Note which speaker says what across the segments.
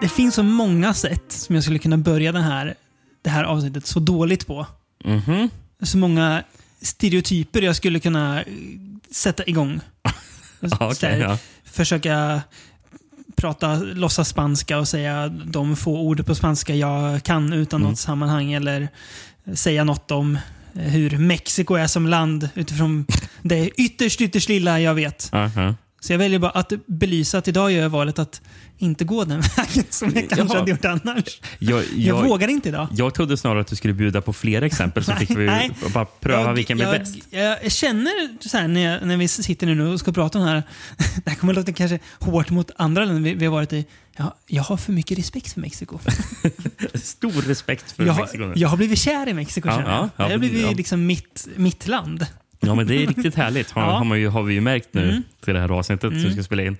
Speaker 1: det finns så många sätt som jag skulle kunna börja den här, det här avsnittet så dåligt på. Mm-hmm.
Speaker 2: Mhm.
Speaker 1: Så många stereotyper jag skulle kunna eh, sätta igång.
Speaker 2: Ja,
Speaker 1: Så
Speaker 2: okej,
Speaker 1: här,
Speaker 2: ja.
Speaker 1: Försöka prata, låtsas spanska och säga de få ord på spanska jag kan utan
Speaker 2: Mm.
Speaker 1: något sammanhang. Eller säga något om eh, hur Mexiko är som land utifrån det ytterst, ytterst lilla jag vet.
Speaker 2: Ja, Uh-huh. ja.
Speaker 1: Så jag väljer bara att belysa att idag gör jag valet att inte gå den vägen som jag kanske
Speaker 2: Ja.
Speaker 1: hade gjort annars. Jag,
Speaker 2: Jag, jag, jag,
Speaker 1: vågar inte idag.
Speaker 2: trodde snarare att du skulle bjuda på fler exempel så
Speaker 1: Nej,
Speaker 2: fick vi
Speaker 1: nej.
Speaker 2: bara pröva
Speaker 1: jag,
Speaker 2: vilken blir
Speaker 1: jag,
Speaker 2: bäst.
Speaker 1: Jag känner så här när, jag, när vi sitter nu och ska prata om det här. Det här kommer att låta kanske hårt mot andra länder vi, vi har varit i. Jag, jag har för mycket respekt för Mexiko.
Speaker 2: Stor respekt för
Speaker 1: Jag,
Speaker 2: Mexiko.
Speaker 1: har- jag har blivit kär i Mexiko
Speaker 2: Ja,
Speaker 1: känner jag.
Speaker 2: ja, ja,
Speaker 1: det har blivit
Speaker 2: ja.
Speaker 1: liksom mitt, mitt land.
Speaker 2: Ja, men det är riktigt härligt. Har,
Speaker 1: Ja.
Speaker 2: har, man ju, har vi ju märkt nu
Speaker 1: Mm.
Speaker 2: till det här avsnittet som vi ska spela in.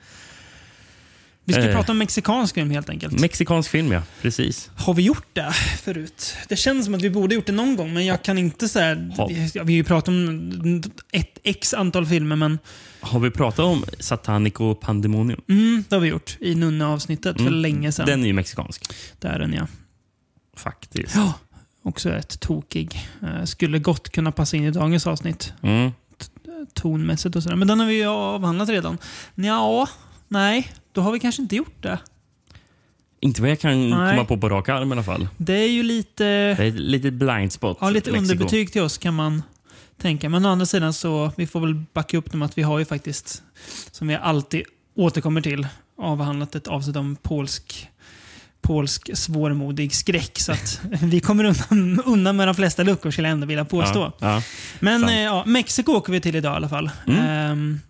Speaker 1: Vi ska
Speaker 2: Eh.
Speaker 1: prata om mexikansk film helt enkelt.
Speaker 2: Mexikansk film, ja. Precis.
Speaker 1: Har vi gjort det förut? Det känns som att vi borde gjort det någon gång, men jag kan inte så här,
Speaker 2: Har-
Speaker 1: vi, ja, vi har ju pratat om ett x antal filmer, men
Speaker 2: Har vi pratat om Satanico Pandemonium?
Speaker 1: mm, det har vi gjort i nunneavsnittet för
Speaker 2: Mm.
Speaker 1: länge sedan.
Speaker 2: Den är ju mexikansk.
Speaker 1: Det är den ja.
Speaker 2: Faktiskt.
Speaker 1: Ja, också rätt tokig. Eh, skulle gott kunna passa in i dagens avsnitt,
Speaker 2: Mm.
Speaker 1: tonmässigt och sådär. Men den har vi ju avhandlat redan. Ja, nej, då har vi kanske inte gjort det.
Speaker 2: Inte vad jag kan
Speaker 1: Nej.
Speaker 2: komma på på rak arm i alla fall.
Speaker 1: Det är ju lite...
Speaker 2: Det är ett litet blind spot.
Speaker 1: Ja, lite
Speaker 2: Mexiko.
Speaker 1: underbetyg till oss kan man tänka. Men å andra sidan så vi får väl backa upp dem att vi har ju faktiskt, som vi alltid återkommer till, avhandlat ett avsnitt om polsk polsk svårmodig skräck. Så att vi kommer undan, undan med de flesta luckor skulle jag ändå vilja påstå.
Speaker 2: Ja, ja.
Speaker 1: Men
Speaker 2: Sant.
Speaker 1: eh, ja, Mexiko åker vi till idag i alla fall.
Speaker 2: Mm.
Speaker 1: Ehm,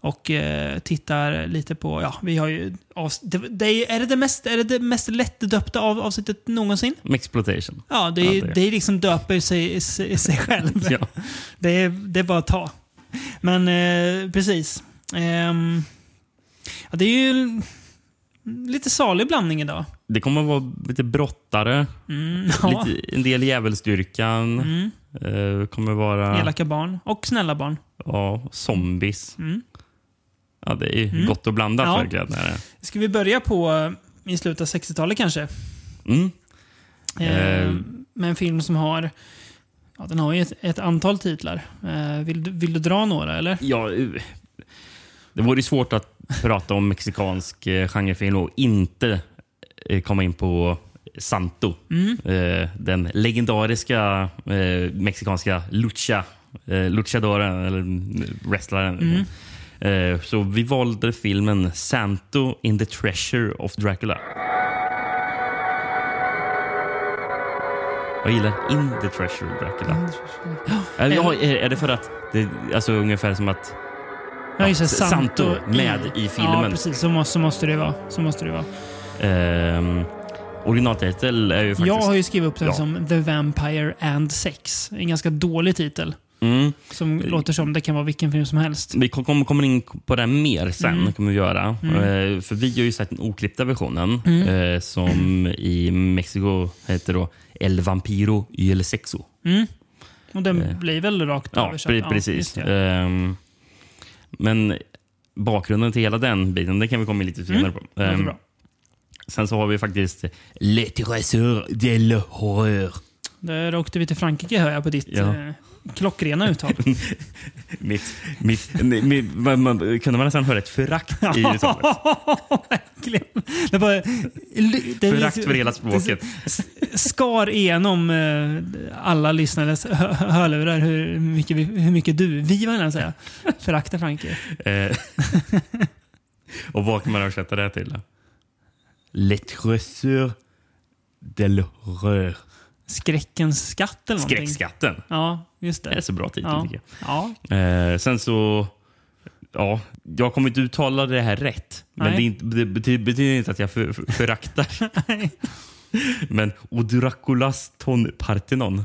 Speaker 1: och eh, tittar lite på, ja, vi har ju avs- det, det är, ju- är, det det mest, är det det mest lättdöpta av, avsnittet någonsin?
Speaker 2: Mexploitation.
Speaker 1: Ja, det,
Speaker 2: Ja,
Speaker 1: är,
Speaker 2: det
Speaker 1: det.
Speaker 2: är-
Speaker 1: är liksom döper sig, sig, sig själv.
Speaker 2: Ja.
Speaker 1: det, är, det är bara att ta. Men eh, precis. Ehm, ja, det är ju l- lite salig blandning idag.
Speaker 2: Det kommer att vara lite brottare,
Speaker 1: Mm, ja.
Speaker 2: lite, en del djävulsdyrkan.
Speaker 1: Mm,
Speaker 2: Eh, kommer vara
Speaker 1: elaka barn och snälla barn.
Speaker 2: ja, zombies.
Speaker 1: Mm.
Speaker 2: Ja, det är ju
Speaker 1: Mm.
Speaker 2: gott och blandat
Speaker 1: Ja.
Speaker 2: för glädjenära.
Speaker 1: Ska vi börja på eh, i slutet av 60-talet kanske?
Speaker 2: Mm.
Speaker 1: Eh,
Speaker 2: Eh.
Speaker 1: med en film som har ja, den har ju ett, ett antal titlar. Eh, vill, du- vill du dra några eller?
Speaker 2: Ja, eh, det vore ju svårt att prata om mexikansk eh, genrefilm och inte eh, komma in på Santo. Eh, Den legendariska eh, mexikanska lucha, eh, luchadoren, eller mm, wrestlaren. Eh, Så vi valde filmen Santo in the Treasure of Dracula. Jag gillar In the Treasure of Dracula.
Speaker 1: Mm.
Speaker 2: Eh, Ja, är är det för att det alltså ungefär som att
Speaker 1: Ja, just det,
Speaker 2: S- Santo
Speaker 1: i-
Speaker 2: med i
Speaker 1: Ja,
Speaker 2: filmen.
Speaker 1: precis. Så måste, så måste det vara. Så måste det vara.
Speaker 2: ehm, originaltitel är ju faktiskt...
Speaker 1: Jag har ju skrivit upp den
Speaker 2: Ja.
Speaker 1: som The Vampire and Sex. En ganska dålig titel.
Speaker 2: Mm.
Speaker 1: Som låter som det kan vara vilken film som helst.
Speaker 2: Vi kom- kommer in på det här mer sen.
Speaker 1: Mm.
Speaker 2: Kommer vi göra. Eh, för vi har ju sett den oklippta versionen
Speaker 1: Mm.
Speaker 2: eh, som i Mexiko heter då El Vampiro y el Sexo.
Speaker 1: Mm. Och den blir väl rakt
Speaker 2: Eh, Ja,
Speaker 1: översatt?
Speaker 2: pre-
Speaker 1: just
Speaker 2: precis.
Speaker 1: det.
Speaker 2: Ehm, men bakgrunden till hela den biten det kan vi komma in lite senare på.
Speaker 1: Mm, Låter
Speaker 2: Ehm,
Speaker 1: bra.
Speaker 2: sen så har vi faktiskt Le Trésor de la Horreur.
Speaker 1: Där åkte vi till Frankrike hör jag på ditt
Speaker 2: Ja.
Speaker 1: eh, klockrena uttal.
Speaker 2: Mitt, mitt, mi- mi- man, man, kunde man nästan höra ett förakt i uttalet?
Speaker 1: Verkligen. Det var, det
Speaker 2: Förakt för hela språket.
Speaker 1: skar igenom eh, alla lyssnares hö- hörlurar hur mycket, vi, hur mycket du, vi var jag säga, föraktar Frankrike.
Speaker 2: Eh, och vad kan man översätta det till? då? Le trésor de l'horreur.
Speaker 1: Skräckens skatt eller någonting.
Speaker 2: Skräckskatten.
Speaker 1: Ja, just
Speaker 2: Det är
Speaker 1: det.
Speaker 2: så bra titel
Speaker 1: Ja.
Speaker 2: tycker jag.
Speaker 1: Ja.
Speaker 2: Eh, sen så... Ja, jag kommer inte uttala det här rätt. Men
Speaker 1: Nej.
Speaker 2: det, är inte- det betyder, betyder inte att jag för, för, föraktar. men O Draculas ton Parthenon.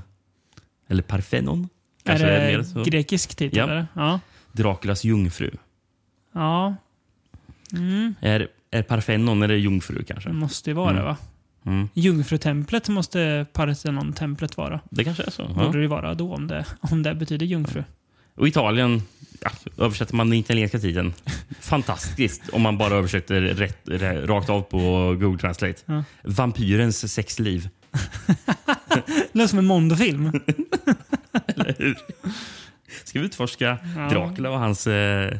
Speaker 2: Eller Parthenon?
Speaker 1: Är
Speaker 2: Kanske det är mer
Speaker 1: det
Speaker 2: så.
Speaker 1: grekisk titel?
Speaker 2: Ja.
Speaker 1: Eller? Ja.
Speaker 2: Draculas jungfru.
Speaker 1: ja, Mm,
Speaker 2: Är, är Parthenon eller jungfru
Speaker 1: det
Speaker 2: kanske?
Speaker 1: måste ju vara
Speaker 2: Mm.
Speaker 1: va?
Speaker 2: Mm.
Speaker 1: Jungfrutemplet måste Parthenon-templet vara.
Speaker 2: Det kanske är så.
Speaker 1: Borde
Speaker 2: Ja.
Speaker 1: det ju vara då om det, om det betyder jungfru.
Speaker 2: Och Italien ja, översätter man den italienska titeln. Fantastiskt om man bara översätter rätt, rä- rakt av på Google Translate.
Speaker 1: Ja.
Speaker 2: Vampyrens sexliv.
Speaker 1: Det låter som en Mondo-film.
Speaker 2: Ska vi utforska
Speaker 1: Ja. Mm,
Speaker 2: Dracula och hans eh,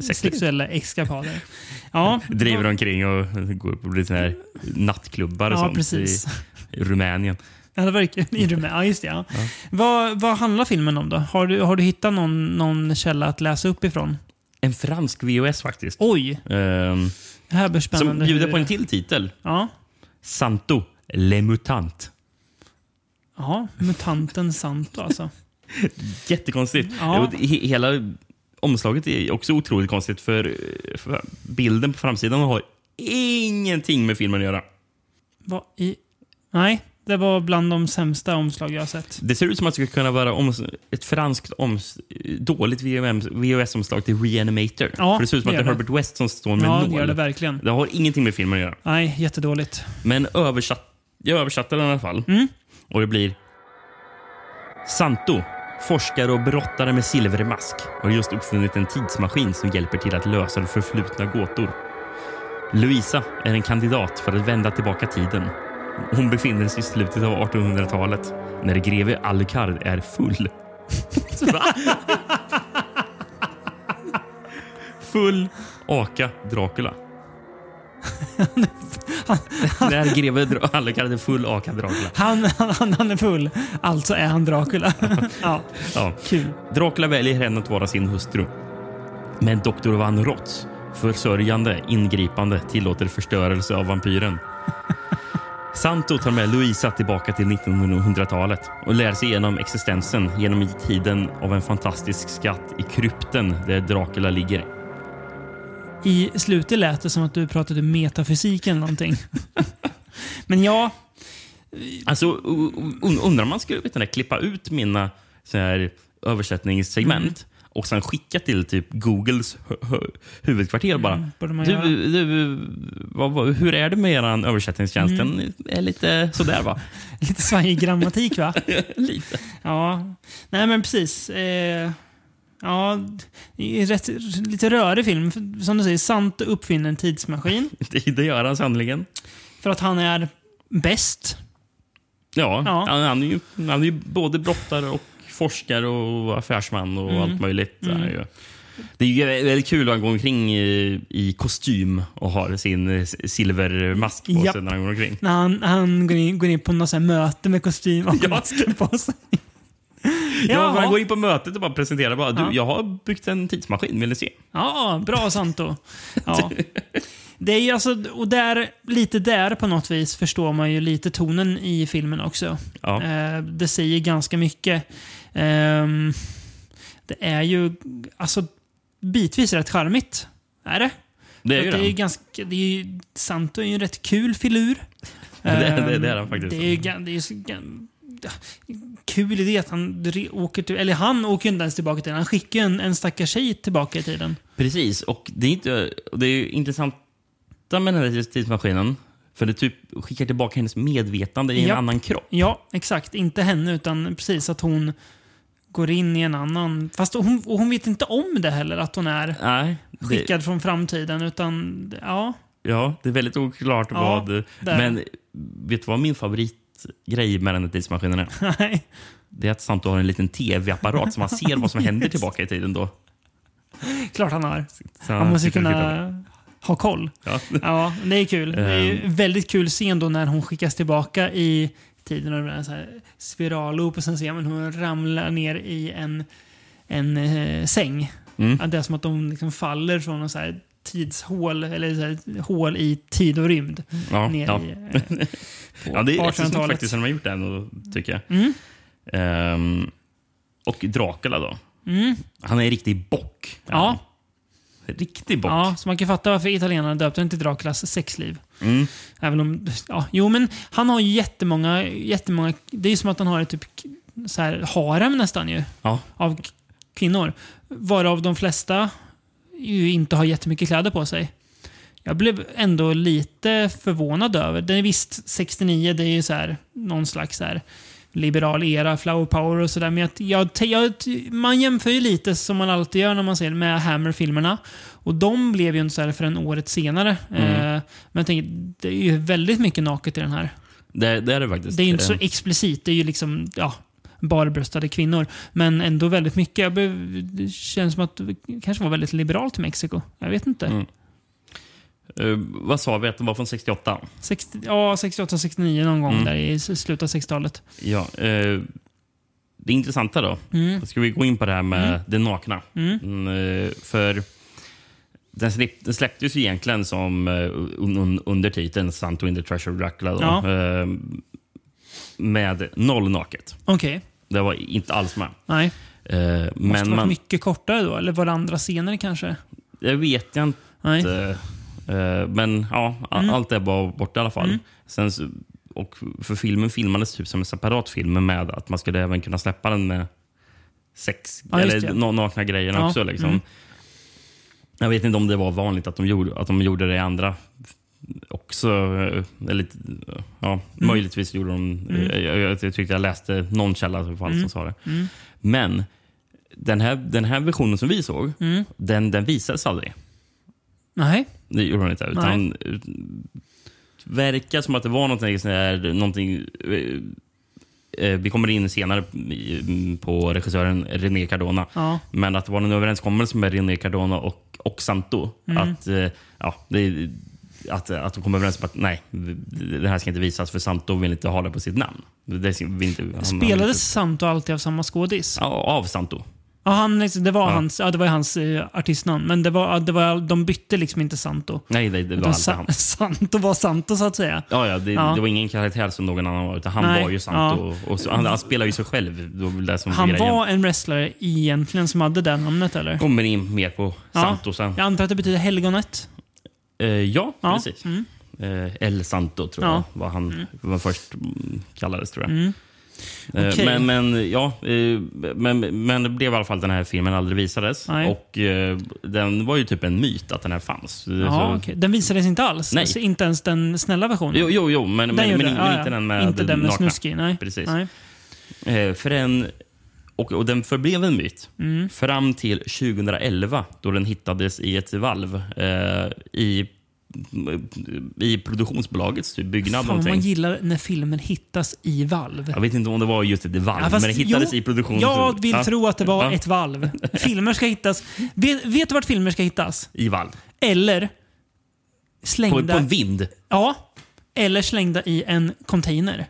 Speaker 2: sexliv?
Speaker 1: Sexuella eskapader. Ja,
Speaker 2: Driver omkring och går på lite sån här nattklubbar och
Speaker 1: Ja,
Speaker 2: sånt
Speaker 1: precis.
Speaker 2: i Rumänien.
Speaker 1: Ja, det verkar i rummet. Ja, just det. Ja. Vad, vad handlar filmen om då? Har du, har du hittat någon, någon källa att läsa upp ifrån?
Speaker 2: En fransk VOS faktiskt.
Speaker 1: Oj,
Speaker 2: Ehm,
Speaker 1: det här blir
Speaker 2: som
Speaker 1: spännande.
Speaker 2: bjuder
Speaker 1: hur-
Speaker 2: på en till titel.
Speaker 1: Ja,
Speaker 2: Santo Le Mutant.
Speaker 1: ja mutanten Santo alltså.
Speaker 2: Jättekonstigt.
Speaker 1: Ja.
Speaker 2: Ja. He hela omslaget är också otroligt konstigt för, för bilden på framsidan har ingenting med filmen att göra.
Speaker 1: Vad i... Nej, det var bland de sämsta omslag jag har sett.
Speaker 2: Det ser ut som att det skulle kunna vara oms ett franskt oms dåligt VHS-omslag till Reanimator.
Speaker 1: Ja,
Speaker 2: för det ser ut som
Speaker 1: det gör
Speaker 2: att det är
Speaker 1: det.
Speaker 2: Herbert West som står med
Speaker 1: Ja,
Speaker 2: en
Speaker 1: det gör
Speaker 2: nål.
Speaker 1: det
Speaker 2: Det,
Speaker 1: verkligen.
Speaker 2: har ingenting med filmen att göra.
Speaker 1: Nej, jättedåligt.
Speaker 2: Men översatt, jag översatte den i alla fall. Och det blir... Santo, forskare och brottare med silvermask, har just uppfunnit en tidsmaskin som hjälper till att lösa de förflutna gåtor. Luisa är en kandidat för att vända tillbaka tiden. Hon befinner sig i slutet av 1800-talet när greve Alucard är full. Va? full aka Dracula. när greve Dra- Alucard är full aka Dracula.
Speaker 1: Han, han, han är full. Alltså är han Dracula. ja,
Speaker 2: Ja.
Speaker 1: kul.
Speaker 2: Dracula väljer henne att vara sin hustru. Men Dr. Van Rotts försörjande ingripande tillåter förstörelse av vampyren. Santo tar med Luisa tillbaka till 1900-talet och lär sig igenom existensen genom tiden av en fantastisk skatt i krypten där Dracula ligger.
Speaker 1: I slutet lät det som att du pratade metafysik eller någonting. Men ja,
Speaker 2: Alltså, u- u- undrar om man skulle vet, du, klippa ut mina så här, översättningssegment och sen skicka till typ Googles hu- hu- huvudkvarter bara.
Speaker 1: mm, borde man göra.
Speaker 2: Du, du, vad, vad, hur är det med er översättningstjänst? Den är lite sådär va?
Speaker 1: Lite svajig grammatik va?
Speaker 2: lite.
Speaker 1: Ja, nej men precis. Eh, ja, det är rätt, lite rörig film. För, Som du säger, Santo uppfinner en tidsmaskin
Speaker 2: Det, det gör han sannoliken.
Speaker 1: för att han är bäst.
Speaker 2: Ja,
Speaker 1: Ja.
Speaker 2: Han, han, är ju, han är ju både brottare och forskare och affärsman och allt möjligt. Mm. Ju. Det är ju väldigt kul att han går omkring i, i kostym och har sin eh, silvermask på
Speaker 1: Japp.
Speaker 2: sig när han går omkring.
Speaker 1: När han, han går, in, går in på något så här möte med kostym och
Speaker 2: Ja.
Speaker 1: masken på sig.
Speaker 2: Ja,
Speaker 1: Jaha.
Speaker 2: för han går in på mötet och bara presenterar bara, du,
Speaker 1: Ja.
Speaker 2: jag har byggt en tidsmaskin, vill ni se?
Speaker 1: Ja, bra Santo. Ja. Det är ju alltså, och där, lite där på något vis förstår man ju lite tonen i filmen också.
Speaker 2: Ja.
Speaker 1: Eh, det säger ganska mycket. Ehm, det är ju alltså bitvis rätt charmigt. Är det?
Speaker 2: Det är ju
Speaker 1: det. Är ju
Speaker 2: det.
Speaker 1: ganska, det är ju, Santo är ju en rätt kul filur.
Speaker 2: det- det- det är
Speaker 1: Ehm,
Speaker 2: han faktiskt.
Speaker 1: Det är ju gan- det är ju så gan- kul idé att han re- åker till, eller han åker ju inte ens tillbaka till tiden. Han skickar ju en, en stackars tjej tillbaka i tiden.
Speaker 2: Precis, och det är, inte, och det är ju intressant med den här tidsmaskinen. För det typ skickar tillbaka hennes medvetande i en
Speaker 1: Japp.
Speaker 2: annan kropp.
Speaker 1: Ja, exakt. Inte henne, utan precis att hon går in i en annan... Fast hon, och hon vet inte om det heller, att hon är
Speaker 2: Nej, det,
Speaker 1: skickad från framtiden. Utan, ja.
Speaker 2: ja, det är väldigt oklart
Speaker 1: Ja,
Speaker 2: vad...
Speaker 1: där.
Speaker 2: Men vet du vad min favoritgrej med den här tidsmaskinen är?
Speaker 1: Nej.
Speaker 2: Det är att Santo har en liten tv-apparat så man ser vad som händer tillbaka i tiden då.
Speaker 1: Klart han har.
Speaker 2: Så
Speaker 1: Han måste ju
Speaker 2: sitter och tittar
Speaker 1: kunna ha koll.
Speaker 2: på- Ja.
Speaker 1: Ja, det är kul. Det är ju
Speaker 2: Ehm.
Speaker 1: en väldigt kul scen då när hon skickas tillbaka i tiden och det blir en så här spiralloop och sen ser man hur hon ramlar ner i en, en eh, säng.
Speaker 2: Mm.
Speaker 1: Att det är som att de liksom faller från någon så här tidshål, eller så här, hål i tid och rymd.
Speaker 2: Ja,
Speaker 1: ner
Speaker 2: ja.
Speaker 1: i, eh, på
Speaker 2: Ja, det är rätt så snyggt
Speaker 1: 1800-talet.
Speaker 2: faktiskt när de har gjort det ändå, tycker jag.
Speaker 1: Mm.
Speaker 2: Ehm, och Dracula då.
Speaker 1: Mm.
Speaker 2: Han är en riktig bock.
Speaker 1: Ja,
Speaker 2: En Riktig bock.
Speaker 1: ja, så man kan fatta varför italienarna döpte den till Draculas sexliv.
Speaker 2: Mm.
Speaker 1: Även om, ja, jo, men han har ju jättemånga, jättemånga... Det är ju som att han har ett typ, så här, harem nästan ju.
Speaker 2: Ja.
Speaker 1: av k- kvinnor. Varav de flesta ju inte har jättemycket kläder på sig. Jag blev ändå lite förvånad över. Det är visst 69, det är ju så här, någon slags så här liberal era, flower power och sådär. Men jag, jag, jag, man jämför ju lite, som man alltid gör när man ser med Hammer-filmerna. Och de blev ju inte så här förrän året senare. Eh, men jag tänker, det är ju väldigt mycket naket i den här.
Speaker 2: Det, det är det faktiskt.
Speaker 1: Det är ju inte så
Speaker 2: Eh,
Speaker 1: explicit. Det är ju liksom, ja, barbröstade kvinnor. Men ändå väldigt mycket. Jag blev, det känns som att det kanske var väldigt liberalt i Mexiko. Jag vet inte.
Speaker 2: Mm. eh, vad sa vi att den var från 68?
Speaker 1: 60, ja, 68, 69 någon gång
Speaker 2: Mm.
Speaker 1: där i s- slutet av 60-talet.
Speaker 2: Ja, eh, det intressanta då.
Speaker 1: Mm.
Speaker 2: Då ska vi gå in på det här med det nakna.
Speaker 1: Mm.
Speaker 2: Mm, eh, för den, släpp, den släpptes ju egentligen som eh, un, un, under titeln Santo in the Treasure of Dracula. Då,
Speaker 1: Ja.
Speaker 2: eh, med noll naket.
Speaker 1: Okej.
Speaker 2: Det var inte alls med.
Speaker 1: Nej.
Speaker 2: Eh,
Speaker 1: Måste
Speaker 2: men
Speaker 1: varit
Speaker 2: man,
Speaker 1: mycket kortare då? Eller var det andra scener kanske?
Speaker 2: det vet jag inte.
Speaker 1: Nej.
Speaker 2: Eh, Men ja, a-
Speaker 1: Mm.
Speaker 2: allt det var borta i alla fall. Sen, så- och för filmen filmades typ som en separat film med att man skulle även kunna släppa den med sex,
Speaker 1: Ja, just
Speaker 2: eller
Speaker 1: det.
Speaker 2: na- nakna grejerna
Speaker 1: Ja,
Speaker 2: också. Liksom.
Speaker 1: mm.
Speaker 2: Jag vet inte om det var vanligt att de gjorde, att de gjorde det i andra också. eh, Eller, ja, Möjligtvis gjorde de...
Speaker 1: Mm.
Speaker 2: eh, Jag, jag, jag tyckte jag läste någon källa i alla fall som
Speaker 1: Mm.
Speaker 2: sa det.
Speaker 1: Mm.
Speaker 2: Men den här, den här versionen som vi såg,
Speaker 1: Mm.
Speaker 2: den, den visades aldrig.
Speaker 1: Nej.
Speaker 2: Det gjorde hon inte. Utan ut- verkar som att det var någonting, sån här, någonting eh, eh, vi kommer in senare i- mm, på regissören René Cardona.
Speaker 1: Ja.
Speaker 2: Men att det var en överenskommelse med René Cardona och, och Santo.
Speaker 1: Mm.
Speaker 2: Att, eh, ja, det, att, att de kom överens om att nej, det här ska inte visas för Santo vill inte ha det på sitt namn. Det ska vi inte, han- han-
Speaker 1: Spelades Santo alltid av samma skådis?
Speaker 2: typ- Ja, av Santo.
Speaker 1: Ja, han, liksom- det var
Speaker 2: Ja.
Speaker 1: hans, ja, det var hans eh, artistnamn. Men det var, det var, de bytte liksom inte Santo.
Speaker 2: Nej, det, det var
Speaker 1: Utan
Speaker 2: alltid
Speaker 1: Sa-
Speaker 2: han.
Speaker 1: Santo var Santo så att säga.
Speaker 2: Ja, ja, det,
Speaker 1: Ja.
Speaker 2: det var ingen karaktär som någon annan var, utan han
Speaker 1: Nej,
Speaker 2: var ju Santo. Och, och så, han, han spelar ju sig själv. Då, det som
Speaker 1: Han
Speaker 2: grejen.
Speaker 1: var en wrestlare egentligen som hade det namnet eller?
Speaker 2: Kommer in mer på
Speaker 1: Ja.
Speaker 2: Santo sen.
Speaker 1: Jag
Speaker 2: Ja,
Speaker 1: antar att det betyder helgonet.
Speaker 2: eh, ja,
Speaker 1: Ja. Mm.
Speaker 2: precis. Eh, El Santo tror
Speaker 1: Ja.
Speaker 2: jag var han var först mm, kallades tror jag.
Speaker 1: Mm.
Speaker 2: Eh,
Speaker 1: Okej.
Speaker 2: Men, men, ja, eh, men, men det blev i alla fall den här filmen aldrig visades.
Speaker 1: Nej.
Speaker 2: Och eh, Den var ju typ en myt att den här fanns.
Speaker 1: Ja,
Speaker 2: Så-
Speaker 1: okej. Den visades inte alls?
Speaker 2: Nej.
Speaker 1: Alltså, inte ens den snälla versionen?
Speaker 2: Jo, jo, jo, men, men, men,
Speaker 1: gjorde-
Speaker 2: men
Speaker 1: ja, ja.
Speaker 2: inte den med
Speaker 1: Inte den med
Speaker 2: nakna.
Speaker 1: snuski, nej.
Speaker 2: Precis.
Speaker 1: nej.
Speaker 2: Eh, För en, och, och den förblev en myt
Speaker 1: Mm.
Speaker 2: fram till 2011 då den hittades i ett valv eh, i, i produktionsbolagets typ, byggnad.
Speaker 1: Fan vad man
Speaker 2: någonting.
Speaker 1: gillar när filmer hittas i valv.
Speaker 2: Jag vet inte om det var just ett valv,
Speaker 1: Ja, fast
Speaker 2: men det hittades
Speaker 1: jo,
Speaker 2: i produktions...
Speaker 1: Jag vill
Speaker 2: Ja,
Speaker 1: tro att det var
Speaker 2: Ja.
Speaker 1: ett valv. Filmer ska hittas. Vet, vet du vart filmer ska hittas?
Speaker 2: I valv.
Speaker 1: Eller
Speaker 2: På, på
Speaker 1: slängda...
Speaker 2: en vind.
Speaker 1: ja. Eller slängda i en container.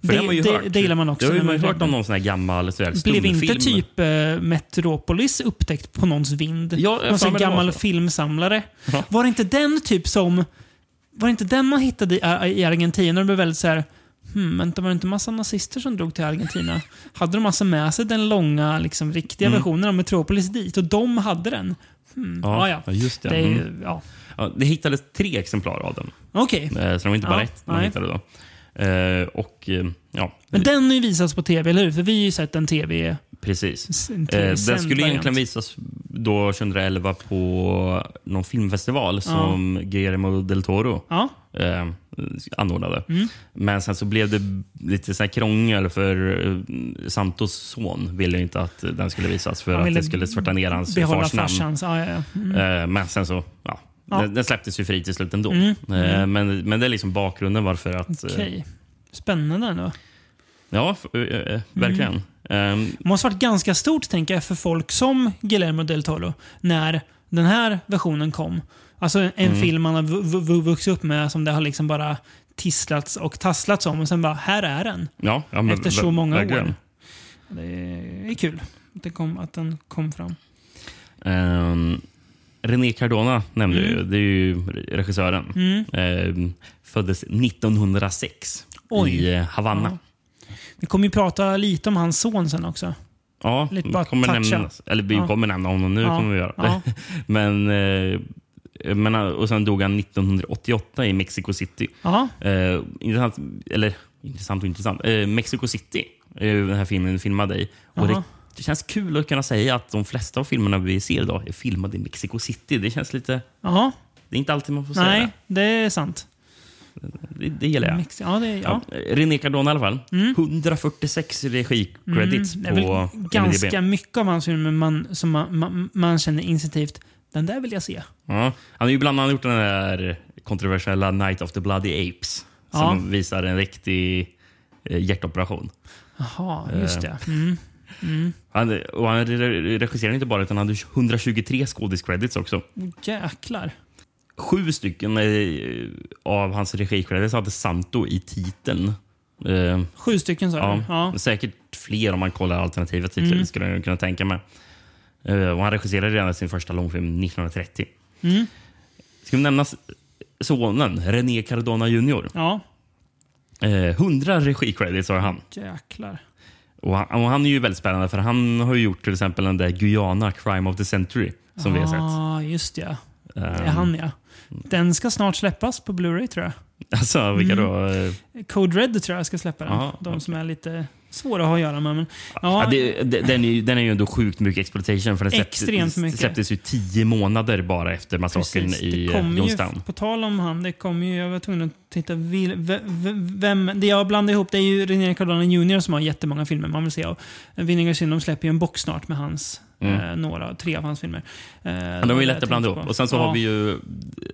Speaker 2: För det, har man ju
Speaker 1: det,
Speaker 2: hört.
Speaker 1: det gillar man också.
Speaker 2: Det har ju
Speaker 1: när
Speaker 2: man ju hört
Speaker 1: gör
Speaker 2: om
Speaker 1: det.
Speaker 2: någon sån här gammal så här,
Speaker 1: Blev
Speaker 2: stumfilm.
Speaker 1: inte typ eh, Metropolis upptäckt på någons vind?
Speaker 2: Ja, jag
Speaker 1: någon
Speaker 2: för
Speaker 1: sån
Speaker 2: mig det var
Speaker 1: gammal
Speaker 2: så.
Speaker 1: filmsamlare.
Speaker 2: Ja.
Speaker 1: Var det inte den typ som... Var det inte den man hittade i, i Argentina? De blev väldigt så här... Hmm, vänta, var det inte massa nazister som drog till Argentina? hade de alltså med sig den långa, liksom, riktiga versionen av Metropolis dit? Och de hade den? Hmm.
Speaker 2: Mm.
Speaker 1: Ja,
Speaker 2: Ja,
Speaker 1: ja.
Speaker 2: ja, just det.
Speaker 1: är ju-
Speaker 2: Mm.
Speaker 1: ja.
Speaker 2: Ja, det hittades tre exemplar av den.
Speaker 1: Okej.
Speaker 2: Eh, Så det var inte bara
Speaker 1: Ja,
Speaker 2: ett man
Speaker 1: nej.
Speaker 2: hittade då. Eh, och eh, ja,
Speaker 1: Men den har ju visats på tv, eller hur? För vi har ju sett en tv...
Speaker 2: precis.
Speaker 1: En
Speaker 2: Eh, den
Speaker 1: TV-sänd
Speaker 2: skulle egentligen
Speaker 1: variant.
Speaker 2: visas då 2011 på någon filmfestival som Guillermo del Toro
Speaker 1: Ja.
Speaker 2: eh, anordnade.
Speaker 1: Mm.
Speaker 2: Men sen så blev det lite så här krångel för eh, Santos son ville ju inte att den skulle visas för
Speaker 1: Han
Speaker 2: att
Speaker 1: ville
Speaker 2: det skulle svärta ner hans
Speaker 1: Behålla
Speaker 2: fars namn.
Speaker 1: farsans... Ja, ja, ja. Mm.
Speaker 2: Eh, men sen så, ja.
Speaker 1: Ja. Mm.
Speaker 2: Den, den släpptes ju fri till slut ändå. Eh, men, men det är liksom bakgrunden varför att... eh,
Speaker 1: Okej. Spännande ändå.
Speaker 2: Ja, f- eh, eh, verkligen. Eh,
Speaker 1: Det måste varit ganska stort tänker jag för folk som Guillermo del Toro när den här versionen kom. Alltså en en film man har vu- vu- vu- vuxit upp med som det har liksom bara tisslats och tasslats om och sen bara, här är den.
Speaker 2: ja, ja, men
Speaker 1: Efter
Speaker 2: ver-
Speaker 1: så många
Speaker 2: verkligen.
Speaker 1: år. Det är kul att, det kom, att den kom fram.
Speaker 2: Um, René Cardona nämnde du.
Speaker 1: Mm.
Speaker 2: Det är ju regissören. Ehm, föddes 1906
Speaker 1: Oj.
Speaker 2: i eh, Havanna.
Speaker 1: Vi kommer ju prata lite om hans son sen också.
Speaker 2: Ja,
Speaker 1: Lite
Speaker 2: vi
Speaker 1: bara
Speaker 2: kommer
Speaker 1: toucha.
Speaker 2: nämnas, eller vi
Speaker 1: Ja.
Speaker 2: kommer nämna honom nu.
Speaker 1: Ja,
Speaker 2: Kommer vi göra.
Speaker 1: ja.
Speaker 2: men, eh, men, eh, och sen dog han 1988 i Mexico City.
Speaker 1: Ja,
Speaker 2: Eh, intressant, eller intressant och intressant. Eh, Mexico City, eh, den här filmen filmade i.
Speaker 1: Jaha.
Speaker 2: Och det, det känns kul att kunna säga att de flesta av filmerna vi ser idag är filmade i Mexico City. Det känns lite...
Speaker 1: ja.
Speaker 2: Det är inte alltid man får säga
Speaker 1: nej,
Speaker 2: det.
Speaker 1: det är sant.
Speaker 2: Det, det gillar jag.
Speaker 1: Mex- ja, det, är- ja. Mm.
Speaker 2: Ja. René Cardona i alla fall. 146 regi-credits
Speaker 1: det är väl
Speaker 2: på
Speaker 1: Mm, ganska
Speaker 2: IMDb.
Speaker 1: mycket av hans filmer man, som man, man, man känner instinktivt. Den där vill jag se.
Speaker 2: Ja. Han har ju bland annat gjort den där kontroversiella Night of the Bloody Apes. Som visar en riktig eh, hjärtoperation.
Speaker 1: Jaha,
Speaker 2: Eh.
Speaker 1: just det. Mm.
Speaker 2: Han, och han re- regisserade inte bara, utan han hade 123 skådis-credits också.
Speaker 1: Oh, Jäklar.
Speaker 2: Sju stycken eh, av hans regi-credits hade Santo i titeln. Eh,
Speaker 1: Sju stycken sa
Speaker 2: Ja,
Speaker 1: du? Ja.
Speaker 2: Säkert fler om man kollar alternativet till mm. skulle jag kunna tänka mig. Eh, och han regisserade redan sin första långfilm 1930.
Speaker 1: Mm.
Speaker 2: Ska vi nämna s- sonen, René Cardona Jr.
Speaker 1: ja.
Speaker 2: Eh, 100 regicredits har han.
Speaker 1: Jäklar.
Speaker 2: Och, han. och han är ju väldigt spännande för han har ju gjort till exempel den där Guyana Crime of the Century som vi har sett.
Speaker 1: Ja, just det. Det är
Speaker 2: Eh,
Speaker 1: han Ah. ja. Den ska snart släppas på Blu-ray tror jag.
Speaker 2: alltså, vilka då?
Speaker 1: Mm.
Speaker 2: Eh,
Speaker 1: Code Red tror jag ska släppa den.
Speaker 2: Ja,
Speaker 1: De som är lite svåra att ha att göra med. Men,
Speaker 2: Ja,
Speaker 1: ja,
Speaker 2: det, det- den, är ju, den är ju ändå sjukt mycket exploitation. För den släpptes,
Speaker 1: Extremt mycket.
Speaker 2: släpptes ju tio månader bara efter massakern
Speaker 1: precis.
Speaker 2: i
Speaker 1: Det
Speaker 2: eh,
Speaker 1: kom ju,
Speaker 2: Jonestown.
Speaker 1: på tal om han, det kom ju, jag var tvungen att titta vil, ve- ve- vem, det jag blandade ihop det är ju René Cardona Jr som har jättemånga filmer man vill se av. Vinnegar Syndrom släpper ju en box snart med hans,
Speaker 2: Mm.
Speaker 1: eh, några, tre av hans filmer. Eh,
Speaker 2: Ja, de är ju lätta att blanda ihop. Och sen så har vi ju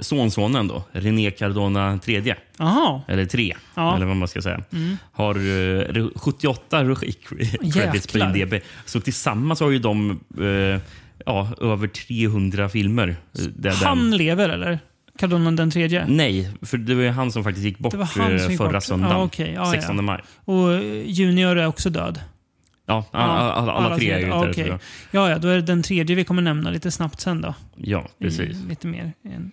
Speaker 2: sonsonen då, René Cardona tredje.
Speaker 1: Jaha,
Speaker 2: Eller tre,
Speaker 1: Ja.
Speaker 2: eller vad man ska säga.
Speaker 1: Mm.
Speaker 2: Har eh, re- 78 regi- credits på
Speaker 1: Jäklar.
Speaker 2: IMDB. Så tillsammans har ju de eh, ja, över 300 filmer. eh, Där
Speaker 1: han
Speaker 2: den,
Speaker 1: lever eller? Cardona den tredje?
Speaker 2: nej, för det var ju han som faktiskt gick bort
Speaker 1: Det var han
Speaker 2: eh,
Speaker 1: som gick
Speaker 2: förra
Speaker 1: bort.
Speaker 2: söndagen.
Speaker 1: Ja, okej. Ja, ja.
Speaker 2: 16 maj.
Speaker 1: Och eh, Junior är också död?
Speaker 2: Ja, alla, alla, alla tre är ju
Speaker 1: ja,
Speaker 2: där.
Speaker 1: okej.
Speaker 2: tror jag.
Speaker 1: Ja, ja, då är det den tredje vi kommer nämna lite snabbt sen då.
Speaker 2: Ja, precis.
Speaker 1: I, lite mer, i en,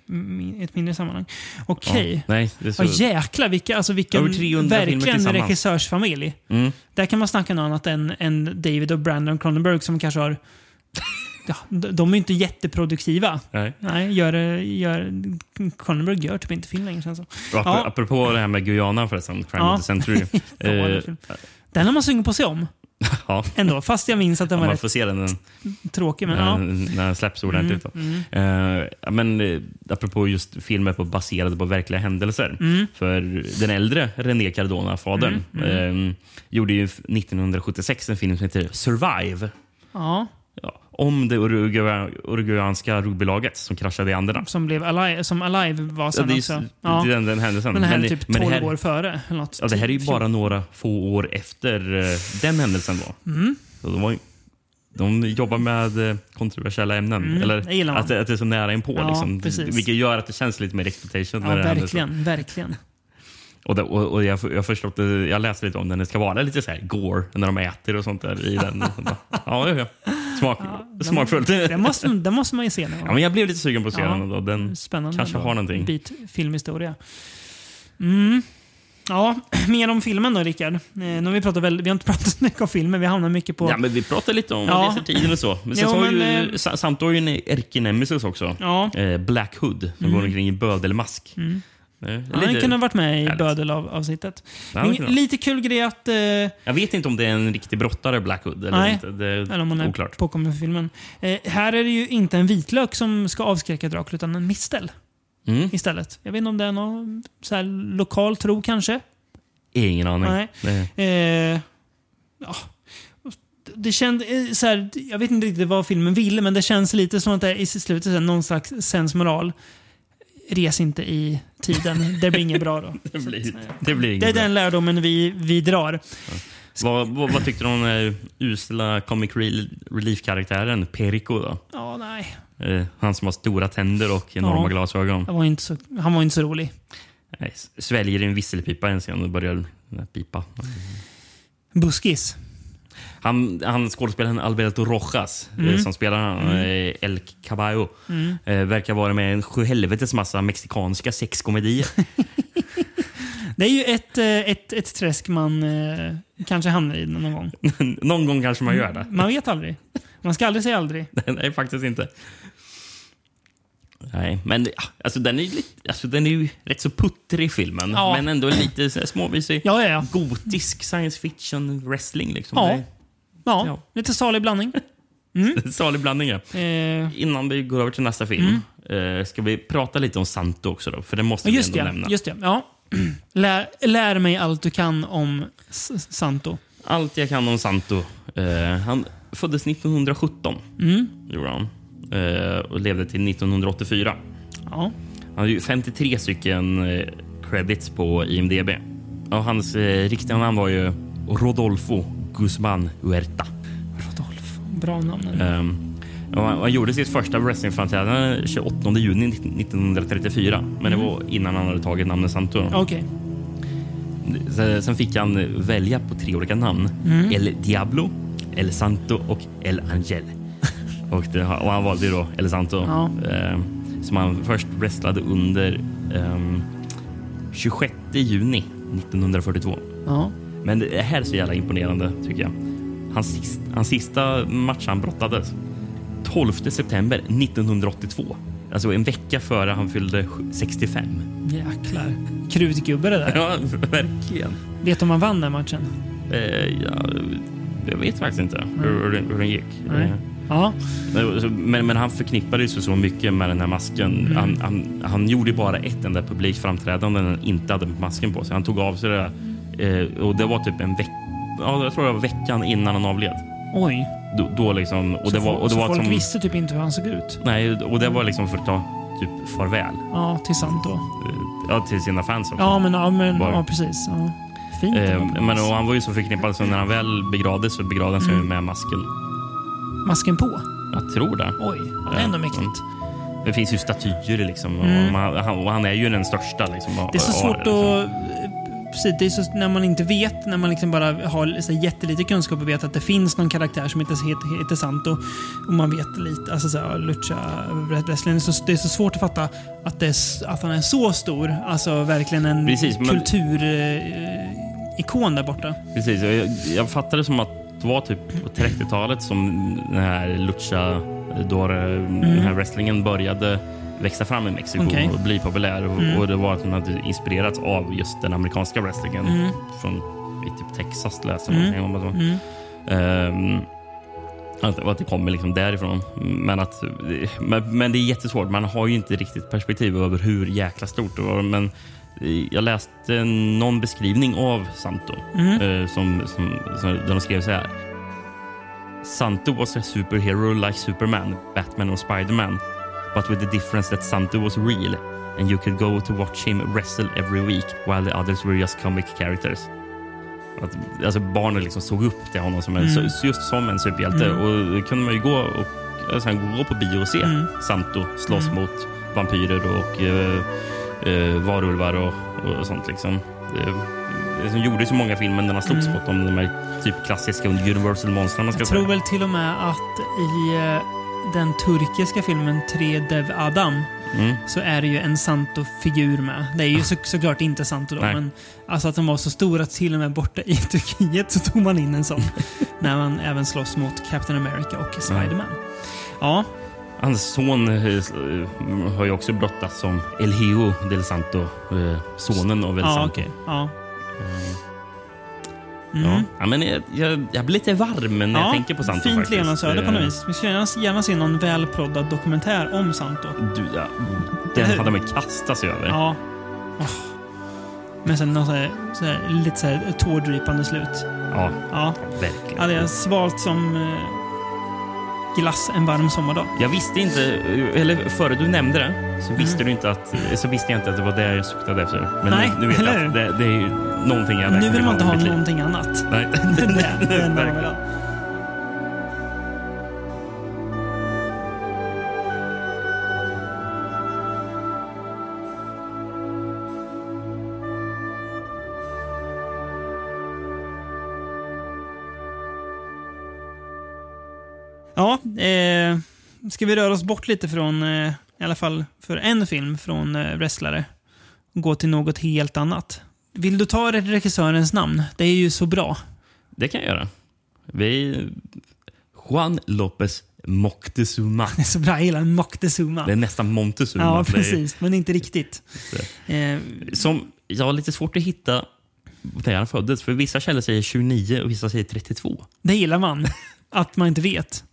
Speaker 1: i ett mindre sammanhang.
Speaker 2: Ja,
Speaker 1: Okej.
Speaker 2: Nej, det är så.
Speaker 1: Ja, jäklar vilka, alltså vilken
Speaker 2: Över 300 filmer
Speaker 1: verkligen
Speaker 2: tillsammans.
Speaker 1: regissörsfamilj.
Speaker 2: Mm.
Speaker 1: Där kan man snacka något annat än, än David och Brandon Cronenberg som kanske har... Ja, de de är ju inte jätteproduktiva.
Speaker 2: Nej.
Speaker 1: Nej, gör, det- gör, Cronenberg gör typ inte film längre känns det som.
Speaker 2: Och ap-
Speaker 1: Ja.
Speaker 2: Apropå det här med Guyana förresten, Crime
Speaker 1: Ja.
Speaker 2: of the Century.
Speaker 1: Dålig
Speaker 2: eh,
Speaker 1: film. Den har man sugen på att se om
Speaker 2: ja,
Speaker 1: ändå, fast jag minns att den var
Speaker 2: man
Speaker 1: rätt
Speaker 2: får se den
Speaker 1: tråkig. Men,
Speaker 2: när,
Speaker 1: ja.
Speaker 2: när den släpps ordentligt. då.
Speaker 1: Mm.
Speaker 2: Eh, ja, men eh, apropå just filmer på, baserade på verkliga händelser.
Speaker 1: Mm.
Speaker 2: För den äldre René Cardona, fadern,
Speaker 1: Mm,
Speaker 2: eh, gjorde ju f- 1976 en film som heter Survive.
Speaker 1: ja,
Speaker 2: Ja, om det uruguay- uruguayanska rugbylaget som kraschade i Anderna.
Speaker 1: som, blev alive, som Alive var
Speaker 2: Ja,
Speaker 1: sen
Speaker 2: det är ju s-
Speaker 1: också.
Speaker 2: det
Speaker 1: Ja.
Speaker 2: är den, den händelsen.
Speaker 1: Men det här är
Speaker 2: det-
Speaker 1: typ 12
Speaker 2: men det här-
Speaker 1: år före. Eller något. Typ
Speaker 2: Ja, det här är ju
Speaker 1: 10, 14.
Speaker 2: bara några få år efter eh, den händelsen. Då.
Speaker 1: Mm.
Speaker 2: Så de, var, ju- de jobbar med eh, kontroversiella ämnen.
Speaker 1: Mm, det
Speaker 2: Eller
Speaker 1: gillar man.
Speaker 2: att, det- att det är så nära inpå.
Speaker 1: Ja,
Speaker 2: liksom.
Speaker 1: precis.
Speaker 2: Vilket gör att det känns lite mer exploitation.
Speaker 1: Ja,
Speaker 2: när det händer så.
Speaker 1: verkligen. verkligen.
Speaker 2: Och, det, och, och jag, jag förstod det, jag läste lite om den. Det ska vara lite så här gore när de äter och sånt där i den. Och sånt där. Ja, ja, ja. Smak, smakfullt.
Speaker 1: Den måste, den måste man ju se någon
Speaker 2: Ja, men jag blev lite sugen på att se
Speaker 1: Ja.
Speaker 2: den. Då. den
Speaker 1: Spännande.
Speaker 2: Kanske har någonting.
Speaker 1: En bit filmhistoria. Mm. Ja, mer om filmen då, Rickard. Eh, Nu har vi, pratat väl, vi har inte pratat så mycket om filmen, vi hamnar mycket på...
Speaker 2: ja, men vi pratade lite om
Speaker 1: Ja.
Speaker 2: resetiden och så. Men sen
Speaker 1: Jo,
Speaker 2: så har
Speaker 1: men, eh,
Speaker 2: ju, sa- samt har ju en ärkenemesis också.
Speaker 1: Ja.
Speaker 2: eh, Black Hood som går omkring i bödelmask. Mm.
Speaker 1: Mm. Han kunde ha varit med i
Speaker 2: härligt.
Speaker 1: bödelavsnittet.
Speaker 2: Ja,
Speaker 1: Men
Speaker 2: det kunde han.
Speaker 1: lite kul grej att... Eh, eller
Speaker 2: Jag vet inte om det är en riktig brottare, Black Hood. Eller
Speaker 1: Nej.
Speaker 2: inte. Det är
Speaker 1: om man är
Speaker 2: Mm, oklart.
Speaker 1: påkommen för filmen. Eh, här är det ju inte en vitlök som ska avskräcka Dracula, utan en mistel
Speaker 2: Mm.
Speaker 1: istället. Jag vet inte om det är någon så här, lokal tro kanske.
Speaker 2: Ingen aning.
Speaker 1: Nej.
Speaker 2: Det-
Speaker 1: Eh, ja. Det känd, eh, så här, jag vet inte riktigt vad filmen ville, men det känns lite som att det är i slutet så här, någon slags sensmoral. Res inte i tiden. Det blir inget bra då.
Speaker 2: Det blir, det
Speaker 1: Det
Speaker 2: blir
Speaker 1: är
Speaker 2: inget bra.
Speaker 1: den lärdomen vi, vi drar.
Speaker 2: Vad, vad, vad tyckte du om den usla comic rel- relief-karaktären Perico? Då?
Speaker 1: Ja, nej.
Speaker 2: Eh, han som har stora tänder och enorma
Speaker 1: Ja.
Speaker 2: glasögon.
Speaker 1: Jag var inte så, han var inte så rolig.
Speaker 2: Nej, s- sväljer en visselpipa i en scen och börjar eh, pipa.
Speaker 1: Buskis.
Speaker 2: Han, han skådespelaren Alberto Rojas, eh,
Speaker 1: Mm.
Speaker 2: som spelar han, eh, El Caballo, eh, verkar vara med i en sjuhelvetes massa mexikanska sexkomedier.
Speaker 1: Det är ju ett, eh, ett, ett träsk man eh, kanske hamnar i någon gång.
Speaker 2: Någon gång kanske man gör det.
Speaker 1: Man vet aldrig. Man ska aldrig säga aldrig.
Speaker 2: Nej, faktiskt inte. Nej, men ja, alltså, den, är ju lite, alltså, den är ju rätt så puttrig filmen,
Speaker 1: Ja.
Speaker 2: men ändå lite så här småvisig.
Speaker 1: Ja, ja, ja.
Speaker 2: Gotisk science fiction wrestling. Liksom.
Speaker 1: Ja.
Speaker 2: Det
Speaker 1: ja.
Speaker 2: Ja.
Speaker 1: Lite salig blandning.
Speaker 2: är en salig blandning. Ja.
Speaker 1: Eh,
Speaker 2: Innan vi går över till nästa film eh, ska vi prata lite om Santo också. Då, för det måste
Speaker 1: Mm. Ja,
Speaker 2: vi
Speaker 1: just
Speaker 2: ändå
Speaker 1: det.
Speaker 2: nämna.
Speaker 1: Just det. Ja. Lär, lär mig allt du kan om S- Santo.
Speaker 2: Allt jag kan om Santo. Eh, han föddes 1917.
Speaker 1: Mm.
Speaker 2: Gjorde han. Eh, och levde till 1984.
Speaker 1: Ja.
Speaker 2: Han har ju 53 stycken eh, credits på IMDB. Och hans eh, riktiga namn var ju Rodolfo Guzman Huerta.
Speaker 1: Rodolf. Bra namn. ändå.
Speaker 2: Ehm, och han, han gjorde sitt första wrestlingframträdande 28 juni 1934. Men det var innan han hade tagit namnet Santo.
Speaker 1: Okej.
Speaker 2: Sen- Sen fick han välja på tre olika namn.
Speaker 1: Mm.
Speaker 2: El Diablo, El Santo och El Angel. och, det, och han valde ju då El Santo.
Speaker 1: Ja.
Speaker 2: Eh, som han först wrestlade under ehm, 26 juni 1942.
Speaker 1: Ja.
Speaker 2: Men det här är så jävla imponerande tycker jag. Hans, sist, hans sista match han brottades 12 september 1982. Alltså en vecka före han fyllde 65.
Speaker 1: Jäklar. Krutgubbe det där.
Speaker 2: Ja, verkligen.
Speaker 1: Vet du om han vann den matchen?
Speaker 2: Eh, ja, jag vet faktiskt inte hur, hur, den- hur den gick.
Speaker 1: Mm. Nej. Ja.
Speaker 2: Eh, så- Men, men han förknippades ju så mycket med den här masken.
Speaker 1: Mm.
Speaker 2: Han, han, han gjorde ju bara ett enda publikframträdande när han inte hade masken på sig. Han tog av sig det där. Eh, och det var typ en vecka, ja, jag tror det var veckan innan han avled.
Speaker 1: Oj.
Speaker 2: Då, då liksom, och det
Speaker 1: Så
Speaker 2: var,
Speaker 1: fo-
Speaker 2: och det
Speaker 1: så
Speaker 2: var
Speaker 1: folk
Speaker 2: som,
Speaker 1: visste typ inte hur han såg ut.
Speaker 2: Nej, och det var liksom för att ta typ farväl
Speaker 1: Ja, till Santo.
Speaker 2: eh, ja, till sina fans också.
Speaker 1: Ja, men, ja, men,
Speaker 2: Var-
Speaker 1: ja precis. Ja. Fint.
Speaker 2: Eh,
Speaker 1: ändå.
Speaker 2: men och han var ju så förknippad så när han väl begravdes så begravdes han
Speaker 1: Mm.
Speaker 2: ju med masken.
Speaker 1: Masken på.
Speaker 2: Jag tror det.
Speaker 1: Oj, ja, det är ändå mäktigt.
Speaker 2: Det finns ju statyer liksom. Och, man, han, och han är ju den största. Liksom,
Speaker 1: Mm. Det är så
Speaker 2: av-
Speaker 1: svårt
Speaker 2: av det, liksom.
Speaker 1: att... Precis, det är så, när man inte vet, när man liksom bara har så här jättelite kunskap och vet att det finns någon karaktär som inte heter, heter Santo. Och man vet lite, alltså så här, lucha wrestling. Det är, så, det är så svårt att fatta att, det är, s- att han är så stor. Alltså verkligen en
Speaker 2: Precis, men-
Speaker 1: kulturikon där borta.
Speaker 2: Precis. och Jag, jag fattade som att det var typ på 30-talet som den här lucha, då den här wrestlingen började växa fram i Mexiko
Speaker 1: Mm. Okej. Mm.
Speaker 2: och bli populär. Och, och det var att den hade inspirerats av just den amerikanska wrestlingen från i typ Texas läste man någonting om. att det var.
Speaker 1: Mm.
Speaker 2: Ehm, att, och att det kommer liksom därifrån. Men, att, men, men det är jättesvårt. Man har ju inte riktigt perspektiv över hur jäkla stort det var. Men eh, jag läste någon beskrivning av Santo
Speaker 1: Mm.
Speaker 2: eh, som, som, som, där de skrev så här. Santo was a superhero like Superman, Batman or Spiderman. But with the difference that Santo was real and you could go to watch him wrestle every week while the others were just comic characters. Att, alltså barnen liksom såg upp till honom som en,
Speaker 1: Mm.
Speaker 2: så- just som en superhjälte. Och då kunde man ju gå, och, alltså, gå på bio och se
Speaker 1: Mm.
Speaker 2: Santo slåss
Speaker 1: Mm.
Speaker 2: mot vampyrer och eh, eh, varulvar och, och sånt. Liksom. Det, det som gjorde så många filmer när han slogs
Speaker 1: Mm.
Speaker 2: mot dem, de här typ klassiska Universal-monstren.
Speaker 1: Jag tror väl till och med att i eh, den turkiska filmen Tre Dev Adam
Speaker 2: Mm.
Speaker 1: så är det ju en Santo-figur med. Det är ju så, såklart inte Santo då,
Speaker 2: Nej.
Speaker 1: men alltså att de var så stora att till och med borta i Turkiet så tog man in en sån. när man även slåss mot Captain America och Spiderman. Ja,
Speaker 2: Hans son eh, har ju också brottats som El Hijo del Santo, eh, sonen av El
Speaker 1: ja
Speaker 2: Santo.
Speaker 1: okej. Ja.
Speaker 2: Ja.
Speaker 1: Mm.
Speaker 2: Ja, men jag, jag, jag blir lite varm när jag
Speaker 1: Ja,
Speaker 2: tänker på Santo.
Speaker 1: Fint
Speaker 2: faktiskt.
Speaker 1: levnadsöde på något
Speaker 2: Eh,
Speaker 1: vis. Vi skulle gärna, gärna se någon välproddad dokumentär om Santo.
Speaker 2: Du, ja,
Speaker 1: Eller
Speaker 2: den
Speaker 1: hur?
Speaker 2: hade man kastat sig över.
Speaker 1: Ja. Åh. Men sen någon så här, så här, lite så här tårdrypande slut.
Speaker 2: Ja,
Speaker 1: Ja,
Speaker 2: verkligen.
Speaker 1: ja det är svalt som eh, glass en varm sommardag.
Speaker 2: Jag visste inte, eller före du nämnde det,
Speaker 1: Mm.
Speaker 2: så visste, du inte att, så visste jag inte att det var det jag suktade efter. Men
Speaker 1: Nej,
Speaker 2: nu, nu vet jag
Speaker 1: eller
Speaker 2: att det, det är ju någonting jag
Speaker 1: Nu
Speaker 2: verkligen
Speaker 1: vill man inte ha
Speaker 2: i mitt liv.
Speaker 1: någonting annat.
Speaker 2: Nej.
Speaker 1: Det är det enda man vill ha. Ja, eh, ska vi röra oss bort lite från, eh, i alla fall för en film från eh, wrestlare och gå till något helt annat. Vill du ta regissörens namn? Det är ju så bra.
Speaker 2: Det kan jag göra. Vi... Juan López Moctezuma.
Speaker 1: Det är så bra. Jag gillar Moctezuma.
Speaker 2: Det är nästan Montezuma.
Speaker 1: ja,
Speaker 2: Det är-
Speaker 1: precis. Men inte riktigt. Eh,
Speaker 2: Som jag har lite svårt att hitta när han föddes. För vissa källor säger 29 och vissa säger 32.
Speaker 1: det gillar man. Att man inte vet.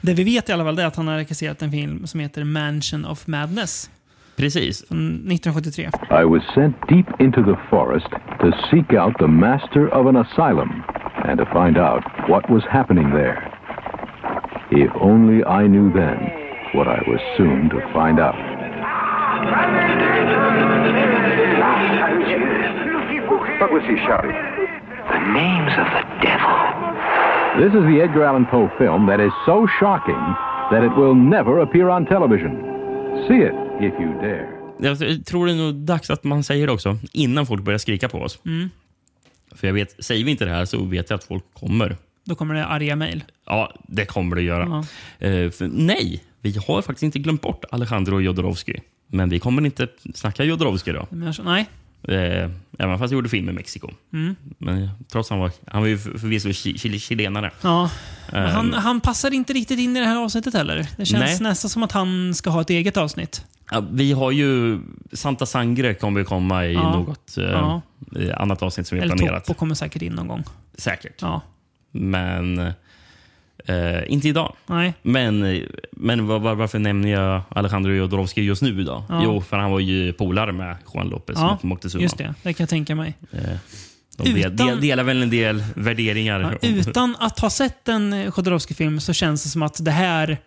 Speaker 1: Det vi vet i alla fall det är att han har regisserat en film som heter Mansion of Madness.
Speaker 2: Precis.
Speaker 1: från 1973.
Speaker 3: I was sent deep into the forest to seek out the master of an asylum and to find out what was happening there. If only I knew then what I was soon to find out.
Speaker 4: What was he shouting?
Speaker 5: The names of the devil.
Speaker 3: This is the Edgar Allan Poe film that is so shocking that it will never appear on television. See it if you dare.
Speaker 2: Jag tror det är nog dags att man säger det också, innan folk börjar skrika på oss.
Speaker 1: Mm.
Speaker 2: För jag vet, säger vi inte det här så vet jag att folk kommer.
Speaker 1: Då kommer det arga mejl.
Speaker 2: Ja, det kommer det göra. Eh, för, nej, vi har faktiskt inte glömt bort Alejandro Jodorowsky. Men vi kommer inte snacka Jodorowsky då.
Speaker 1: Men jag sa, Nej,
Speaker 2: Eh, även fast jag gjorde film i Mexiko.
Speaker 1: Mm.
Speaker 2: Men trots han var, han var ju för- förvisso chi- chi- chilenare.
Speaker 1: ja. Men han, han passar inte riktigt in i det här avsnittet heller. Det känns
Speaker 2: Eh. Nej.
Speaker 1: nästan som att han ska ha ett eget avsnitt.
Speaker 2: Ja, vi har ju Santa Sangre kommer ju komma i
Speaker 1: Ja.
Speaker 2: något eh,
Speaker 1: Ja.
Speaker 2: eh, annat avsnitt som vi
Speaker 1: Eller
Speaker 2: har planerat.
Speaker 1: Toppo kommer säkert in någon gång.
Speaker 2: Säkert.
Speaker 1: Ja.
Speaker 2: Men eh, inte idag.
Speaker 1: Nej.
Speaker 2: Men, eh, men var, var, varför nämner jag Alejandro Jodorowsky just nu då?
Speaker 1: Ja.
Speaker 2: Jo, för han var ju polare med Juan López
Speaker 1: Ja,
Speaker 2: Moctezuma.
Speaker 1: Just det, det kan jag tänka mig.
Speaker 2: De del,
Speaker 1: Utan-
Speaker 2: del, delar väl en del värderingar.
Speaker 1: Ja, utan att ha sett en eh, Jodorowsky-film så känns det som att det här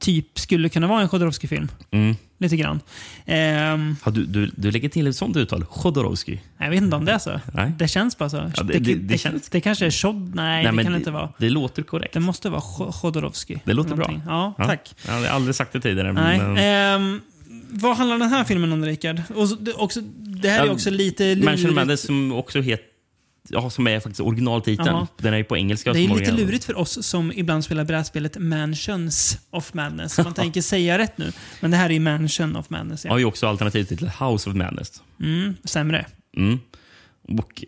Speaker 1: typ skulle kunna vara en Jodorowsky-film.
Speaker 2: Mm.
Speaker 1: Lite grann. Ehm,
Speaker 2: Ja, du, du, du lägger till ett sånt uttal, Jodorowsky.
Speaker 1: jag vet inte om det är så.
Speaker 2: Nej.
Speaker 1: Det känns bara så.
Speaker 2: Ja, det- det-
Speaker 1: det,
Speaker 2: det känns-
Speaker 1: det kanske är Chod... Nej, det
Speaker 2: men
Speaker 1: kan det inte vara.
Speaker 2: Det låter korrekt.
Speaker 1: Det måste vara Jo- Jodorowsky.
Speaker 2: Det låter bra.
Speaker 1: Någonting. Ja,
Speaker 2: Ja.
Speaker 1: tack.
Speaker 2: Jag har aldrig sagt det tidigare.
Speaker 1: Nej.
Speaker 2: men-
Speaker 1: ehm, vad handlar den här filmen om, Rickard? Och så, det, också, det här är
Speaker 2: Ja,
Speaker 1: också lite
Speaker 2: Mansion of
Speaker 1: lurigt.
Speaker 2: Madness som också heter Ja, som är faktiskt originaltiteln.
Speaker 1: Jaha.
Speaker 2: Den är ju på engelska.
Speaker 1: Det är
Speaker 2: som
Speaker 1: lite
Speaker 2: origin-
Speaker 1: lurigt för oss som ibland spelar brädspelet Mansions of Madness. Man tänker säga rätt nu, men det här är ju Mansion of Madness.
Speaker 2: Har
Speaker 1: Ja.
Speaker 2: ju också alternativ till House of Madness.
Speaker 1: Sämre.
Speaker 2: Mm. Och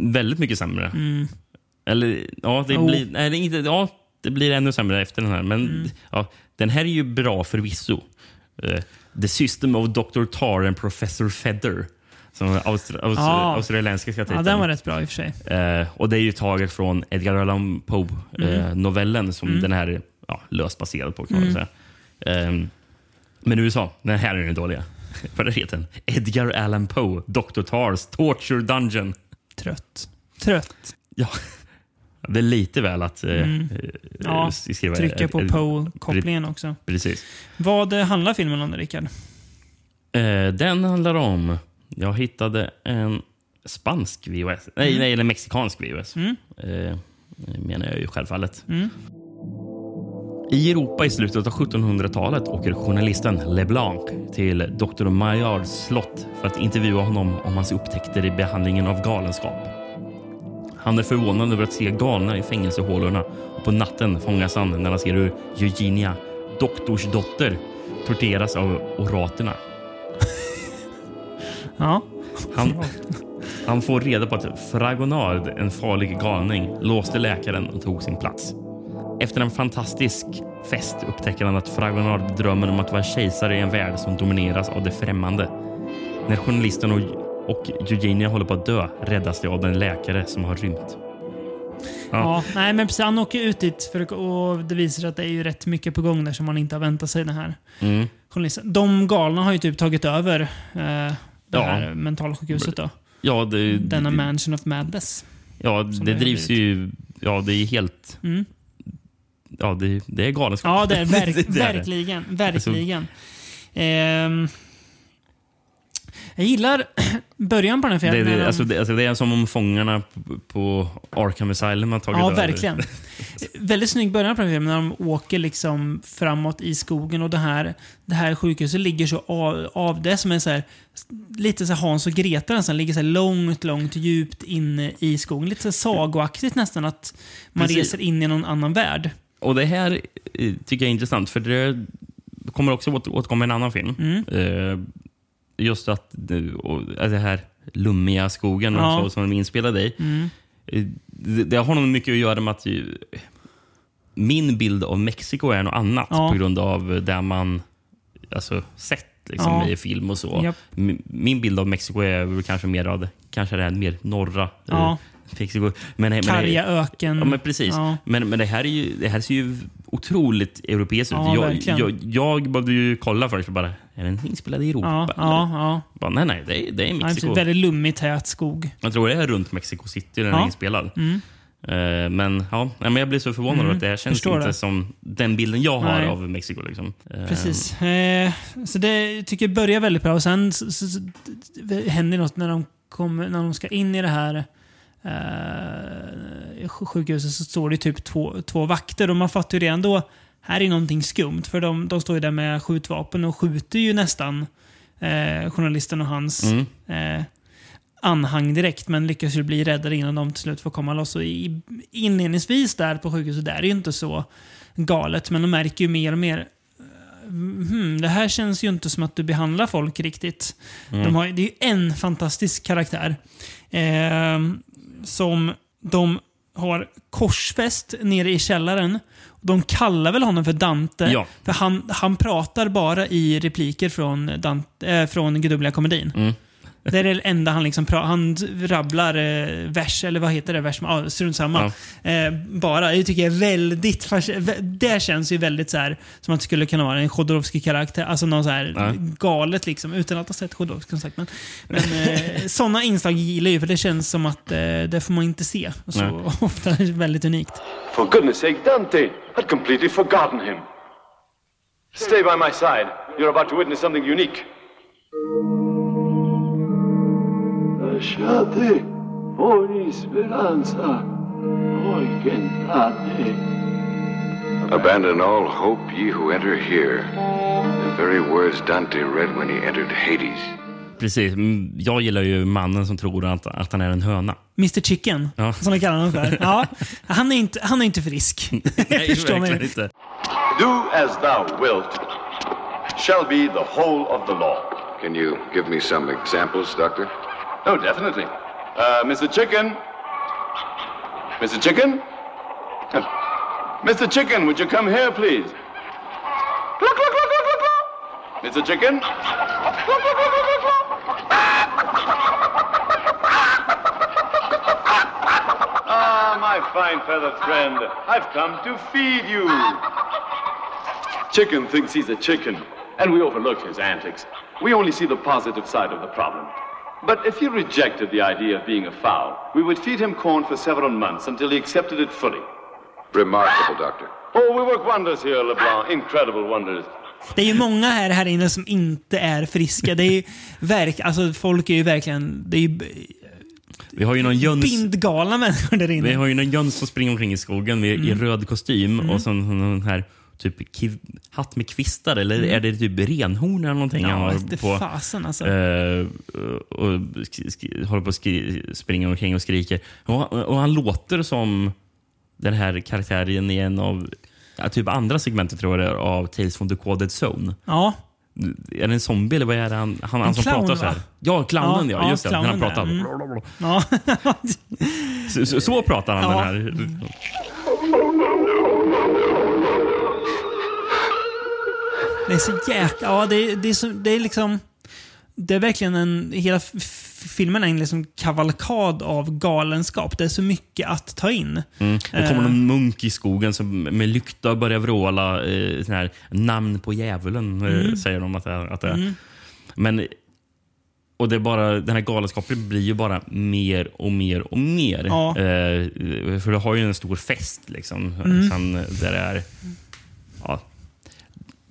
Speaker 2: väldigt mycket sämre. Eller ja, det
Speaker 1: Mm. Jo.
Speaker 2: blir... Nej, det är inte, ja, det blir ännu sämre efter den här. Men
Speaker 1: Mm.
Speaker 2: ja, den här är ju bra förvisso. Eh, The System of Dr. Tar and Professor Feather. Som är austra, aus,
Speaker 1: Ja.
Speaker 2: australiensiska titeln.
Speaker 1: Ja, den var rätt bra i och för sig.
Speaker 2: Eh, och det är ju taget från Edgar Allan
Speaker 1: Mm.
Speaker 2: Poe-novellen som den här är ja, löst baserad på. Kan man väl säga. Eh, men USA, den här är den dåliga. Vad heter den? Edgar Allan Poe, Dr. Tars Torture Dungeon.
Speaker 1: Trött. Trött.
Speaker 2: Ja. Det är lite väl att eh, eh,
Speaker 1: Mm. Ja,
Speaker 2: skriva...
Speaker 1: Trycka på
Speaker 2: eh,
Speaker 1: Poe-kopplingen också.
Speaker 2: Precis.
Speaker 1: Vad eh, handlar filmen om, Rickard?
Speaker 2: Eh, den handlar om... Jag hittade en spansk VHS. Nej, nej eller mexikansk VHS. Eh, det menar jag ju självfallet. I Europa i slutet av 1700-talet åker journalisten LeBlanc till Dr. Maillards slott för att intervjua honom om hans upptäckter i behandlingen av galenskap. Han är förvånad över att se galna i fängelsehålorna och på natten fångas han när han ser hur Eugenia, doktorsdotter, torteras av oraterna.
Speaker 1: Ja.
Speaker 2: Han, han får reda på att Fragonard, en farlig galning, låste läkaren och tog sin plats. Efter en fantastisk fest upptäcker han att Fragonard drömmer om att vara kejsare i en värld som domineras av det främmande. När journalisten och, och Eugenia håller på att dö räddas de av den läkare som har rymt.
Speaker 1: ja. Nej, men precis. Han åker ut dit för, att- och det visar sig att det är ju rätt mycket på gång där som man inte har väntat sig. Den här
Speaker 2: Mm.
Speaker 1: journalisten. De galna har ju typ tagit över eh, det
Speaker 2: Ja.
Speaker 1: här mentalsjukhuset då.
Speaker 2: Ja, det,
Speaker 1: Denna
Speaker 2: det-
Speaker 1: Mansion of Madness.
Speaker 2: Ja,
Speaker 1: Som
Speaker 2: det
Speaker 1: det har
Speaker 2: drivs ju... Ja, det är helt...
Speaker 1: Mm.
Speaker 2: Ja, det, det är galenskap.
Speaker 1: Ja, det är verk,
Speaker 2: det Alltså- är det.
Speaker 1: verkligen. Verkligen. Ehm, jag gillar början på den här
Speaker 2: Det,
Speaker 1: filmen.
Speaker 2: det, alltså, det, alltså, det är som om fångarna på- på Arkham Asylum har tagit
Speaker 1: ja,
Speaker 2: över.
Speaker 1: verkligen. Väldigt snygg början på den här filmen när de åker liksom framåt i skogen och det här, det här sjukhuset ligger så av, av det som är så här, lite så här Hans och Greta nästan, ligger så här långt, långt djupt inne i skogen. Lite så här sagoaktigt nästan att man
Speaker 2: Precis.
Speaker 1: reser in i någon annan värld.
Speaker 2: Och det här eh, tycker jag är intressant, för det kommer också åter, återkomma i en annan film.
Speaker 1: Mm.
Speaker 2: Eh, just att det, och, att det här lummiga skogen
Speaker 1: Ja. Mm.
Speaker 2: och så, som de är inspelade i. Eh, Det, det har nog mycket att göra med att ju, min bild av Mexiko är något annat
Speaker 1: Ja.
Speaker 2: på grund av det man alltså, sett liksom,
Speaker 1: Ja.
Speaker 2: i film och så.
Speaker 1: Japp.
Speaker 2: Min, min bild av Mexiko är väl kanske mer av det, kanske det här mer norra eh,
Speaker 1: Ja.
Speaker 2: Pixie- Men, men,
Speaker 1: Karga öken.
Speaker 2: Ja, men precis.
Speaker 1: Mm. Ja.
Speaker 2: Men, men det, här är ju, det här ser ju otroligt europeiskt ut.
Speaker 1: Ja,
Speaker 2: jag,
Speaker 1: verkligen.
Speaker 2: jag, jag behövde ju kolla först och bara, är den inspelad i
Speaker 1: Ja,
Speaker 2: Europa?
Speaker 1: ja, ja.
Speaker 2: Bara, nej, nej, det är, det är
Speaker 1: Ja, det är
Speaker 2: Mexiko. Ehm.
Speaker 1: typ väldigt lummig, tät skog.
Speaker 2: Jag tror det är runt Mexico City den
Speaker 1: Ja. Mm.
Speaker 2: är inspelad. Eh, Men ja, nej, men jag blir så förvånad över att det här känns
Speaker 1: Förstår
Speaker 2: inte
Speaker 1: det.
Speaker 2: som den bilden jag har
Speaker 1: Nej.
Speaker 2: av Mexiko. Liksom. Eh,
Speaker 1: Precis. Eh, så det tycker jag börjar väldigt bra. Och sen s- s- s- det händer något när de, kommer, när de ska in i det här eh, sj- sjukhuset. Så står det typ två, två vakter och man fattar ju redan då här är någonting skumt. För de, de står ju där med skjutvapen och skjuter ju nästan eh, journalisten och hans
Speaker 2: Mm.
Speaker 1: eh, anhang direkt, men lyckas ju bli räddade innan de till slut får komma loss. Och i, inledningsvis där på sjukhuset, där är ju inte så galet, men de märker ju mer och mer eh, Hmm, det här känns ju inte som att du behandlar folk riktigt. De har, det är ju en fantastisk karaktär. Eh, som de har korsfäst nere i källaren. De kallar väl honom för Dante?
Speaker 2: Ja.
Speaker 1: För han, han pratar bara i repliker från, Dante, eh, från Gudomliga komedin. Det är det enda han liksom pratar. Han rabblar eh, vers, eller vad heter det? Vers? Ja, strunt samma. Eh, bara. Det tycker jag är väldigt... fasc- vä- Det känns ju väldigt så här som att det skulle kunna vara en Chodorowsky-karaktär. Alltså någon så här
Speaker 2: Ja.
Speaker 1: galet liksom. Utan att ha sett Chodorowsky som sagt. Men, men eh, sådana inslag gillar jag ju för det känns som att eh, det får man inte se så
Speaker 2: Nej.
Speaker 1: ofta. Det är väldigt unikt.
Speaker 6: For goodness sake, Dante! I'd completely forgotten him. Stay by my side. You're about to witness something unique.
Speaker 7: Lasciate ogni speranza, voi che entrate,
Speaker 5: Abandon all hope, ye who enter here. The very words Dante read when he entered Hades.
Speaker 2: Precis. Mm, Jag gillar ju mannen som tror att, att han är en höna.
Speaker 1: Mr Chicken,
Speaker 2: Ja.
Speaker 1: som de kallar honom för. Ja, han, är inte, han är inte frisk.
Speaker 2: Nej,
Speaker 1: Förstår
Speaker 2: verkligen
Speaker 1: mig.
Speaker 2: inte.
Speaker 6: Do as thou wilt shall be the whole of the law.
Speaker 5: Can you give me some examples, Doctor?
Speaker 6: Oh, definitely. Uh, Mr. Chicken? Mr. Chicken? Mr. Chicken, would you come here, please? Cluck, cluck, cluck, cluck, cluck, cluck. Mr. Chicken? Cluck, cluck, cluck, cluck, cluck, cluck. Ah, my fine feathered friend, I've come to feed you. Chicken thinks he's a chicken, and we overlook his antics. We only see the positive side of the problem. But if he rejected the idea of being a fowl, we would feed him corn for several months until he accepted it fully.
Speaker 5: Remarkable, Doctor.
Speaker 6: Oh, we work wonders here, LeBlanc. Incredible wonders.
Speaker 1: Det är ju många här, här inne som inte är friska. Det är ju verk, alltså folk är ju verkligen... Det är ju
Speaker 2: Vi har ju någon Jöns...
Speaker 1: bindgalna människor där
Speaker 2: Vi
Speaker 1: inne.
Speaker 2: har ju någon Jöns som springer omkring i skogen med,
Speaker 1: Mm.
Speaker 2: i röd kostym och så någon här typ kiv, hatt med kvistar eller är det typ renhorn eller någonting han
Speaker 1: Mm. Ja,
Speaker 2: har
Speaker 1: vete
Speaker 2: på?
Speaker 1: fasen alltså.
Speaker 2: Eh, och sk- sk- håller på att skri- springa omkring och skriker. Och, och han låter som den här karaktären i en av ja, typ andra segmentet tror jag det är, av Tales from the Coded Zone.
Speaker 1: Ja,
Speaker 2: Är det en zombie eller vad är det han, han, han som
Speaker 1: clown,
Speaker 2: pratar så här?
Speaker 1: va?
Speaker 2: Ja, clownen
Speaker 1: Ja,
Speaker 2: ja.
Speaker 1: ja,
Speaker 2: just det, när han
Speaker 1: clownen
Speaker 2: pratar.
Speaker 1: där. Mm. ja.
Speaker 2: Så, så, så pratar han
Speaker 1: Ja.
Speaker 2: den här.
Speaker 1: Det är så jäkla... Ja, det, det, är så, det är liksom... Det är verkligen en... Hela f- f- filmen är en liksom kavalkad av galenskap. Det är så mycket att ta in.
Speaker 2: Då
Speaker 1: Eh.
Speaker 2: kommer någon munk i skogen som med lykta börjar vråla eh, sån här, namn på djävulen, eh,
Speaker 1: Mm.
Speaker 2: säger de att det är. Att det är. Men, och det är bara, den här galenskapen blir ju bara mer och mer och mer.
Speaker 1: Ja.
Speaker 2: Eh, för du har ju en stor fest liksom.
Speaker 1: Mm.
Speaker 2: Sen, där det, är, ja,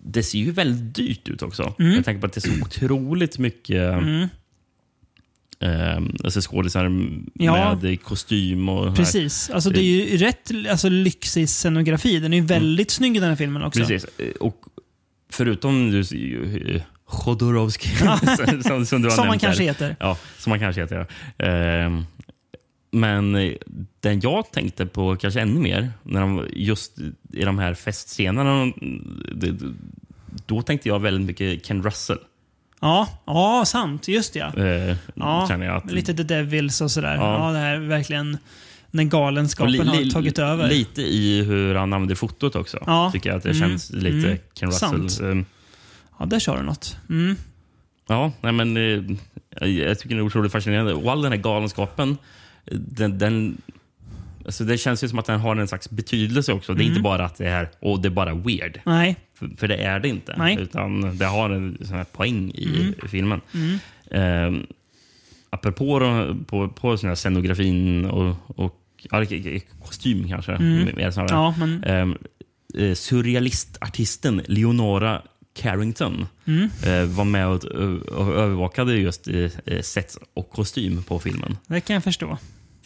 Speaker 2: det ser ju väldigt dyrt ut också.
Speaker 1: Mm.
Speaker 2: Jag tänker på att det är så otroligt mycket eh, alltså skådisar
Speaker 1: Ja.
Speaker 2: med kostym och här.
Speaker 1: Precis. Alltså det är ju rätt alltså, lyxig scenografi. Den är ju väldigt snygg i den här filmen också.
Speaker 2: Mm. Precis. Och förutom du, Chodorowski, som, som, som du har
Speaker 1: Som man
Speaker 2: nämnt här.
Speaker 1: kanske heter.
Speaker 2: Ja, som man kanske heter. Ja. Ehm, men eh, den jag tänkte på kanske ännu mer, när de, just i de här festscenerna, mm, det- det- då tänkte jag väldigt mycket Ken Russell.
Speaker 1: Ja, ja sant. Just det, ja.
Speaker 2: Eh,
Speaker 1: ja.
Speaker 2: känner jag att,
Speaker 1: Lite The Devils och sådär. Ja,
Speaker 2: Ja.
Speaker 1: det här är verkligen när
Speaker 2: och
Speaker 1: galenskapen
Speaker 2: li- li-
Speaker 1: har tagit över.
Speaker 2: Lite i hur han använder fotot också.
Speaker 1: Ja.
Speaker 2: Tycker jag att det
Speaker 1: Mm.
Speaker 2: känns lite
Speaker 1: Mm.
Speaker 2: Ken Russell.
Speaker 1: Sant.
Speaker 2: Ehm,
Speaker 1: Ja, där kör du något. Mm.
Speaker 2: Ja, nej men, eh, jag tycker det är otroligt fascinerande. Och all den här galenskapen den, den, alltså det känns ju som att den har en slags betydelse också. Det är inte bara att det är, och det är bara weird.
Speaker 1: Nej,
Speaker 2: För, för det är det inte.
Speaker 1: Nej. Mm.
Speaker 2: Utan det har en sån här poäng i filmen. Eh, apropå de- på, på sån här scenografin och, och ja, k- k- kostym kanske. Mer snarare.
Speaker 1: Mm. Ja, men-
Speaker 2: Ehm, eh, surrealistartisten Leonora Carrington
Speaker 1: Mm.
Speaker 2: eh, var med och, och övervakade just eh, eh, sets och kostym på filmen.
Speaker 1: det kan jag förstå.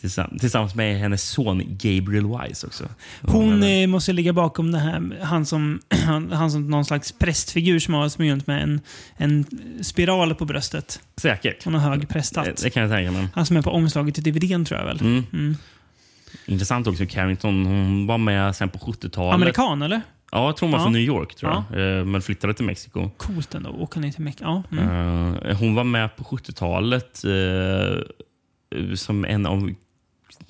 Speaker 2: Tillsamm- tillsammans med hennes son Gabriel Wise också.
Speaker 1: Hon eh, måste ligga bakom det här. Han som, han, han som någon slags prästfigur som har smygat med en, en spiral på bröstet.
Speaker 2: Säkert.
Speaker 1: Hon har hög
Speaker 2: Eh, Mm.
Speaker 1: prästhatt.
Speaker 2: Det kan jag tänka mig.
Speaker 1: Han som är på omslaget till DVDn tror jag väl.
Speaker 2: Intressant också, Carrington hon var med sen på 70-talet.
Speaker 1: Amerikan eller? Ja,
Speaker 2: Ja, jag tror hon var
Speaker 1: Ja.
Speaker 2: från New York, tror jag. Eh, men flyttade till Mexiko.
Speaker 1: Coolt ändå. Åka ner till Mecka. Ja, mm.
Speaker 2: Eh, hon var med på 70-talet eh, som en av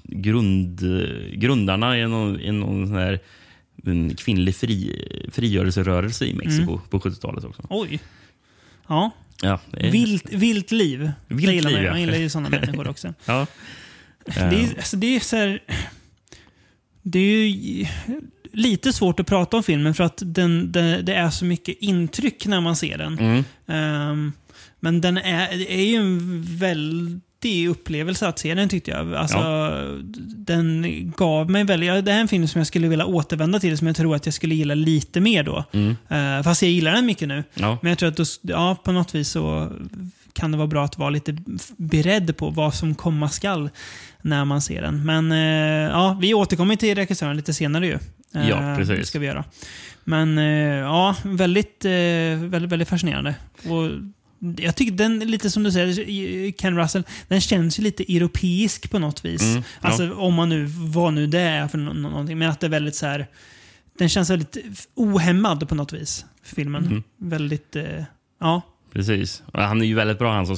Speaker 2: grund, grundarna i någon, i någon sån här en kvinnlig fri, frigörelserörelse i Mexiko
Speaker 1: Mm.
Speaker 2: på 70-talet också.
Speaker 1: Oj. Ja.
Speaker 2: Ja, eh,
Speaker 1: Vilt, vilt liv. Det
Speaker 2: Vilt
Speaker 1: gillar
Speaker 2: liv,
Speaker 1: man ju.
Speaker 2: ja.
Speaker 1: Man gillar ju sådana människor också.
Speaker 2: ja.
Speaker 1: Det är, alltså, det är så här, Det är ju lite svårt att prata om filmen för att den, det, det är så mycket intryck när man ser den.
Speaker 2: Mm.
Speaker 1: Ehm, men den är, det är ju en väldig upplevelse att se den tyckte jag. Alltså, Den gav mig väldigt... ja, Det här är en film som jag skulle vilja återvända till som jag tror att jag skulle gilla lite mer då.
Speaker 2: Mm.
Speaker 1: Eh, fast jag gillar den mycket nu.
Speaker 2: Ja.
Speaker 1: Men jag tror att då, ja, på något vis så kan det vara bra att vara lite f- beredd på vad som komma skall när man ser den. Men eh, ja, vi återkommer till regissören lite senare ju. Eh,
Speaker 2: Ja, precis.
Speaker 1: Det ska vi göra. Men eh, ja, väldigt, eh, väldigt, väldigt fascinerande. Och jag tycker den, lite som du säger, Ken Russell, den känns ju lite europeisk på något vis.
Speaker 2: Mm, ja.
Speaker 1: Alltså om man nu, vad nu det är för nå- nå- någonting. Men att det är väldigt så här, den känns väldigt ohämmad på något vis, filmen.
Speaker 2: Mm.
Speaker 1: Väldigt, eh, ja.
Speaker 2: Precis. Och Han är ju väldigt bra, han som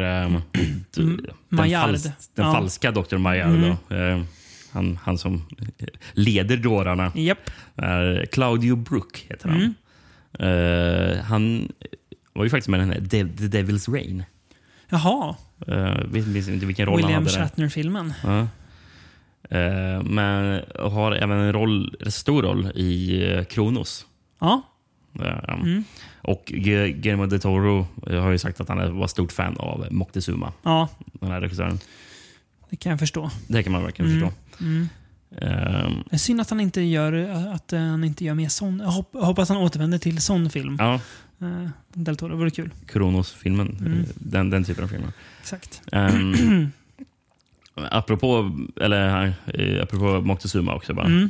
Speaker 2: ehm, d- den,
Speaker 1: Maillard.
Speaker 2: den
Speaker 1: Mm, Ja. Mm.
Speaker 2: falska Dr. Maillard. Då. Ehm, han, han som eh, leder dårarna.
Speaker 1: Japp.
Speaker 2: Eh, Claudio Brook heter han.
Speaker 1: Mm.
Speaker 2: Eh, han var ju faktiskt med i den här De- The Devil's Rain.
Speaker 1: Jaha.
Speaker 2: Uh, vet minns inte vilken roll han
Speaker 1: William
Speaker 2: hade där.
Speaker 1: Shatner-filmen.
Speaker 2: Eh, men har även en roll, en stor roll i eh, Kronos.
Speaker 1: Ja.
Speaker 2: Eh,
Speaker 1: Mm.
Speaker 2: Och Gu- Guillermo de Toro eh, har ju sagt att han är- var stort fan av Moctezuma,
Speaker 1: ja,
Speaker 2: den här regissören.
Speaker 1: det kan jag förstå.
Speaker 2: Det kan man verkligen förstå. Ehm,
Speaker 1: Det är synd att han inte gör, att eh, han inte gör mer sån. Jag hop- hoppas han återvänder till sån film.
Speaker 2: ja,
Speaker 1: Eh, Del Toro, det vore kul.
Speaker 2: Kronos-filmen. eh, Den, den typen av filmer.
Speaker 1: Exakt.
Speaker 2: Um, apropå, eller, eh, apropå Moctezuma också. Bara.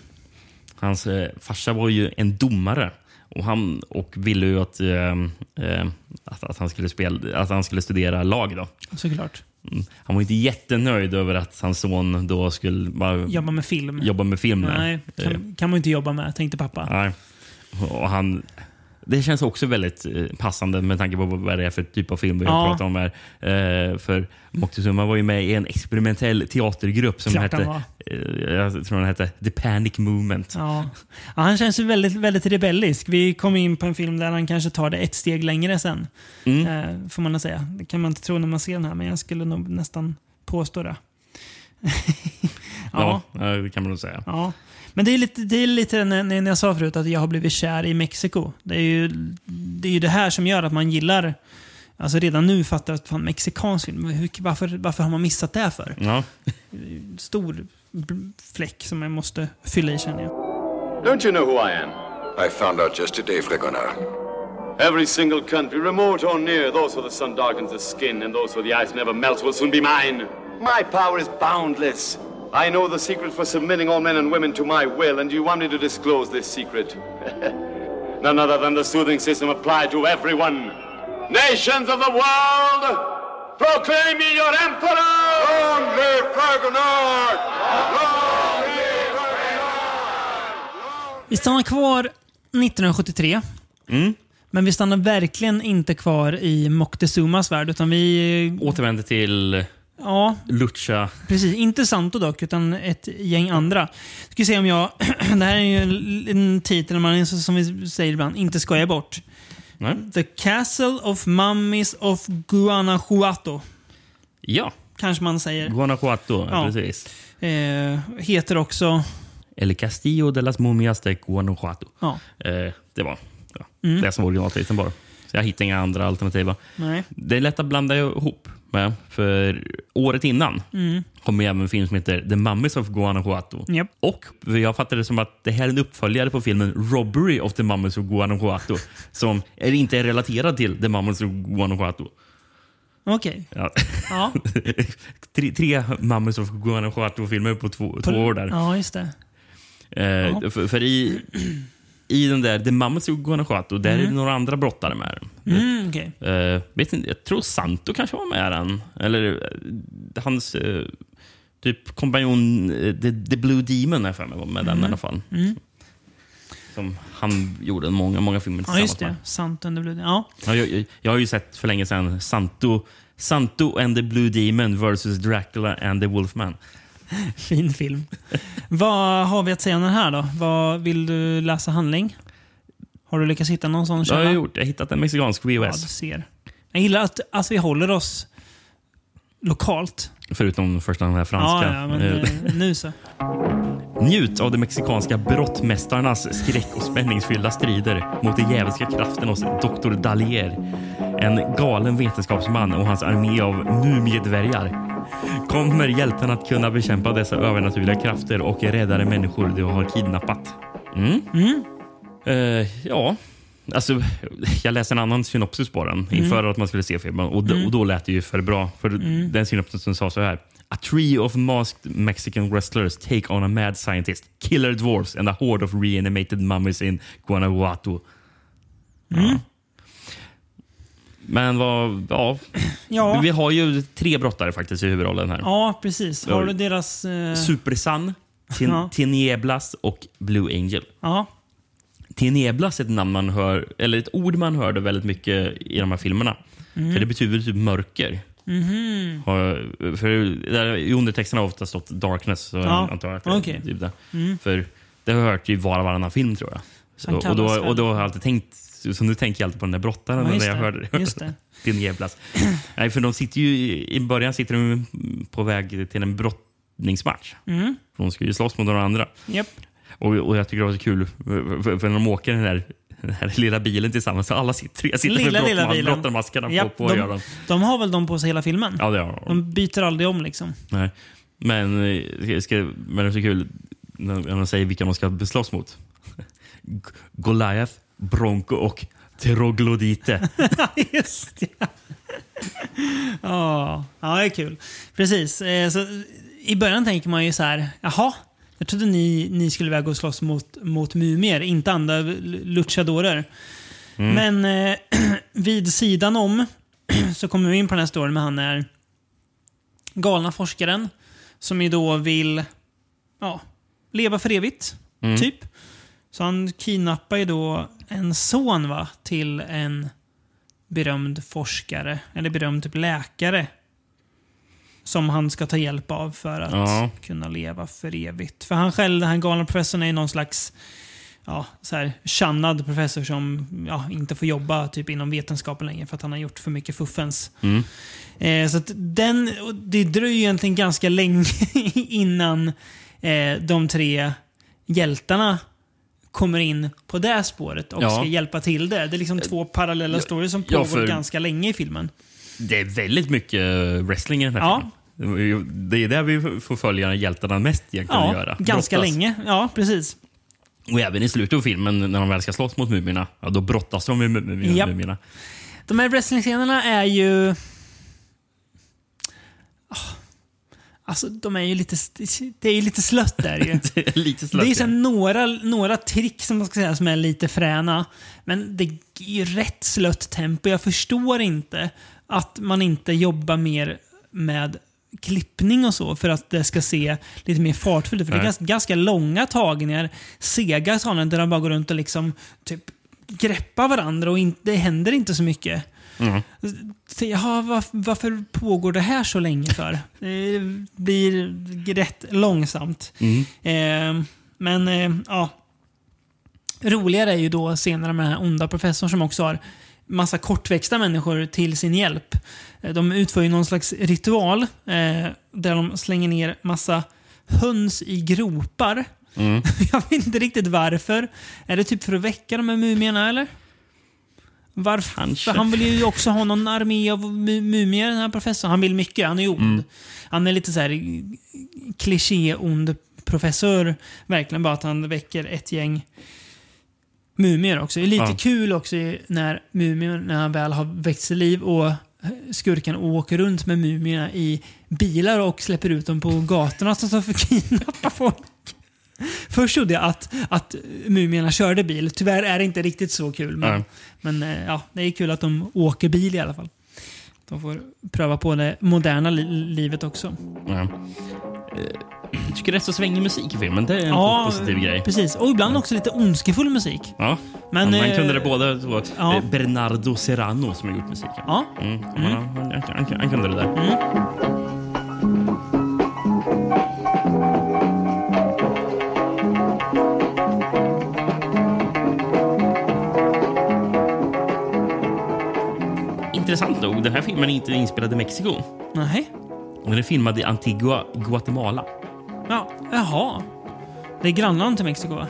Speaker 2: Hans eh, farsa var ju en domare. Och han och ville ju att, ehm, eh, att, att, han skulle spela, att han skulle studera lag. Då.
Speaker 1: Såklart.
Speaker 2: Mm. Han var inte jättenöjd över att hans son då skulle bara
Speaker 1: Jobba med film.
Speaker 2: jobba med film. där.
Speaker 1: Nej,
Speaker 2: Eh,
Speaker 1: kan, kan man inte jobba med, tänkte pappa.
Speaker 2: nej. Och han, det känns också väldigt eh, passande med tanke på vad det är för typ av film vi
Speaker 1: Ja.
Speaker 2: pratar om här. Eh, För Moctezuma var ju med i en experimentell teatergrupp som
Speaker 1: Klart
Speaker 2: hette,
Speaker 1: han var.
Speaker 2: eh, jag tror den hette The Panic Movement.
Speaker 1: Ja. Ja, han känns ju väldigt, väldigt rebellisk. Vi kom in på en film där han kanske tar det ett steg längre sen.
Speaker 2: Mm.
Speaker 1: Eh, får man nog säga. Det kan man inte tro när man ser den här, men jag skulle nog nästan påstå det. ja.
Speaker 2: Ja, eh, det kan man nog säga.
Speaker 1: Ja. Men det är lite, det är lite när, när jag sa förut att jag har blivit kär i Mexiko. Det är ju det, är ju det här som gör att man gillar Alltså redan nu fattar jag att fan, mexikansk film, hur, varför, varför har man missat det för?
Speaker 2: Ja.
Speaker 1: Stor bl- fläck som jag måste fylla i känner jag.
Speaker 6: Don't you know who I am?
Speaker 5: I found out just today, Fregonard.
Speaker 6: Every single country, remote or near, those where the sun darkens the skin and those where the ice never melts will soon be mine. My power is boundless. I know the secret for submitting all men and women to my will, and you want me to disclose this secret. None other than the soothing system applied to everyone. Nations of the world, proclaim me your emperor!
Speaker 5: Long live Fragonard!
Speaker 1: Vi stannar kvar 1973. Men vi stannar verkligen inte kvar i Moctezumas värld, utan vi...
Speaker 2: Återvänder till
Speaker 1: Ja,
Speaker 2: Lucha.
Speaker 1: Precis, inte Santo dock, utan ett gäng andra. Ska vi se om jag... det här är ju en, en titel man, som vi säger ibland, inte skojar bort.
Speaker 2: Nej.
Speaker 1: The Castle of Mummies of Guanajuato.
Speaker 2: Ja,
Speaker 1: kanske man säger.
Speaker 2: Guanajuato,
Speaker 1: Ja.
Speaker 2: precis.
Speaker 1: Eh, heter också...
Speaker 2: El Castillo de las Mumias de Guanajuato.
Speaker 1: Ja, Mm.
Speaker 2: Eh, det var ja, det som var originaltiteln bara. Så jag hittade inga andra alternativa.
Speaker 1: nej.
Speaker 2: Det är lätt att blanda ihop med, för året innan kom ju även en film som heter The Mummies of Guanajuato.
Speaker 1: Mm. Japp.
Speaker 2: Och jag fattade det som att det här är en uppföljare på filmen Robbery of the Mummies of Guanajuato som är inte är relaterad till The Mummies of Guanajuato.
Speaker 1: Okej.
Speaker 2: Ja.
Speaker 1: Ja.
Speaker 2: tre, tre Mummies of Guanajuato-filmer på två, två år där.
Speaker 1: ja, just det.
Speaker 2: Eh, för, för i, i den där The Mummies of Guanajuato, där är det några andra brottare med.
Speaker 1: Mm, okej.
Speaker 2: Eh, vet inte, jag tror Santo kanske var med den. Eller eh, hans eh, typ kompanjon eh, The, The Blue Demon har jag för mig var med
Speaker 1: Mm.
Speaker 2: den i alla fall. Som han gjorde många, många filmer
Speaker 1: Ja,
Speaker 2: tillsammans
Speaker 1: just det.
Speaker 2: med.
Speaker 1: Sant under blod. Ja.
Speaker 2: Ja, jag, jag, jag har ju sett för länge sedan Santo, Santo and the Blue Demon versus Dracula and the Wolfman.
Speaker 1: Fin film. Vad har vi att säga om den här då? Vad vill du läsa handling? Har du lyckats hitta någon sån
Speaker 2: Det har
Speaker 1: källa?
Speaker 2: jag gjort. Jag har hittat en mexikansk
Speaker 1: Ja, du
Speaker 2: VHS.
Speaker 1: ser. Jag gillar att, att vi håller oss lokalt.
Speaker 2: Förutom första den här franska.
Speaker 1: Ja, ja, men
Speaker 2: Eh,
Speaker 1: eh, nu så.
Speaker 2: Njut av de mexikanska brottmästarnas skräck och spänningsfyllda strider mot den djävulska kraften hos Dr. Dalier. En galen vetenskapsman och hans armé av mumiedvärgar. Kommer hjälten att kunna bekämpa dessa övernaturliga krafter och rädda de människor du har kidnappat? Mm. Eh, ja, alltså jag läste en annan synopsis på den
Speaker 1: Mm.
Speaker 2: inför att man skulle se filmen och, d- och då lät det ju för bra. För
Speaker 1: Mm.
Speaker 2: den synopsisen sa så här. A trio of masked Mexican wrestlers take on a mad scientist, killer dwarfs and a horde of reanimated mummies in Guanajuato.
Speaker 1: Mm.
Speaker 2: Ja. Men vad, ja.
Speaker 1: Ja,
Speaker 2: Vi har ju tre brottare faktiskt i huvudrollen här.
Speaker 1: ja, precis. Har du deras... Eh,
Speaker 2: Supersun, Tin-
Speaker 1: Ja.
Speaker 2: Tineblas och Blue Angel.
Speaker 1: ja,
Speaker 2: Tineblas är ett namn man hör, eller ett ord man hörde väldigt mycket i de här filmerna.
Speaker 1: Mm.
Speaker 2: För det betyder typ mörker.
Speaker 1: Mhm.
Speaker 2: Har- För där, I undertexten har ofta stått darkness. Så
Speaker 1: Ja,
Speaker 2: jag antar att det är
Speaker 1: okej.
Speaker 2: typ det. För det har jag hört i var och varannan film tror jag.
Speaker 1: Han
Speaker 2: Så, och, då,
Speaker 1: kallas väl-
Speaker 2: och då har jag alltid tänkt, så nu tänker jag alltid på den där brottaren
Speaker 1: Ja, just
Speaker 2: när jag
Speaker 1: det.
Speaker 2: hörde
Speaker 1: Just det.
Speaker 2: Tineblas. Nej, för de sitter ju, i- i början sitter de på väg till en brottningsmatch.
Speaker 1: Mm.
Speaker 2: För de ska ju slåss mot några andra.
Speaker 1: japp.
Speaker 2: Och, och jag tycker det var så kul, för, för- för när de åker den här, den här lilla bilen tillsammans, så alla sitter, tre sitter
Speaker 1: Lilla,
Speaker 2: med
Speaker 1: lilla
Speaker 2: brottma-
Speaker 1: bilen.
Speaker 2: brottarmaskarna på,
Speaker 1: Japp,
Speaker 2: på gör
Speaker 1: de,
Speaker 2: de.
Speaker 1: de har väl dem på sig hela filmen?
Speaker 2: Ja, det har de.
Speaker 1: De byter aldrig om liksom.
Speaker 2: Nej. Men, eh, jag ska, men det är så kul när när de säger vilka de ska slåss mot. G- Goliath, Bronco och Troglodite.
Speaker 1: Just det. Ja, ja, det är kul. Precis. Eh, Så I början tänker man ju så här, jaha, jag trodde ni, ni skulle iväg och slåss mot, mot mumier, inte andra l- luchadorer. Men eh, vid sidan om så kommer vi in på den här storyn med han är galna forskaren som ju då vill ja, leva för evigt, typ. Så han kidnappar ju då en son va, till en berömd forskare, eller berömd typ läkare. Som han ska ta hjälp av för att
Speaker 2: Ja.
Speaker 1: kunna leva för evigt. För han själv, den här galna professorn, är ju någon slags ja, så här, tjannad professor som ja, inte får jobba typ, inom vetenskapen längre för att han har gjort för mycket fuffens. Eh, så att den, och det dröjer ju egentligen ganska länge innan eh, de tre hjältarna kommer in på det spåret och
Speaker 2: Ja. Eh,
Speaker 1: ska hjälpa till det. Det är liksom två parallella stories som
Speaker 2: ja,
Speaker 1: pågår
Speaker 2: för-
Speaker 1: ganska länge i filmen.
Speaker 2: Det är väldigt mycket eh, wrestling i den här
Speaker 1: Ja.
Speaker 2: filmen. Det är ju- Det är där vi får följa hjältarna mest egentligen
Speaker 1: Ja,
Speaker 2: att göra.
Speaker 1: ganska
Speaker 2: Brottas.
Speaker 1: länge. Ja, precis.
Speaker 2: Och även i slutet av filmen när de väl ska slåss mot mumierna, ja, då brottas de med mu- mu-
Speaker 1: Japp.
Speaker 2: mumierna.
Speaker 1: De här wrestlingscenerna är ju... Ah, Alltså, de är ju lite... Det är ju lite slött där ju.
Speaker 2: Lite
Speaker 1: Det är
Speaker 2: slött, ja.
Speaker 1: sen några, några trick som, man ska säga, som är lite fräna. Men det är ju rätt slött tempo. Jag förstår inte att man inte jobbar mer med klippning och så för att det ska se lite mer fartfullt ut. För det är
Speaker 2: Nej.
Speaker 1: ganska, ganska långa tagningar, sega sådana där de bara går runt och liksom typ greppar varandra och in, det händer inte så mycket. Så, Jaha, varf- varför pågår det här så länge för? Det blir rätt långsamt. Eh, men eh, ja, roligare är ju då senare med den här onda professorn som också har massa kortväxta människor till sin hjälp. Eh, De utför ju någon slags ritual eh, där de slänger ner massa höns i gropar. Jag vet inte riktigt varför. Är det typ för att väcka de här mumierna eller? Varför?
Speaker 2: Kanske.
Speaker 1: För han vill ju också ha någon armé av mu- mumier, den här professorn. Han vill mycket, han är ju ond. Han är lite så här kliché-ond professor. Verkligen bara att han väcker ett gäng mumier också. Det är lite
Speaker 2: Ja.
Speaker 1: kul också när mumier, när han väl har väckts till liv och skurken åker runt med mumierna i bilar och släpper ut dem på gatorna som står för att kidnappa folk. Först trodde jag att, att mumierna körde bil. Tyvärr är det inte riktigt så kul. Men,
Speaker 2: Nej.
Speaker 1: men eh, ja, det är kul att de åker bil i alla fall. De får pröva på det moderna li livet också.
Speaker 2: Ja. Eh, Jag tycker det är så svängig musik i filmen. Det är en positiv grej.
Speaker 1: Precis. Och ibland också lite ondskefull musik.
Speaker 2: Ja.
Speaker 1: Men,
Speaker 2: Men, man
Speaker 1: eh,
Speaker 2: kunde det båda två.
Speaker 1: ja.
Speaker 2: Eh, Bernardo Serrano som har gjort musiken.
Speaker 1: Ja. Mm.
Speaker 2: Mm. Han, han, han, han kunde det där. Intressant nog, den här filmen är inte inspelad i Mexiko.
Speaker 1: Nej.
Speaker 2: Den är filmad i Antigua, Guatemala.
Speaker 1: Ja. Jaha. Det är grannland till Mexiko va?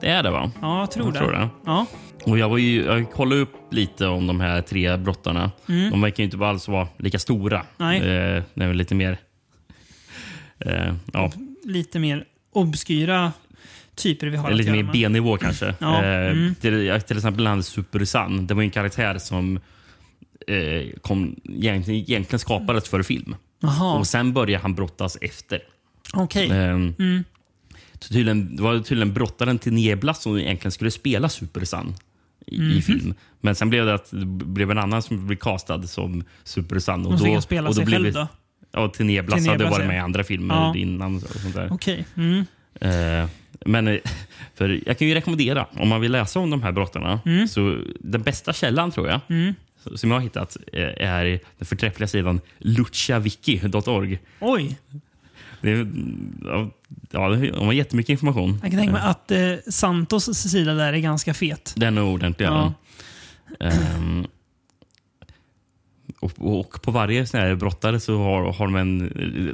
Speaker 2: Det är det, va?
Speaker 1: Ja, jag tror
Speaker 2: Jag
Speaker 1: det.
Speaker 2: tror det.
Speaker 1: Ja.
Speaker 2: Och jag, var ju, jag kollade upp lite om de här tre brottarna. De verkar ju inte alls vara lika stora.
Speaker 1: Mm. Nej.
Speaker 2: Eh, det är väl lite mer... Eh, ja,
Speaker 1: Mm. Lite mer obskyra typer vi har
Speaker 2: det är
Speaker 1: att
Speaker 2: lite
Speaker 1: göra
Speaker 2: mer
Speaker 1: med.
Speaker 2: B-nivå kanske.
Speaker 1: Ja,
Speaker 2: Eh,
Speaker 1: mm.
Speaker 2: till, till exempel han Super-San. Det var ju en karaktär som eh, kom, egentligen, egentligen skapades för film.
Speaker 1: Jaha,
Speaker 2: Och sen började han brottas efter.
Speaker 1: okej.
Speaker 2: Ehm,
Speaker 1: Mm.
Speaker 2: så tydligen, det var tydligen brottaren till Niebla som egentligen skulle spela Super-San i,
Speaker 1: Mhm.
Speaker 2: i film. Men sen blev det att det blev en annan som blev castad som Super-San. Och
Speaker 1: Och så fick han spela sig själv då?
Speaker 2: Ja, till Niebla så hade
Speaker 1: Teneblas,
Speaker 2: varit
Speaker 1: ja.
Speaker 2: med i andra filmer
Speaker 1: Ja.
Speaker 2: innan. Och sånt där.
Speaker 1: Okej. Mm.
Speaker 2: Eh, men eh, för jag kan ju rekommendera, om man vill läsa om de här brottarna,
Speaker 1: Mm.
Speaker 2: så den bästa källan tror jag, som jag har hittat, eh, är den förträffliga sidan luciaviki.org.
Speaker 1: Oj.
Speaker 2: Det, är- ja, ja, de har jättemycket information.
Speaker 1: Jag kan tänka mig att eh, Santos sida där är ganska fet.
Speaker 2: Den är ordentlig.
Speaker 1: Ja.
Speaker 2: Ja. Ehm, och, och på varje sån här brottare så har, har de en,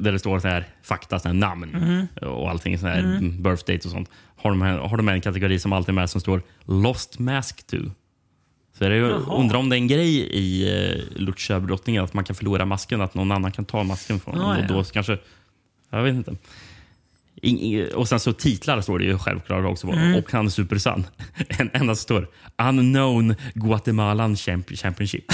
Speaker 2: där det står sån här fakta, sån här namn
Speaker 1: Mhm.
Speaker 2: och allting, sån här birth date och sånt. Har de, här- har de en kategori som alltid är med som står Lost Mask to. Så är det, ju- undrar om det är en grej i eh, Lucha-brottningen att man kan förlora masken, att någon annan kan ta masken från
Speaker 1: Ah,
Speaker 2: ah, och
Speaker 1: ja.
Speaker 2: då kanske... Jag vet inte. In, in, och sen så titlar står det ju självklart också.
Speaker 1: Mm.
Speaker 2: Och han är supersann. En enda som står Unknown Guatemalan Champ- Championship.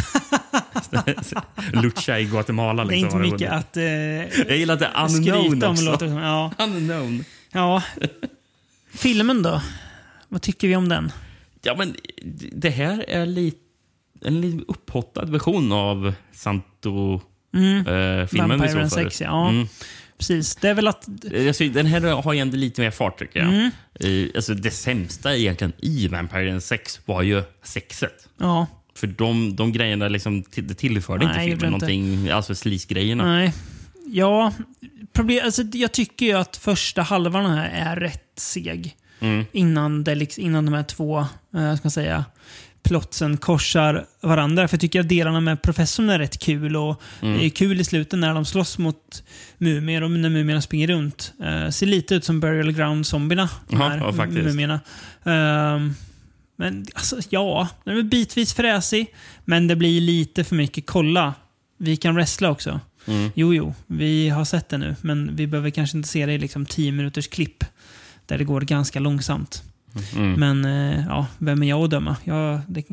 Speaker 2: Lucha i Guatemala.
Speaker 1: Det är
Speaker 2: Liksom,
Speaker 1: inte
Speaker 2: har det
Speaker 1: mycket
Speaker 2: vunnit.
Speaker 1: att eh,
Speaker 2: Jag gillar att det är unknown
Speaker 1: skryta om.
Speaker 2: också.
Speaker 1: Låter det som. Ja.
Speaker 2: Unknown.
Speaker 1: ja. Filmen då? Vad tycker vi om den?
Speaker 2: Ja, men det här är lite en lite upphottad version av Santo-filmen. Mm. Eh, filmen vi
Speaker 1: Vampire
Speaker 2: såg
Speaker 1: and
Speaker 2: förut.
Speaker 1: Sex, ja. Precis. Det är väl att...
Speaker 2: Mm. Alltså, den här har ju ändå lite mer fart tycker jag.
Speaker 1: Mm.
Speaker 2: Eh, alltså, det sämsta egentligen i Vampire and Sex var ju sexet.
Speaker 1: Ja.
Speaker 2: För de, de grejerna liksom, till- det tillförde
Speaker 1: Nej,
Speaker 2: inte
Speaker 1: gjorde
Speaker 2: filmen
Speaker 1: inte.
Speaker 2: någonting. Alltså slisgrejerna.
Speaker 1: Nej. Ja. Problem, alltså, jag tycker ju att första halvan här är rätt seg.
Speaker 2: Mm.
Speaker 1: Innan, det, liksom- innan de här två, eh, ska man säga, plotsen korsar varandra. För jag tycker att delarna med professorn är rätt kul. Och
Speaker 2: Mm.
Speaker 1: Det är kul i slutet när de slåss mot mumier och när mumierna springer runt. Eh, ser lite ut som Burial Ground-zombierna, de
Speaker 2: Ja,
Speaker 1: här
Speaker 2: ja, faktiskt.
Speaker 1: mumierna. Ehm, men alltså, ja, den är bitvis fräsig. Men det blir lite för mycket kolla. Vi kan wrestla också. Jo, jo, vi har sett det nu. Men vi behöver kanske inte se det i liksom 10 minuters klipp. Där det går ganska långsamt. Men eh, ja, vem är jag att döma? Jag, det,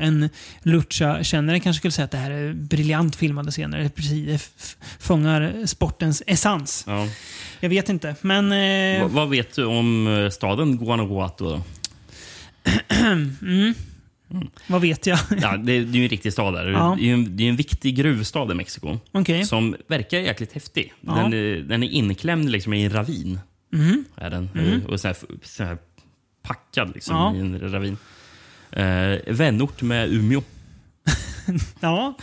Speaker 1: en Lucha-kännare kanske skulle säga att det här är briljant filmade scener. Det, precis, det f- fångar sportens essens.
Speaker 2: Ja.
Speaker 1: Jag vet inte, men... eh,
Speaker 2: Vad- vad vet du om eh, staden Guanajuato? Då?
Speaker 1: vad vet jag?
Speaker 2: Ja, det, det är ju en riktig stad där.
Speaker 1: Ja.
Speaker 2: Det, är ju en, det är en viktig gruvstad i Mexiko.
Speaker 1: Okej.
Speaker 2: Som verkar jäkligt häftig.
Speaker 1: Ja. Mhm.
Speaker 2: Den, är- den är inklämd liksom i en ravin. Är den. Eh, Och så här, så här packad liksom
Speaker 1: Ja.
Speaker 2: i en ravin. Eh, vänort med Umeå.
Speaker 1: Ja,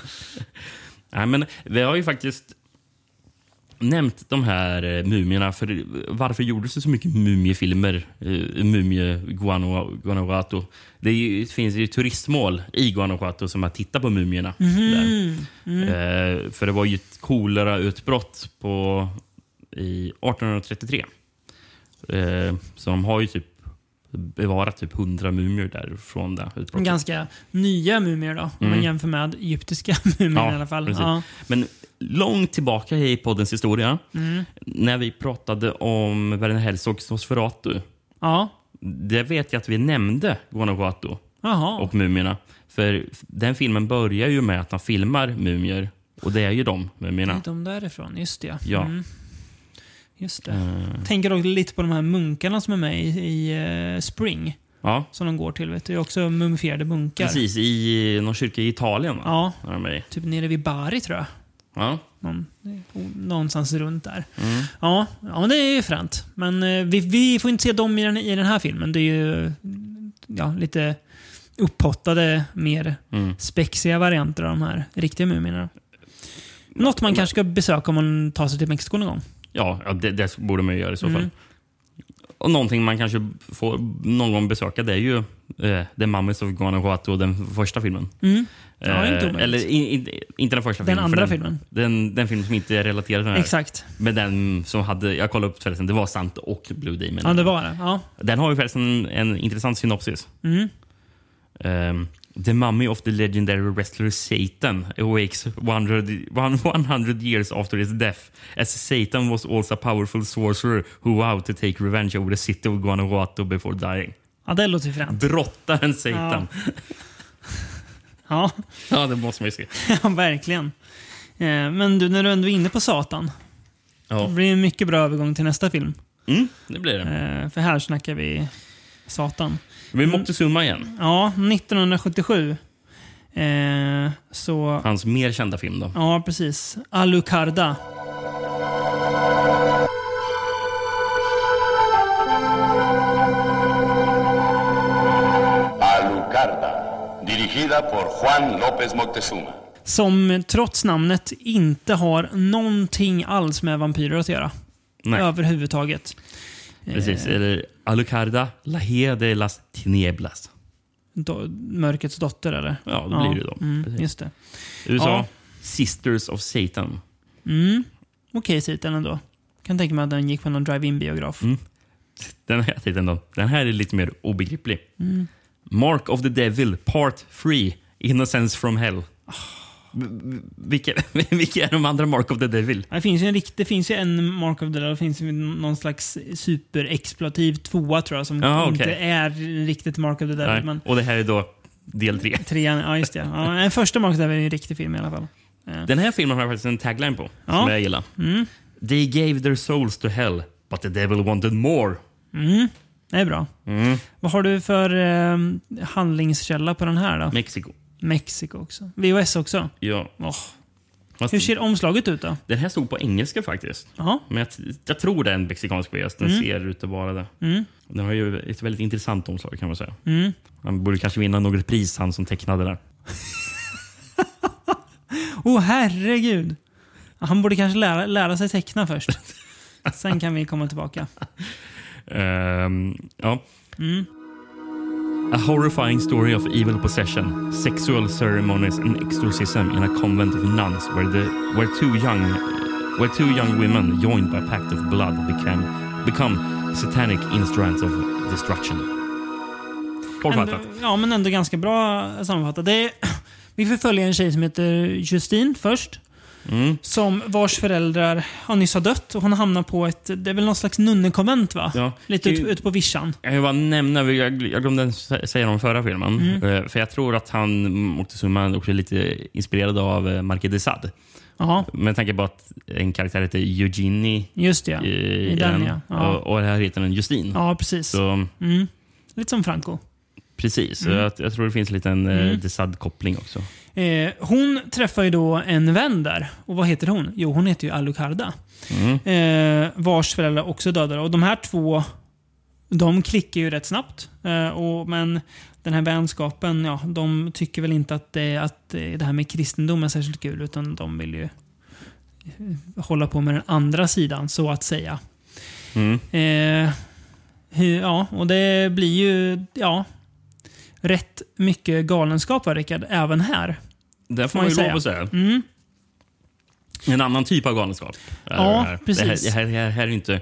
Speaker 2: Nej, men vi har ju faktiskt... nämnt de här eh, mumierna. För varför gjordes det så mycket mumiefilmer? Eh, Mumie Guano- Guanajuato. Det är ju, det finns ju turistmål i Guanajuato som har tittat på mumierna. Där. Eh, för det var ju ett kolerautbrott på, i 1833. Eh, som har ju typ bevarat typ 100 mumier därifrån det utbrottet.
Speaker 1: Ganska nya mumier då, om man jämför med egyptiska mumier i alla fall.
Speaker 2: Mm. precis.
Speaker 1: Ja.
Speaker 2: Men långt tillbaka i poddens historia,
Speaker 1: Mm.
Speaker 2: när vi pratade om Werner Herzogs Nosferatu,
Speaker 1: ja.
Speaker 2: det vet jag att vi nämnde Guanajuato
Speaker 1: Jaha.
Speaker 2: och mumierna. För den filmen börjar ju med att han filmar mumier. Och det är ju de mumierna.
Speaker 1: De därifrån, just det.
Speaker 2: Ja. Eh.
Speaker 1: Mm. Just det. Tänker också lite på de här munkarna som är med i, i eh, Spring.
Speaker 2: Ja,
Speaker 1: Som de går till. Vet du. Det är också mumifierade munkar.
Speaker 2: precis. I någon kyrka i Italien va?
Speaker 1: Ja,
Speaker 2: Har de med i.
Speaker 1: typ nere vid Bari tror jag.
Speaker 2: Ja.
Speaker 1: Någon, någonstans runt där. Ja, ja, men det är ju fränt. Men eh, vi, vi får inte se dem i den, i den här filmen. Det är ju ja, lite upphottade, mer spexiga varianter av de här riktiga mumierna. Något man kanske ska besöka om man tar sig till Mexiko någon gång.
Speaker 2: Ja, ja det, det borde man ju göra i
Speaker 1: Mm.
Speaker 2: så fall. Och någonting man kanske får någon gång besöka det är ju eh, The Mummies of Guanajuato, den första filmen.
Speaker 1: Mm.
Speaker 2: Eh,
Speaker 1: Ja, det är inte omöjligt.
Speaker 2: eller in, in, inte den första
Speaker 1: Den
Speaker 2: filmen. för
Speaker 1: andra
Speaker 2: den,
Speaker 1: filmen.
Speaker 2: Den, den film som inte är relaterad till den här.
Speaker 1: Exakt.
Speaker 2: Men den som hade, jag kollade upp förresten, det var Sant och Blue Demon.
Speaker 1: Ja, det var det. Ja.
Speaker 2: Den har ju förresten en, en intressant synopsis.
Speaker 1: Mm.
Speaker 2: Ehm, the mummy of the legendary wrestler Satan awakes 100, 100 years after his death as Satan was also a powerful sorcerer who vowed to take revenge over the city of Guanajuato before dying.
Speaker 1: ja, det låter ju
Speaker 2: Mm.
Speaker 1: fränt.
Speaker 2: Brottaren Satan. Ja.
Speaker 1: Ja,
Speaker 2: det måste man ju se.
Speaker 1: ja verkligen. Eh, Men du, när du ändå är inne på Satan.
Speaker 2: Ja.
Speaker 1: Det blir en mycket bra övergång till nästa film.
Speaker 2: Mm, det blir det.
Speaker 1: Mm. Eh, mm. För här snackar vi Satan.
Speaker 2: Men Moctezuma igen.
Speaker 1: Ja, 1977. Eh, så...
Speaker 2: Hans mer kända film då.
Speaker 1: Ja, precis. Alucarda.
Speaker 8: Alucarda, dirigida por Juan López Moctezuma.
Speaker 1: Som trots namnet inte har någonting alls med vampyrer att göra.
Speaker 2: Nej,
Speaker 1: Överhuvudtaget.
Speaker 2: precis. Eller Alucarda, La He de las Tinieblas.
Speaker 1: Do- mörkets dotter, eller?
Speaker 2: Ja, det blir det då.
Speaker 1: Mm,
Speaker 2: Precis.
Speaker 1: just det.
Speaker 2: USA,
Speaker 1: Ja.
Speaker 2: Sisters of Satan.
Speaker 1: Okej titel ändå. Kan tänka mig att den gick på någon drive-in biograf.
Speaker 2: Mm. Den här titeln då. Den här är lite mer obegriplig. Mark of the Devil, Part 3, Innocence from Hell. V- v- Vilka, vilka är de andra Mark of the Devil?
Speaker 1: Det finns ju en rikt, det finns ju en Mark of the Dead, det finns ju någon slags superexploativ tvåa tror jag som
Speaker 2: Ja,
Speaker 1: inte
Speaker 2: okej.
Speaker 1: är riktigt Mark of the
Speaker 2: Nej.
Speaker 1: Dead. Men
Speaker 2: Och det här är då del 3.
Speaker 1: trean, ja just det. Ja, den första Mark of the Dead är ju en riktig film i alla fall.
Speaker 2: Den här filmen har jag faktiskt en tagline på, som
Speaker 1: Ja. Mm.
Speaker 2: jag gillar. They gave their souls to hell, but the devil wanted more.
Speaker 1: Det är bra. Vad har du för eh, handlingskälla på den här då?
Speaker 2: Mexiko.
Speaker 1: Mexiko också. VHS också.
Speaker 2: Ja.
Speaker 1: Åh.
Speaker 2: Fast
Speaker 1: Hur ser omslaget ut då?
Speaker 2: Den här stod på engelska faktiskt.
Speaker 1: Ja.
Speaker 2: Men jag, jag tror det är en mexikansk VS. Den ser ut att vara det. Den har ju ett väldigt intressant omslag kan man säga. Han borde kanske vinna något pris, han som tecknade den.
Speaker 1: Åh oh, herregud! Han borde kanske lära, lära sig teckna först. Sen kan vi komma tillbaka.
Speaker 2: Ehm, ja. A horrifying story of evil possession, sexual ceremonies and exorcism in a convent of nuns where, the, where, two, young, where two young women joined by a pact of blood became, become satanic instruments of destruction. Kortfattat.
Speaker 1: Ändå- Ja, men ändå ganska bra sammanfattat. Det är, vi får följa en tjej som heter Justine först. Som vars föräldrar har nyss har dött och hon hamnar på ett, det är väl någon slags nunnekonvent va?
Speaker 2: Ja.
Speaker 1: Lite ut,
Speaker 2: Det-
Speaker 1: ute på vischan.
Speaker 2: Jag vill bara nämna, jag jag glömde sä- säga om förra filmen.
Speaker 1: Mm.
Speaker 2: Eh, För jag tror att han, Moctezuma, också är lite inspirerad av eh, Marquis de Sade.
Speaker 1: Jaha,
Speaker 2: Med tanke på att en karaktär heter Eugenie
Speaker 1: just det ja.
Speaker 2: eh,
Speaker 1: I
Speaker 2: i
Speaker 1: den
Speaker 2: den,
Speaker 1: ja. ja.
Speaker 2: Och, och här heter den Justine.
Speaker 1: Ja, precis.
Speaker 2: Så,
Speaker 1: Lite som Franco.
Speaker 2: precis,
Speaker 1: Mm.
Speaker 2: Så jag, jag tror det finns en liten eh, de Sade-koppling också.
Speaker 1: Eh, hon träffar ju då en vän där. Och vad heter hon? Jo, hon heter ju Alucarda. Eh, vars föräldrar också dödade. Och de här två, de klickar ju rätt snabbt. Eh, och, men den här vänskapen, ja, de tycker väl inte att, det- att eh, det här med kristendom är särskilt kul. Utan de vill ju hålla på med den andra sidan, så att säga. Eh, hu- ja, och det blir ju ja, rätt mycket galenskap, va, Rickard, även här.
Speaker 2: Det får
Speaker 1: man
Speaker 2: man ju
Speaker 1: ju Mm.
Speaker 2: lov att säga. En annan typ av galenskap. är
Speaker 1: Ja,
Speaker 2: det här.
Speaker 1: precis.
Speaker 2: Det här, det här, här är ju inte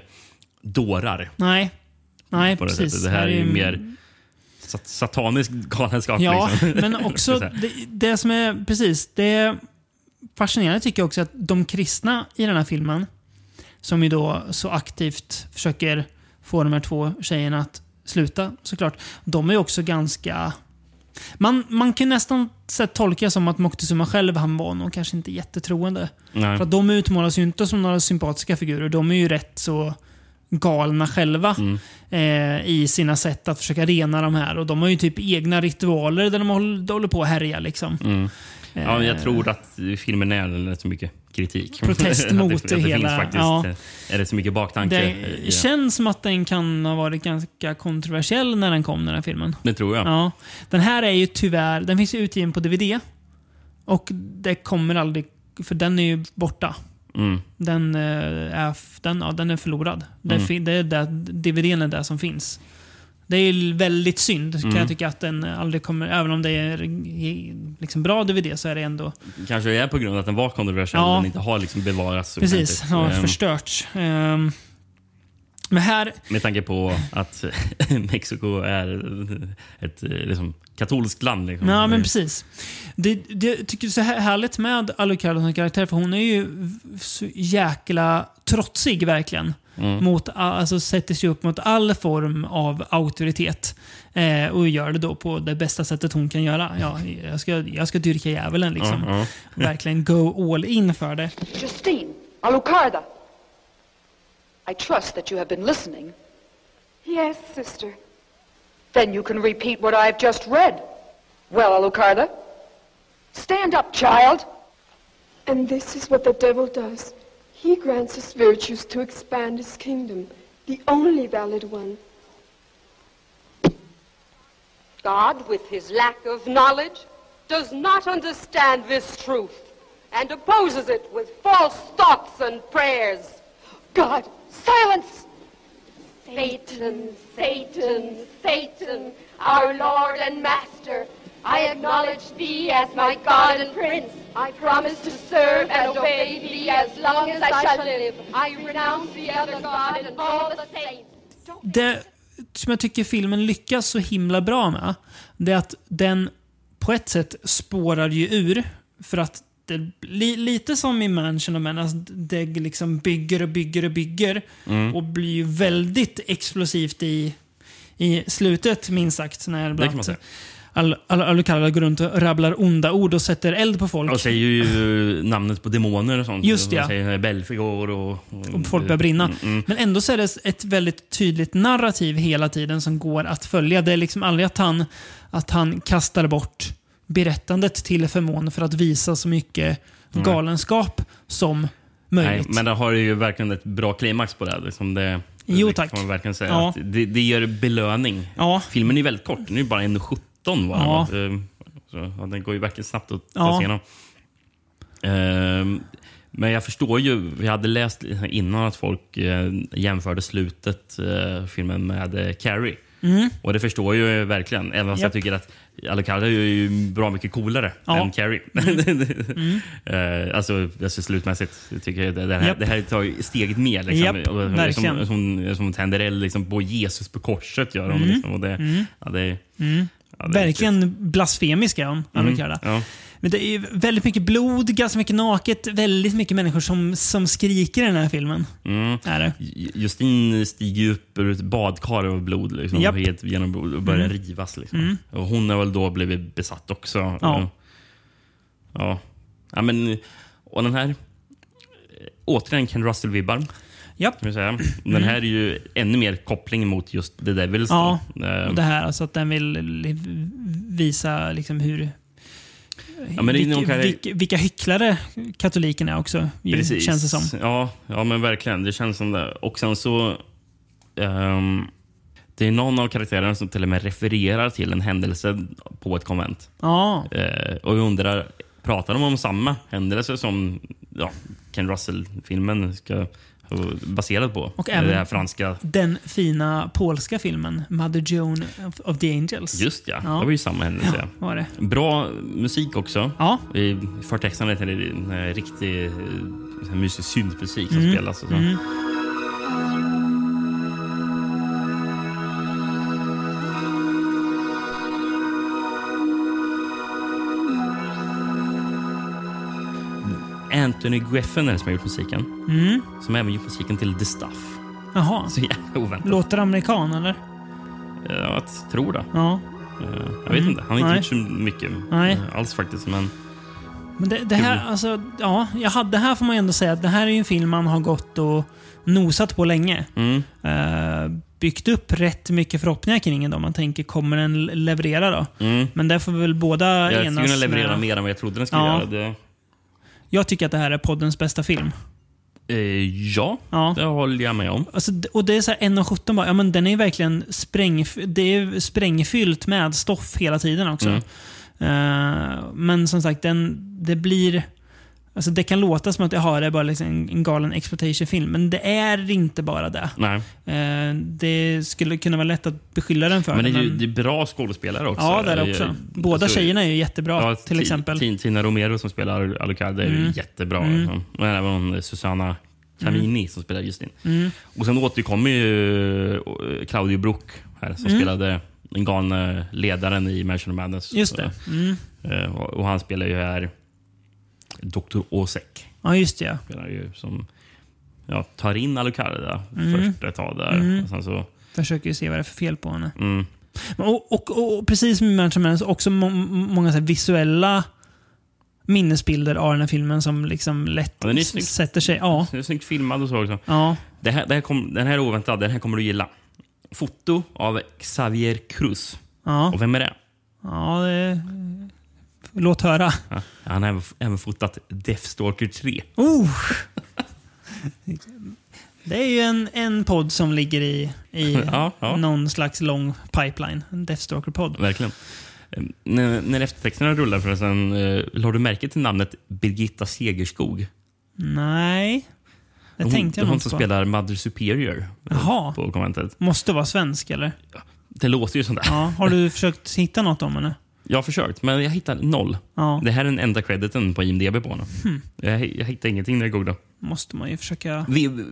Speaker 2: dårar.
Speaker 1: Nej, Nej
Speaker 2: På det,
Speaker 1: precis.
Speaker 2: sättet. det här är ju
Speaker 1: mm,
Speaker 2: mer sat- satanisk galenskap.
Speaker 1: Ja,
Speaker 2: liksom.
Speaker 1: men också
Speaker 2: Så här.
Speaker 1: det, det som är precis det är fascinerande tycker jag också att de kristna i den här filmen, som ju då så aktivt försöker få de här två tjejerna att sluta såklart, de är ju också ganska... Man, man kan ju nästan så här tolka som att Moctezuma själv, han var nog kanske inte jättetroende.
Speaker 2: Nej.
Speaker 1: För att de utmålas ju inte som några sympatiska figurer. De är ju rätt så galna själva eh, i sina sätt att försöka rena de här. Och de har ju typ egna ritualer där de håller, håller på att härja liksom.
Speaker 2: Ja,
Speaker 1: eh,
Speaker 2: men jag tror att filmen är rätt så mycket kritik.
Speaker 1: Protest
Speaker 2: Att det-
Speaker 1: mot
Speaker 2: att
Speaker 1: det
Speaker 2: det
Speaker 1: hela,
Speaker 2: Finns faktiskt, eh,
Speaker 1: ja.
Speaker 2: Är det så mycket baktanke? Eh,
Speaker 1: Det
Speaker 2: i-
Speaker 1: känns som att den kan ha varit ganska kontroversiell när den kom, den här filmen.
Speaker 2: det tror jag.
Speaker 1: Ja. Den här är ju tyvärr, den finns ju utgiven på DVD. Och det kommer aldrig, för den är ju borta.
Speaker 2: Mm.
Speaker 1: Den, eh, är, f- den, ja, den är förlorad. Den fi- det är där, DVDn är det som finns. Det är ju väldigt synd kan jag tycka att den aldrig kommer, även om det är eh, liksom bra DVD så är det ändå
Speaker 2: Kanske det är på grund av att den var kontroversiell
Speaker 1: Ja.
Speaker 2: och den inte har liksom bevarats. så
Speaker 1: precis,
Speaker 2: ordentligt.
Speaker 1: ja,
Speaker 2: Ehm,
Speaker 1: förstörts. Ehm, men här,
Speaker 2: Med tanke på att eh, Mexiko är ett eh, liksom, katolskt land. Liksom.
Speaker 1: ja men precis. Det, det jag tycker jag är så här- härligt med Alucard som karaktär för hon är ju v- så jäkla trotsig verkligen. Mot, alltså sätter sig upp mot all form av auktoritet. Eh, och gör det då på det bästa sättet hon kan göra. Ja, jag, ska, jag ska dyrka djävulen liksom. Verkligen go all in för det.
Speaker 9: Justine, Alucarda. I trust that you have been listening.
Speaker 10: Yes, sister.
Speaker 9: Then you can repeat what I've just read. Well, Alucarda, stand up, child.
Speaker 10: And this is what the devil does. He grants us virtues to expand his kingdom, the only valid one.
Speaker 9: God, with his lack of knowledge, does not understand this truth and opposes it with false thoughts and prayers.
Speaker 10: God,
Speaker 9: Silence!
Speaker 10: Satan, Satan, Satan, our Lord and Master, I acknowledge thee as my God and Prince. I promise to serve and obey thee as long as I shall live. I renounce the other God and all the saints.
Speaker 1: det som jag tycker filmen lyckas så himla bra med, det är att den på ett sätt spårar ju ur. För att det, li, lite som i Mansion of Menace, det liksom bygger och bygger och bygger. Och blir ju väldigt explosivt i, i slutet, minst sagt. När bland
Speaker 2: kan man
Speaker 1: annat
Speaker 2: säga.
Speaker 1: Al- Al- Alucarda går runt och rabblar onda ord och sätter eld på folk.
Speaker 2: Och säger ju namnet på demoner och sånt.
Speaker 1: Just
Speaker 2: De
Speaker 1: ja.
Speaker 2: Säger Belfegor och... och,
Speaker 1: och folk börjar brinna.
Speaker 2: Mm,
Speaker 1: Men ändå så är det ett väldigt tydligt narrativ hela tiden som går att följa. Det är liksom aldrig att han, att han kastar bort berättandet till förmån för att visa så mycket galenskap som
Speaker 2: Nej,
Speaker 1: möjligt.
Speaker 2: men det har ju verkligen ett bra klimax på det. här, Liksom det
Speaker 1: Jo,
Speaker 2: det
Speaker 1: tack.
Speaker 2: Kan man verkligen säga.
Speaker 1: Ja.
Speaker 2: Att det, det ger belöning.
Speaker 1: Ja.
Speaker 2: Filmen är väldigt kort. Den är ju bara 1.17. va?
Speaker 1: Ja.
Speaker 2: Ehm, Så, ja, den går ju verkligen snabbt att ta
Speaker 1: Ja.
Speaker 2: sig igenom. Ehm, men jag förstår ju, vi hade läst innan att folk eh, jämförde slutet eh, filmen med eh, Carrie. Och det förstår jag ju verkligen. Även fast jag
Speaker 1: Mm. Japp.
Speaker 2: tycker att Alucarda är ju bra mycket coolare
Speaker 1: Ja. Mm.
Speaker 2: än Carrie. Eh, alltså, alltså slutmässigt. Jag tycker jag det, det, här,
Speaker 1: Japp.
Speaker 2: det här tar ju steget mer. Liksom.
Speaker 1: Japp,
Speaker 2: Och- och-
Speaker 1: verkligen.
Speaker 2: som, som, som tänder eld liksom, på Jesus på korset. Gör hon, liksom, och det, ja, det, ja, det är
Speaker 1: Mm.
Speaker 2: typ- Mm,
Speaker 1: Verkligen blasfemisk är hon, Alucarda.
Speaker 2: Ja.
Speaker 1: Men det är ju väldigt mycket blod, ganska mycket naket, väldigt mycket människor som, som skriker i den här filmen.
Speaker 2: Mm.
Speaker 1: Är det.
Speaker 2: J- Justine stiger ju upp ur ett badkar av blod liksom,
Speaker 1: Japp. Mm.
Speaker 2: helt genom blod och börjar rivas. Liksom. Och hon har väl då blivit besatt också.
Speaker 1: Ja.
Speaker 2: Ja. ja men, och den här... eh, Återigen Ken Russell-vibbar.
Speaker 1: Japp.
Speaker 2: kan vi säga. Den här är ju ännu mer koppling mot just The Devils.
Speaker 1: Mm. Ja,
Speaker 2: då. Eh,
Speaker 1: Och det här, alltså att den vill li- visa liksom hur
Speaker 2: ja, men det är nog
Speaker 1: vilka,
Speaker 2: kanske-
Speaker 1: vilka, vilka hycklare katolikerna är också, ju,
Speaker 2: Precis.
Speaker 1: känns det som.
Speaker 2: Ja, ja, men verkligen. Det känns som det. Och sen så... ehm, det är någon av karaktärerna som till och med refererar till en händelse på ett konvent.
Speaker 1: Ja,
Speaker 2: Eh, och jag undrar, pratar de om samma händelse som ja, Ken Russell-filmen ska vara baserad på.
Speaker 1: Och
Speaker 2: det här
Speaker 1: även
Speaker 2: franska.
Speaker 1: den fina polska filmen Mother Joan of, of the Angels.
Speaker 2: Just ja, det var ju samma händelse.
Speaker 1: Ja, var det.
Speaker 2: Bra musik också.
Speaker 1: Ja.
Speaker 2: I förtexterna till en eh, riktig eh, sån här mysig syntmusik som
Speaker 1: Mm.
Speaker 2: spelas. Och så.
Speaker 1: Mm.
Speaker 2: Anthony Geffen är den som har gjort musiken.
Speaker 1: Mm.
Speaker 2: Som även gjort musiken till The Stuff.
Speaker 1: Jaha.
Speaker 2: Så jävla oväntat.
Speaker 1: Låter amerikan eller?
Speaker 2: Eh, Jag tror det.
Speaker 1: Ja.
Speaker 2: Eh, Jag vet
Speaker 1: Mm.
Speaker 2: inte. Han har
Speaker 1: Nej.
Speaker 2: inte gjort så mycket
Speaker 1: Nej.
Speaker 2: eh, alls faktiskt. Men
Speaker 1: Men det, det här,
Speaker 2: Kul.
Speaker 1: alltså, ja, jag hade, det här får man ju ändå säga att det här är ju en film man har gått och nosat på länge.
Speaker 2: Mm.
Speaker 1: Eh, byggt upp rätt mycket förhoppningar kring den. Man tänker, kommer den leverera då?
Speaker 2: Mm.
Speaker 1: Men där får vi väl båda
Speaker 2: jag skulle
Speaker 1: enas.
Speaker 2: kunna leverera
Speaker 1: med-
Speaker 2: mer än vad jag trodde den skulle
Speaker 1: Ja.
Speaker 2: göra. Det,
Speaker 1: Jag tycker att det här är poddens bästa film.
Speaker 2: eh, ja,
Speaker 1: Ja.
Speaker 2: det håller jag med om.
Speaker 1: Alltså, d- och det är så här 1,17 bara. Ja, men den är ju verkligen sprängf det är sprängfyllt med stoff hela tiden också.
Speaker 2: Mm.
Speaker 1: Eh, men som sagt, den, det blir... Alltså det kan låta som att jaha, det är bara liksom en en galen exploitation-film, men det är inte bara det.
Speaker 2: Nej.
Speaker 1: Eh, det skulle kunna vara lätt att beskylla den för
Speaker 2: Men det är ju
Speaker 1: men-
Speaker 2: det är bra skådespelare också.
Speaker 1: Ja, där
Speaker 2: Jag-
Speaker 1: också. Båda
Speaker 2: alltså,
Speaker 1: tjejerna är ju jättebra,
Speaker 2: ja,
Speaker 1: till
Speaker 2: Ti-
Speaker 1: exempel.
Speaker 2: Ti- Tina Romero som spelar Alucard är
Speaker 1: Mm.
Speaker 2: ju jättebra.
Speaker 1: Mm.
Speaker 2: Liksom. Och även hon, Susanna Camini som spelar Justin.
Speaker 1: Mm.
Speaker 2: Och sen återkommer ju eh, Claudio Brook här som
Speaker 1: Mm.
Speaker 2: spelade den galne ledaren i Mansion of Madness.
Speaker 1: Just det. Mm.
Speaker 2: Eh, Och och han spelar ju här Dr. Osek.
Speaker 1: Ja, just det. ja.
Speaker 2: Spelar ju som ja, tar in Alucard där
Speaker 1: Mm.
Speaker 2: först ett tag där.
Speaker 1: Mm.
Speaker 2: Och sen så,
Speaker 1: Försöker ju se vad det är för fel på henne.
Speaker 2: mm,
Speaker 1: Men Och, och, och, och precis som i Manchester Man, så också må, många så här visuella minnesbilder av den här filmen som liksom lätt
Speaker 2: Ja, den är snygg.
Speaker 1: sätter sig. Ja.
Speaker 2: det är snyggt filmad och så också.
Speaker 1: ja.
Speaker 2: Det här, det här kom, den här är oväntad. Den här kommer du gilla. Foto av Xavier Cruz.
Speaker 1: Ja.
Speaker 2: Och vem är det?
Speaker 1: ja det, låt höra.
Speaker 2: Ja, han har även, även fotat Deathstalker 3.
Speaker 1: Oh. Det är ju en, en podd som ligger i, i
Speaker 2: Ja, ja.
Speaker 1: någon slags lång pipeline. En Deathstalker-podd.
Speaker 2: Verkligen. Eh, När, när eftertexterna rullar förresten, eh, la du märke till namnet Birgitta Segerskog?
Speaker 1: Nej, det
Speaker 2: hon,
Speaker 1: tänkte jag
Speaker 2: Hon
Speaker 1: nog
Speaker 2: som
Speaker 1: på.
Speaker 2: spelar Mother Superior eh,
Speaker 1: Jaha,
Speaker 2: på konventet.
Speaker 1: måste vara svensk eller?
Speaker 2: Det låter ju sånt där.
Speaker 1: Ja. Har du försökt hitta något om henne?
Speaker 2: Jag har försökt, men jag hittar noll.
Speaker 1: Ja. Hmm.
Speaker 2: Det här är den enda crediten på IMDB på honom. Jag, jag hittar ingenting när jag googlar.
Speaker 1: måste man ju försöka...
Speaker 2: Vi, är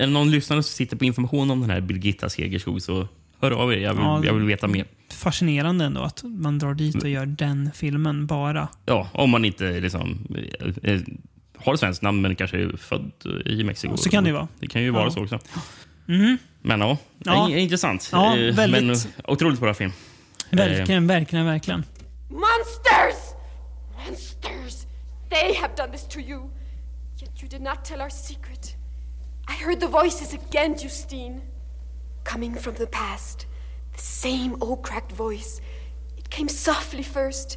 Speaker 2: det någon lyssnare som sitter på information om den här Birgitta Segerskog så hör av er. Jag vill,
Speaker 1: Ja.
Speaker 2: jag vill veta mer.
Speaker 1: Fascinerande ändå att man drar dit och gör den filmen bara.
Speaker 2: Ja, om man inte liksom, eh, eh, har ett svenskt namn men kanske är född eh, i Mexiko.
Speaker 1: Så kan det ju vara.
Speaker 2: Det kan ju vara
Speaker 1: Ja.
Speaker 2: så också.
Speaker 1: Mhm.
Speaker 2: Men ja,
Speaker 1: Ja.
Speaker 2: ja. intressant.
Speaker 1: Ja,
Speaker 2: Eh,
Speaker 1: väldigt.
Speaker 2: Men otroligt bra film.
Speaker 1: Verkligen, verkligen, verkligen.
Speaker 10: Monsters! Monsters! They have done this to you. Yet you did not tell our secret. I heard the voices again, Justine. Coming from the past. The same old cracked voice. It came softly first.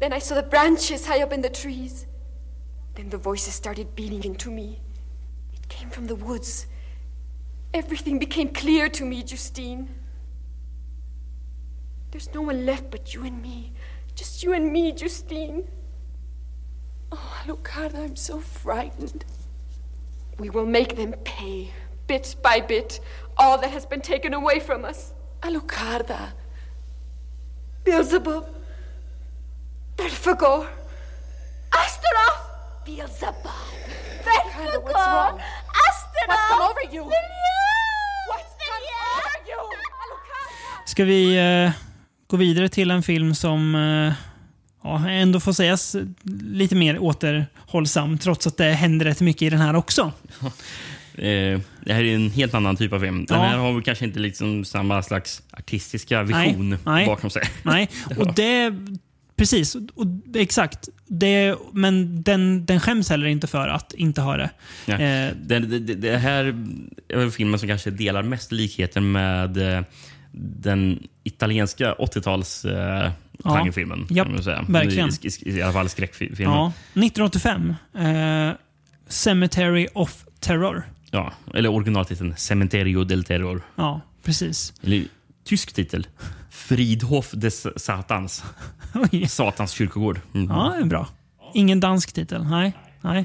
Speaker 10: Then I saw the branches high up in the trees. Then the voices started beating into me. It came from the woods. Everything became clear to me, Justine. There's no one left but you and me. Just you and me, Justine. Oh, Alucard, I'm so frightened. We will make them pay, bit by bit, all that has been taken away from us. Alucarda. Beelzebub. Belphegor. Astaroth! Beelzebub. Belphegor. What's wrong? Astaroth. What's come over you? What's come over you? Alucarda.
Speaker 1: Ska vi eh, gå vidare till en film som eh, ja, ändå får sägas lite mer återhållsam trots att det händer rätt mycket i den här också.
Speaker 2: Eh, det här är en helt annan typ av film. Den
Speaker 1: Ja.
Speaker 2: här har väl kanske inte liksom samma slags artistiska
Speaker 1: Nej,
Speaker 2: vision
Speaker 1: nej.
Speaker 2: bakom sig.
Speaker 1: Nej, och det... Precis, och, exakt. Det, men den, den skäms heller inte för att inte ha det.
Speaker 2: Ja.
Speaker 1: Eh,
Speaker 2: Det, det, det- det här är väl filmen som kanske delar mest likheter med eh, den italienska 80-tals eh,
Speaker 1: Ja.
Speaker 2: genrefilmen.
Speaker 1: Japp,
Speaker 2: kan man säga.
Speaker 1: verkligen.
Speaker 2: I, i, I alla fall skräckfilmen.
Speaker 1: ja,
Speaker 2: Ja.
Speaker 1: 1985. Eh, Cemetery of Terror.
Speaker 2: Eller originaltiteln Cementerio del Terror.
Speaker 1: Ja, precis.
Speaker 2: Eller tysk titel. Fridhof des Satans.
Speaker 1: Oj.
Speaker 2: Satans kyrkogård. Mm.
Speaker 1: Ja, det är bra. Ingen dansk titel, nej. Nej.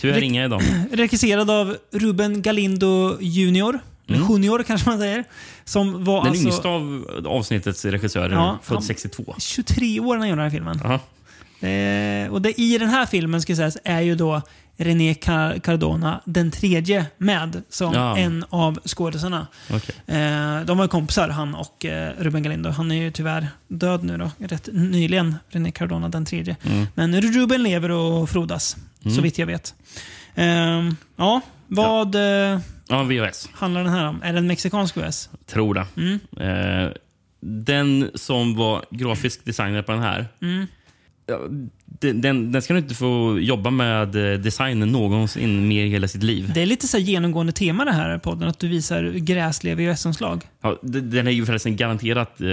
Speaker 2: Tyvärr
Speaker 1: Rek-
Speaker 2: inga idag.
Speaker 1: Regisserad av Ruben Galindo Junior. eller
Speaker 2: Mm.
Speaker 1: Junior kanske man säger. Som var
Speaker 2: Den
Speaker 1: alltså
Speaker 2: yngsta av avsnittets regissörer,
Speaker 1: Ja,
Speaker 2: född
Speaker 1: han-
Speaker 2: 62.
Speaker 1: 23 år när han gjorde den här filmen.
Speaker 2: Aha.
Speaker 1: Eh, och det, I den här filmen ska sägas är ju då René Car- Cardona den tredje med som
Speaker 2: Ja.
Speaker 1: en av skådisarna.
Speaker 2: Okej.
Speaker 1: Eh, de var ju kompisar han och eh, Ruben Galindo. Han är ju tyvärr död nu då, rätt nyligen, René Cardona den tredje.
Speaker 2: Mm.
Speaker 1: Men Ruben lever och frodas,
Speaker 2: Mm.
Speaker 1: så vitt jag vet. Ehm, ja, vad eh,
Speaker 2: Ja, VHS.
Speaker 1: handlar den här om? Är den mexikansk US?
Speaker 2: Tror det.
Speaker 1: Mm.
Speaker 2: Eh, den som var grafisk designer på den här,
Speaker 1: Mm.
Speaker 2: ja, den, den, den ska nog inte få jobba med eh, design någonsin mer i hela sitt liv.
Speaker 1: Det är lite så här genomgående tema det här i podden, att du visar gräsliga VHS-omslag.
Speaker 2: Ja, d- den är ju förresten garanterat eh,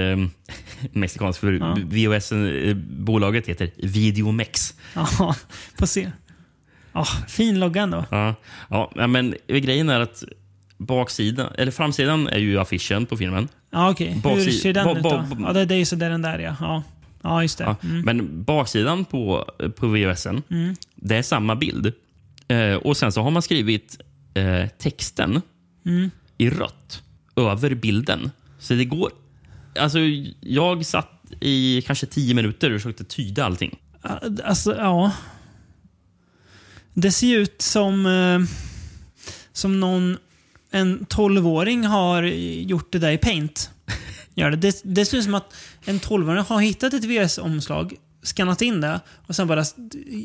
Speaker 2: mexikansk, för
Speaker 1: Ja.
Speaker 2: VHS-bolaget eh, heter Videomex.
Speaker 1: Ja, får se. Ja, fin logga ändå.
Speaker 2: Ja, ja, ja, men eh, grejen är att baksidan, eller framsidan är ju affischen på filmen.
Speaker 1: Ja, okej. Hur
Speaker 2: Baksi-
Speaker 1: ser den
Speaker 2: ba-
Speaker 1: ut
Speaker 2: ba-
Speaker 1: då?
Speaker 2: ba-
Speaker 1: Ja, det, det är ju sådär den där ja. Ja, ja just det.
Speaker 2: Ja, Men baksidan på, på VHSen,
Speaker 1: Mm.
Speaker 2: det är samma bild. Eh, och sen så har man skrivit eh, texten
Speaker 1: Mm.
Speaker 2: i rött över bilden. Så det går... Alltså, jag satt i kanske tio minuter och försökte tyda allting.
Speaker 1: Alltså, ja. Det ser ju ut som, eh, som någon, en 12-åring har gjort det där i paint. Gör det. Det, det ser ut som att en 12-åring har hittat ett VS-omslag, skannat in det och sen bara s-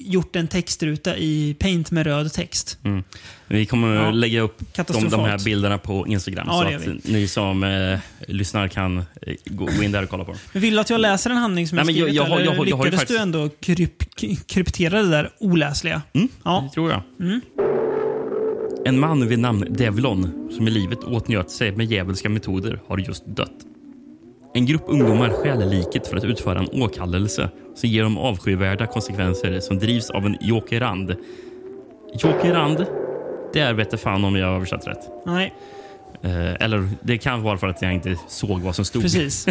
Speaker 1: gjort en textruta i paint med röd text.
Speaker 2: Mm. Vi kommer
Speaker 1: Ja.
Speaker 2: lägga upp de,
Speaker 1: Katastrofalt.
Speaker 2: de här bilderna på Instagram
Speaker 1: Ja, det gör
Speaker 2: så att ni som eh, lyssnar kan eh, gå gå in där och kolla på dem.
Speaker 1: Men vill du att jag läser en handling som jag
Speaker 2: Nej, men jag-
Speaker 1: skrivit?
Speaker 2: jag har-
Speaker 1: eller
Speaker 2: jag har- jag har ju
Speaker 1: lyckades
Speaker 2: faktiskt-
Speaker 1: du ändå kryp, k- kryptera det där oläsliga?
Speaker 2: Mm,
Speaker 1: Ja.
Speaker 2: Det tror jag.
Speaker 1: Mm.
Speaker 2: En man vid namn Devlon, som i livet åtnjöt sig med djävulska metoder, har just dött. En grupp ungdomar stjäl liket för att utföra en åkallelse som ger dem avskyvärda konsekvenser som drivs av en jokerand. Jokerand? Där vete fan om jag har översatt rätt.
Speaker 1: Nej,
Speaker 2: Eh, eller det kan vara för att jag inte såg vad som stod.
Speaker 1: precis.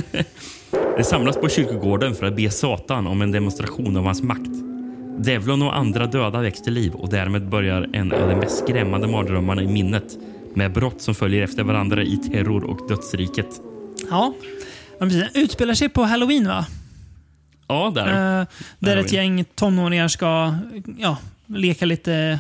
Speaker 2: Det samlas på kyrkogården för att be Satan om en demonstration av hans makt. Devlon och andra döda väcks till liv och därmed börjar en av de mest skrämmande mardrömmarna i minnet med brott som följer efter varandra i terror och dödsriket.
Speaker 1: Ja. Ja, precis. Den Utspelar sig på halloween va?
Speaker 2: Ja, där.
Speaker 1: Eh, där ett
Speaker 2: Halloween.
Speaker 1: gäng tonåringar ska ja, leka lite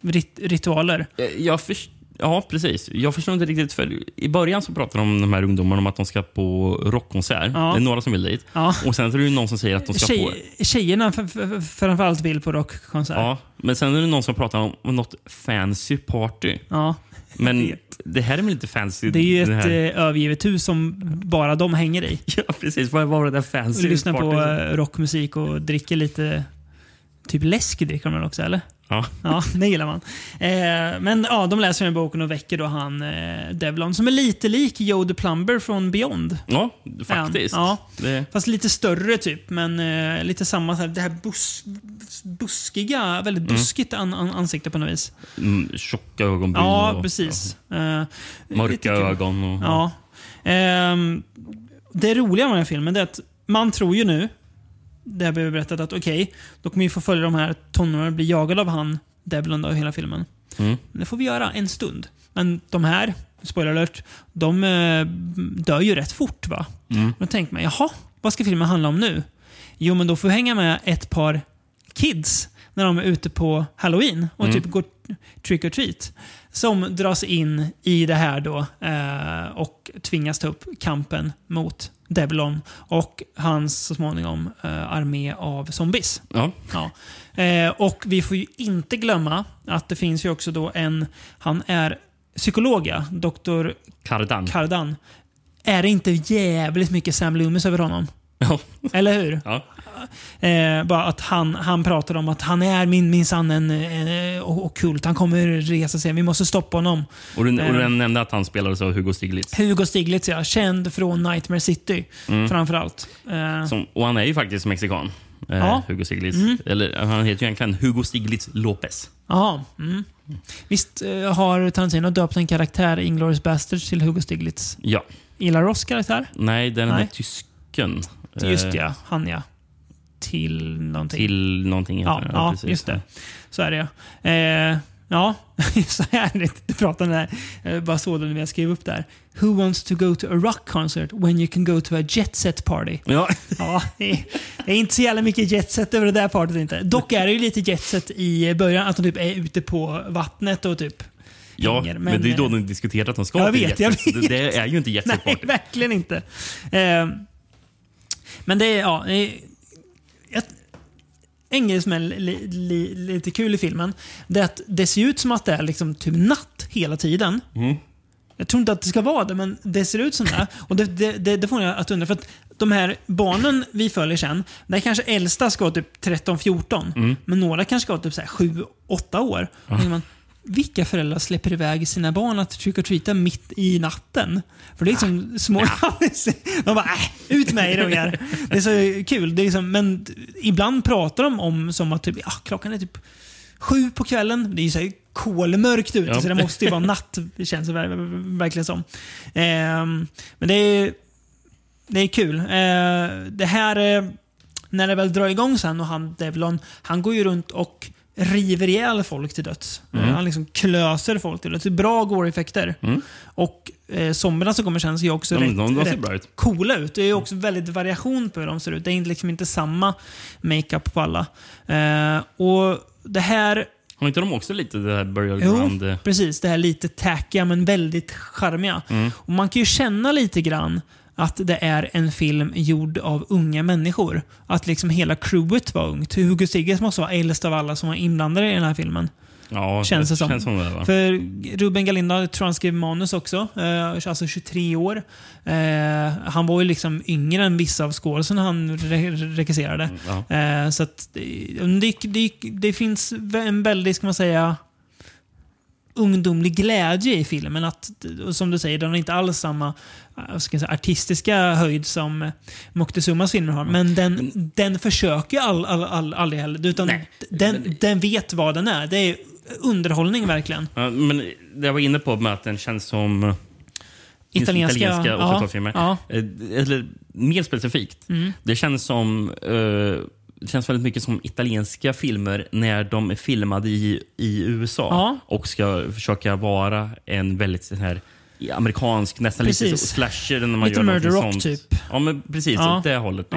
Speaker 1: rit- ritualer.
Speaker 2: Eh, Jag förs- ja, precis. Jag förstår inte riktigt. För I början så pratar de om de här ungdomarna om att de ska på rockkonsert.
Speaker 1: Ja.
Speaker 2: Det är några som vill dit.
Speaker 1: Ja.
Speaker 2: Och sen är det ju någon som säger att de ska på...
Speaker 1: Tjej, tjejerna f- f- framförallt vill på rockkonsert.
Speaker 2: Ja, men sen är det någon som pratar om något fancy party.
Speaker 1: Ja.
Speaker 2: Men det här är väl inte fancy?
Speaker 1: Det är ju
Speaker 2: den
Speaker 1: ett
Speaker 2: här-
Speaker 1: eh, övergivet hus som bara de hänger i.
Speaker 2: Ja, precis. Vad var det där fancy
Speaker 1: Lyssnar på
Speaker 2: party?
Speaker 1: eh, rockmusik och dricker lite... Typ läsk dricker de väl också, eller?
Speaker 2: Ja.
Speaker 1: Ja, det gillar man. Eh, men ja, de läser den här boken och väcker då han eh, Devlon som är lite lik Joe the Plumber från Beyond.
Speaker 2: ja, faktiskt.
Speaker 1: Ja.
Speaker 2: Det,
Speaker 1: Fast lite större typ, men eh, lite samma. Så här, det här bus, buskiga, väldigt buskigt an, an, ansikte på något vis.
Speaker 2: mm, tjocka ögonbryn.
Speaker 1: Ja,
Speaker 2: och,
Speaker 1: precis. Eh,
Speaker 2: Ja, mörka
Speaker 1: jag tycker-
Speaker 2: ögon. Och,
Speaker 1: Ja. Ehm, det roliga med den här filmen det är att man tror ju nu, det har blivit berättat, att okej, då kommer vi få följa de här tonåringarna och bli jagade av han Devlon då, i hela filmen.
Speaker 2: Mm.
Speaker 1: Det får vi göra en stund. Men de här, spoiler alert, de eh, dör ju rätt fort va?
Speaker 2: Mm.
Speaker 1: Då tänker man, jaha, vad ska filmen handla om nu? Jo, men då får vi hänga med ett par kids när de är ute på halloween och
Speaker 2: Mm.
Speaker 1: typ går trick or treat. Som dras in i det här då eh, och tvingas ta upp kampen mot Devlon och hans så småningom eh, armé av zombies.
Speaker 2: Ja.
Speaker 1: Ja. Eh, och vi får ju inte glömma att det finns ju också då en, han är psykolog ja, Dr.
Speaker 2: Kardan.
Speaker 1: Kardan. Är det inte jävligt mycket Sam Loomis över honom?
Speaker 2: ja.
Speaker 1: Eller hur?
Speaker 2: Ja.
Speaker 1: Eh, bara att han, han pratar om att han är min, minsann en, eh, ockult. Han kommer resa sig. Vi måste stoppa honom.
Speaker 2: Och, den, och
Speaker 1: Eh.
Speaker 2: den nämnde att han spelades av Hugo Stiglitz.
Speaker 1: Hugo Stiglitz ja, känd från Nightmare City framförallt. Eh,
Speaker 2: Som, och han är ju faktiskt mexikan.
Speaker 1: Ja.
Speaker 2: Eh,
Speaker 1: Mm.
Speaker 2: Hugo Stiglitz. Eller, han heter ju egentligen Hugo Stiglitz Lopez.
Speaker 1: Jaha. Mm. Visst eh, har Tarantino döpt en karaktär i Inglourious Basterds till Hugo Stiglitz?
Speaker 2: Ja.
Speaker 1: Gillar Ross karaktär?
Speaker 2: Nej, den är
Speaker 1: Nej.
Speaker 2: tysken.
Speaker 1: Just
Speaker 2: Eh,
Speaker 1: ja, han ja. till någonting.
Speaker 2: Till någonting.
Speaker 1: Ja,
Speaker 2: heter det.
Speaker 1: ja
Speaker 2: precis.
Speaker 1: just det. Så är det ja. Eh, ja, så härligt att prata om det här. Jag bara såg det när jag skrev upp det här. Who wants to go to a rock concert when you can go to a jet set party?
Speaker 2: Ja.
Speaker 1: Ja, det är- det är inte så jävla mycket jet set över det där partyt inte. Dock är det ju lite jet set i början, att de typ är ute på vattnet och typ
Speaker 2: Ja,
Speaker 1: hänger. eh,
Speaker 2: men, det är ju då de diskuterar att de ska
Speaker 1: Jag
Speaker 2: till
Speaker 1: vet, jag
Speaker 2: Jet Set.
Speaker 1: vet.
Speaker 2: Det är ju inte Jet Set
Speaker 1: Nej,
Speaker 2: Party.
Speaker 1: verkligen inte. Eh, men det är, ja... det är- ett- En grej som är li, li, lite kul i filmen, det är att det ser ut som att det är liksom typ natt hela tiden. Jag tror inte att det ska vara det, men det ser ut som det. Och det, det, det, det får jag att undra, för att de här barnen vi följer sen, där kanske äldsta ska vara typ 13-14,
Speaker 2: Mm.
Speaker 1: men några kanske ska vara typ 7-8 år. Då undrar Man, vilka föräldrar släpper iväg sina barn att trick or treata mitt i natten? För det är liksom små... de bara, äh, ut med er ungar. Det är så kul. Det är liksom, men ibland pratar de om som att typ, ah, klockan är typ sju på kvällen. Det är ju så här kolmörkt ute
Speaker 2: Ja.
Speaker 1: så det måste ju vara natt. Det känns det ver- verkligen som. Ehm, men det är, det är kul. Eh, det här, eh, när det väl drar igång sen och han Devlon, han går ju runt och river ihjäl folk till döds.
Speaker 2: Mm.
Speaker 1: Eh, Han liksom klöser folk till döds. Det är bra gore-effekter.
Speaker 2: Mm.
Speaker 1: Och eh, zombierna som kommer sen ser ju också
Speaker 2: De-
Speaker 1: rätt,
Speaker 2: de- de ser
Speaker 1: rätt
Speaker 2: bra ut. Mm.
Speaker 1: coola ut. Det är ju också väldigt variation på hur de ser ut. Det är liksom inte samma makeup på alla. Eh, och det här
Speaker 2: Har inte de också lite det här Burial Ground? eh?
Speaker 1: Jo, precis. Det här lite tackiga men väldigt charmiga.
Speaker 2: Mm.
Speaker 1: Och man kan ju känna lite grann att det är en film gjord av unga människor. Att liksom hela crewet var ungt. Hugo Sigges måste vara äldst av alla som var inblandade i den här filmen.
Speaker 2: Ja,
Speaker 1: Känns det som.
Speaker 2: Känns som det, va?
Speaker 1: För Ruben Galinda, jag tror han skrev manus också, eh, alltså 23 år. Eh, han var ju liksom yngre än vissa av skådespelarna han re- regisserade.
Speaker 2: Ja.
Speaker 1: Eh, så att eh, det, det, det finns vä- en väldigt, ska man säga, ungdomlig glädje i filmen. Att, och som du säger, den har inte alls samma eh, vad ska jag säga, artistiska höjd som Moctezumas filmer
Speaker 2: Mm.
Speaker 1: har. Men den, den försöker ju all, all, all, aldrig heller. Utan
Speaker 2: Nej.
Speaker 1: den, den vet vad den är. Det är underhållning verkligen.
Speaker 2: Ja, Men det jag var inne på med att den känns som
Speaker 1: Italienska-
Speaker 2: italienska
Speaker 1: ja,
Speaker 2: 80-talsfilmer.
Speaker 1: ja.
Speaker 2: Eh, Eller mer specifikt.
Speaker 1: Mm.
Speaker 2: Det känns som eh, det känns väldigt mycket som italienska filmer när de är filmade i, i USA
Speaker 1: Ja.
Speaker 2: och ska försöka vara en väldigt sån här amerikansk, nästan lite
Speaker 1: Precis.
Speaker 2: så slasher. När man
Speaker 1: Lite
Speaker 2: gör
Speaker 1: Murder
Speaker 2: någonting
Speaker 1: Rock,
Speaker 2: sånt.
Speaker 1: typ.
Speaker 2: Ja, men precis.
Speaker 1: Ja.
Speaker 2: Åt det hållet.
Speaker 1: Ja.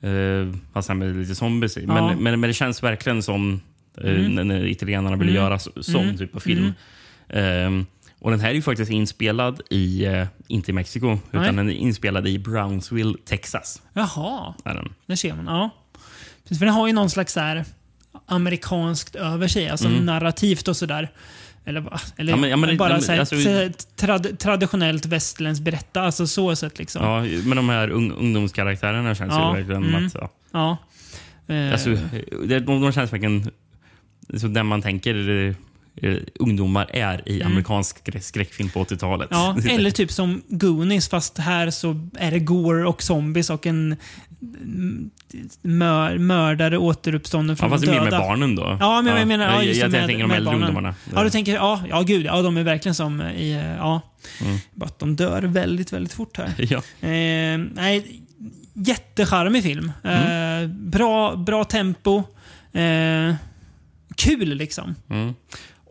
Speaker 2: Liksom. Eh, fast sen med lite zombies i. Men,
Speaker 1: Ja.
Speaker 2: men, men det känns verkligen som eh,
Speaker 1: Mm.
Speaker 2: när- när italienarna ville
Speaker 1: Mm.
Speaker 2: göra så- sån
Speaker 1: Mm.
Speaker 2: typ av film.
Speaker 1: Mm.
Speaker 2: Ehm, och den här är ju faktiskt inspelad i, eh, inte i Mexiko,
Speaker 1: Nej.
Speaker 2: utan den är inspelad i Brownsville, Texas.
Speaker 1: Jaha,
Speaker 2: Är den.
Speaker 1: där ser man. Ja. Precis, för den har ju någon slags så här amerikanskt över sig, alltså
Speaker 2: Mm.
Speaker 1: narrativt och sådär. Eller, va- eller
Speaker 2: Ja, men- ja, men det-
Speaker 1: bara
Speaker 2: de-
Speaker 1: så här,
Speaker 2: alltså-
Speaker 1: så här trad, traditionellt västerländskt berätta, alltså så sätt liksom.
Speaker 2: Ja, men de här ung, ungdomskaraktärerna känns
Speaker 1: Ja,
Speaker 2: ju verkligen
Speaker 1: mm.
Speaker 2: att... Ja.
Speaker 1: Ja. Eh,
Speaker 2: Alltså, det- de, de känns verkligen... Så där man tänker eh, eh, ungdomar är i
Speaker 1: Mm.
Speaker 2: amerikansk skrä- skräckfilm på 80-talet.
Speaker 1: ja, eller typ som Goonies, fast här så är det gore och zombies och en mm, mör, mördare återuppstånden
Speaker 2: ja,
Speaker 1: från
Speaker 2: fast
Speaker 1: de
Speaker 2: det är mer
Speaker 1: döda.
Speaker 2: med barnen då.
Speaker 1: Ja, men jag menar... Ja,
Speaker 2: jag,
Speaker 1: just
Speaker 2: jag,
Speaker 1: det,
Speaker 2: jag tänker de äldre
Speaker 1: barnen.
Speaker 2: ungdomarna.
Speaker 1: Ja, du tänker... Ja, ja gud. Ja, de är verkligen som i... eh, Ja.
Speaker 2: Mm.
Speaker 1: Bara att de dör väldigt, väldigt fort här.
Speaker 2: ja.
Speaker 1: Eh, nej, jättecharmig film.
Speaker 2: Mm.
Speaker 1: Eh, bra, bra tempo. Eh, kul liksom.
Speaker 2: Mm.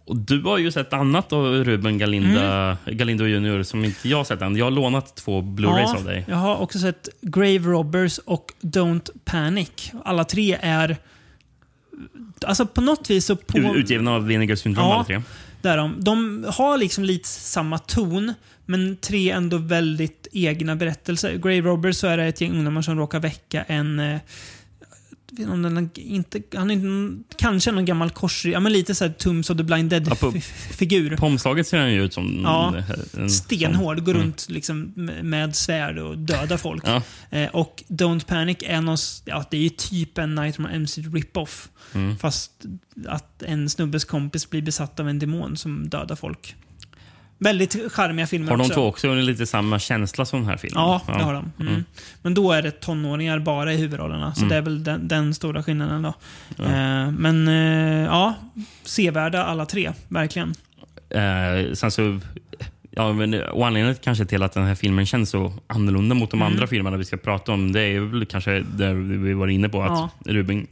Speaker 2: Och du har ju sett annat av Ruben Galinda,
Speaker 1: Mm.
Speaker 2: Galindo Junior som inte jag har sett än. Jag har lånat två Blu-rays av dig.
Speaker 1: Jag har också sett Grave Robbers och Don't Panic. Alla tre är... Alltså på något vis så... På,
Speaker 2: U- Utgiven av Vinegar Syndrome
Speaker 1: Ja.
Speaker 2: alla tre.
Speaker 1: Där de, de har liksom lite samma ton, men tre ändå väldigt egna berättelser. Grave Robbers så är det ett gäng ungdomar som råkar väcka en... eh, jag vet inte om den, inte, han är inte, kanske någon gammal korsry... Ja, men lite så här Tums of the Blind
Speaker 2: Ja, på-
Speaker 1: Dead-figur.
Speaker 2: På omslaget ser den ju ut som
Speaker 1: Ja.
Speaker 2: en, en
Speaker 1: Stenhård, går runt liksom med- med svärd och dödar folk.
Speaker 2: Mm. Ja.
Speaker 1: Eh, och Don't Panic är någon, s- ja, det är ju typ en Nightmare MC rip-off.
Speaker 2: Mm.
Speaker 1: Fast att en snubbes kompis blir besatt av en demon som dödar folk. Väldigt charmiga filmer
Speaker 2: Har de
Speaker 1: också.
Speaker 2: två också lite samma känsla som den här filmen?
Speaker 1: Ja, det har de. Mm.
Speaker 2: Mm.
Speaker 1: Men då är det tonåringar bara i huvudrollerna. Så
Speaker 2: Mm.
Speaker 1: det är väl den, den stora skillnaden då.
Speaker 2: Ja.
Speaker 1: Eh, men eh, ja, sevärda alla tre. Verkligen.
Speaker 2: Eh, sen så Ja, men och anledningen kanske till att den här filmen känns så annorlunda mot de
Speaker 1: Mm.
Speaker 2: andra filmerna vi ska prata om, det är väl kanske där vi var inne på att
Speaker 1: Ja.
Speaker 2: Ruben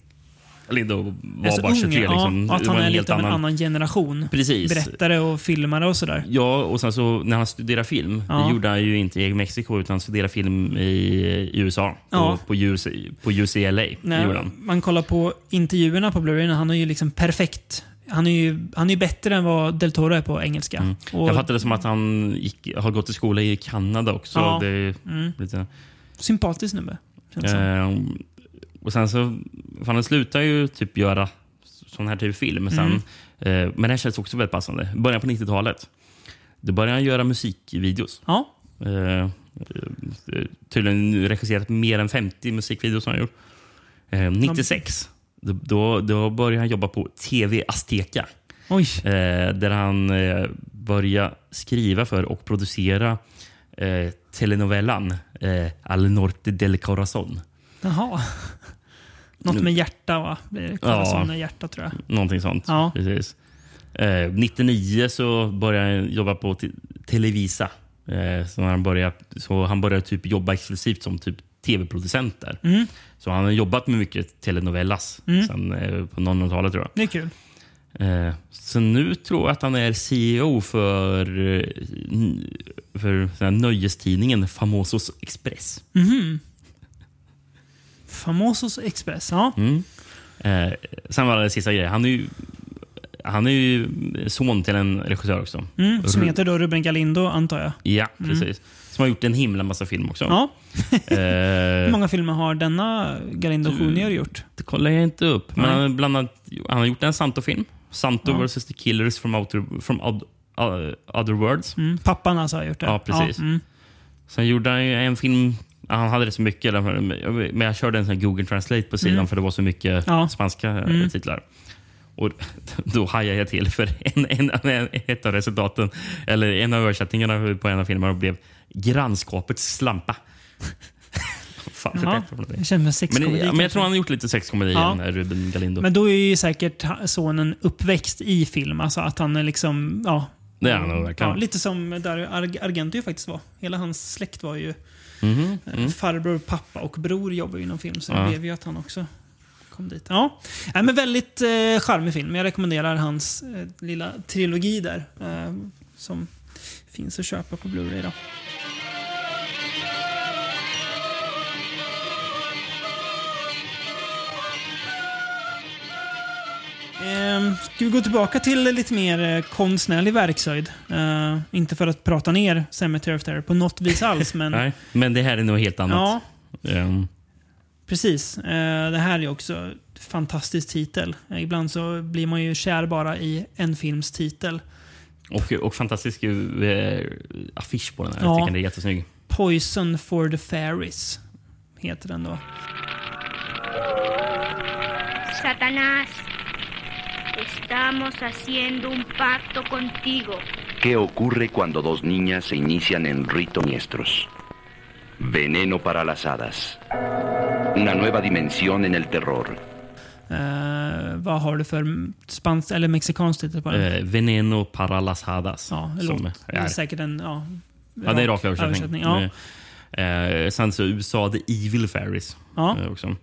Speaker 2: Lindo var
Speaker 1: Är så
Speaker 2: bara 23.
Speaker 1: ung, Alltså,
Speaker 2: liksom.
Speaker 1: ja, att
Speaker 2: Det var
Speaker 1: han är lite av en annan generation.
Speaker 2: Precis.
Speaker 1: Berättare och filmare och sådär.
Speaker 2: Ja, och sen så när han studerade film,
Speaker 1: Ja.
Speaker 2: det gjorde han ju inte i Mexiko utan han studerade film i, i USA.
Speaker 1: Ja.
Speaker 2: På, på, UC, på UCLA.
Speaker 1: När
Speaker 2: Gjorde han.
Speaker 1: man kollar på intervjuerna på Blu-ray, han är ju liksom perfekt. Han är ju, han är ju bättre än vad Del Toro är på engelska. Och
Speaker 2: Mm. Jag fattade det som att han gick, har gått i skola i Kanada också.
Speaker 1: Ja.
Speaker 2: Det är
Speaker 1: Mm.
Speaker 2: lite,
Speaker 1: Sympatisk snubbe. känns det som.
Speaker 2: eh, och sen så, för han slutar ju typ göra sån här typ film sen.
Speaker 1: Mm.
Speaker 2: Eh, men det här känns också väldigt passande. Början på 90-talet. Då började han göra musikvideos.
Speaker 1: Ja.
Speaker 2: Eh, tydligen regisserat mer än 50 musikvideos har han gjort. Eh, 96, då, då, då började han jobba på TV Azteca.
Speaker 1: Oj.
Speaker 2: Eh, där han eh, började skriva för och producera eh, telenovellan eh, Al Norte del Corazon.
Speaker 1: Jaha.
Speaker 2: Mm.
Speaker 1: Något med hjärta va? Blir det Corazon är hjärta tror jag.
Speaker 2: Någonting sånt.
Speaker 1: Ja.
Speaker 2: Precis. Eh, 99 så började han jobba på te- Televisa. Eh, så, han började, så han började typ jobba exklusivt som typ tv-producent där.
Speaker 1: Mm.
Speaker 2: Så han har jobbat med mycket telenovellas
Speaker 1: Mm.
Speaker 2: sen eh, på 00-talet tror jag.
Speaker 1: Det är kul.
Speaker 2: Eh, så nu tror jag att han är CEO för, eh, n- för sån här nöjestidningen Famosos Express.
Speaker 1: Mhm. Famosos Express, ja.
Speaker 2: Mm. Eh, sen var det sista grejen. Han är ju, han är ju son till en regissör också.
Speaker 1: Mm. Som
Speaker 2: Ru-
Speaker 1: heter då Ruben Galindo, antar jag.
Speaker 2: Ja,
Speaker 1: Mm.
Speaker 2: precis. Som har gjort en himla massa film också.
Speaker 1: Ja. Hur
Speaker 2: eh,
Speaker 1: många filmer har denna Galindo Junior gjort?
Speaker 2: Det kollar jag inte upp. Men
Speaker 1: Nej.
Speaker 2: han, har bland annat, han har gjort en Santo-film. Santo
Speaker 1: Ja.
Speaker 2: vs. The Killers from, outer, from od, uh, Other Worlds.
Speaker 1: Mm. Pappan alltså har gjort det?
Speaker 2: Ja, precis.
Speaker 1: mm.
Speaker 2: Sen gjorde han ju en film, ja, han hade det så mycket, i alla fall, men jag- men jag körde en sån här Google Translate på sidan
Speaker 1: Mm.
Speaker 2: för det var så mycket
Speaker 1: Ja.
Speaker 2: spanska eh,
Speaker 1: Mm.
Speaker 2: titlar. Och Då hajade jag till för en, en, en, ett av resultaten, eller en av översättningarna på en av filmerna blev Grannskapets slampa. Fan, det
Speaker 1: Jaha.
Speaker 2: är bättre
Speaker 1: Det känns som en sexkomedi.
Speaker 2: men, ja, men
Speaker 1: kanske.
Speaker 2: jag tror han har gjort lite sexkomedi,
Speaker 1: Ja.
Speaker 2: den här Ruben Galindo.
Speaker 1: Men då är ju säkert ha- sonen uppväxt i film. Alltså att han är liksom, ja.
Speaker 2: Det är han nog verkligen.
Speaker 1: ja lite som där Ar- Argento ju faktiskt var. Hela hans släkt var ju
Speaker 2: Mhm,
Speaker 1: eh,
Speaker 2: mm.
Speaker 1: farbror, pappa och bror jobbar ju inom film. Så det
Speaker 2: Ja.
Speaker 1: blev ju att han också kom dit. Ja. Nej, men väldigt eh, charmig film. Jag rekommenderar hans eh, lilla trilogi där. Eh, som finns att köpa på Blu-ray då. Ehm, Ska vi gå tillbaka till lite mer eh, konstnärlig verkshöjd? Eh, inte för att prata ner Cemetery of Terror på något vis alls, men
Speaker 2: Nej, men det här är nog helt annat.
Speaker 1: Ja.
Speaker 2: Ehm,
Speaker 1: Precis. Eh, Det här är också ett fantastisk titel. Eh, Ibland så blir man ju kär bara i en films titel.
Speaker 2: och, och fantastisk eh, affisch på den här.
Speaker 1: Ja.
Speaker 2: Jag tycker den är jättesnygg.
Speaker 1: Poison for the Fairies heter den då.
Speaker 11: Satanás, estamos haciendo un pacto contigo.
Speaker 8: ¿Qué ocurre cuando dos niñas se inician en rito miestros? Veneno para las hadas. Una nueva dimensión en el terror.
Speaker 1: Eh, vad har du för spansk eller mexikansk titel på den?
Speaker 2: Eh, Veneno para las hadas.
Speaker 1: ja, det
Speaker 2: som
Speaker 1: låter- det är
Speaker 2: är-
Speaker 1: säkert en... Ja,
Speaker 2: ja, det är rak översättning.
Speaker 1: ja.
Speaker 2: Eh, sen så USA, The Evil Fairies.
Speaker 1: Ja.
Speaker 2: Eh, också.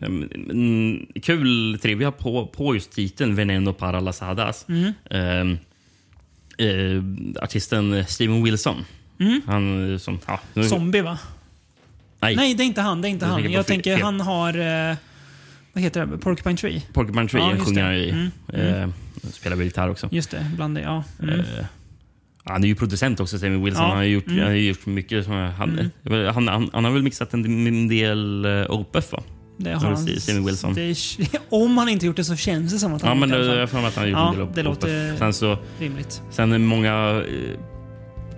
Speaker 2: Mm, mm, kul trivia på, på just titeln Veneno para las hadas.
Speaker 1: Mm.
Speaker 2: Ehm, eh, artisten Steven Wilson.
Speaker 1: Mm.
Speaker 2: Han eh, som... Ja, nu-
Speaker 1: Zombie va?
Speaker 2: Nej,
Speaker 1: Nej. det är inte han. Det är inte
Speaker 2: Jag
Speaker 1: han.
Speaker 2: tänker på
Speaker 1: jag
Speaker 2: fel-
Speaker 1: tänker
Speaker 2: fel.
Speaker 1: han har... Eh, vad heter det? Porcupine Tree?
Speaker 2: Porcupine Tree
Speaker 1: Ja, just
Speaker 2: sjunger
Speaker 1: det.
Speaker 2: han ju i.
Speaker 1: Mm,
Speaker 2: Eh, spelar väl gitarr också.
Speaker 1: Just det, bland det. Ja. Mm.
Speaker 2: Eh, han är ju producent också, Sammy Wilson.
Speaker 1: Ja,
Speaker 2: Han, har ju gjort,
Speaker 1: mm.
Speaker 2: han har ju gjort mycket. som- Han, han, han, han har väl mixat en, en del eh, OPEF, va?
Speaker 1: Det har han.
Speaker 2: Sammy Wilson.
Speaker 1: Det är, om han inte gjort det så känns det som att han
Speaker 2: ja, men
Speaker 1: gjort
Speaker 2: jag
Speaker 1: det.
Speaker 2: har för mig att han har gjort
Speaker 1: Ja,
Speaker 2: en del OPEF.
Speaker 1: det låter
Speaker 2: sen, så,
Speaker 1: rimligt.
Speaker 2: sen är många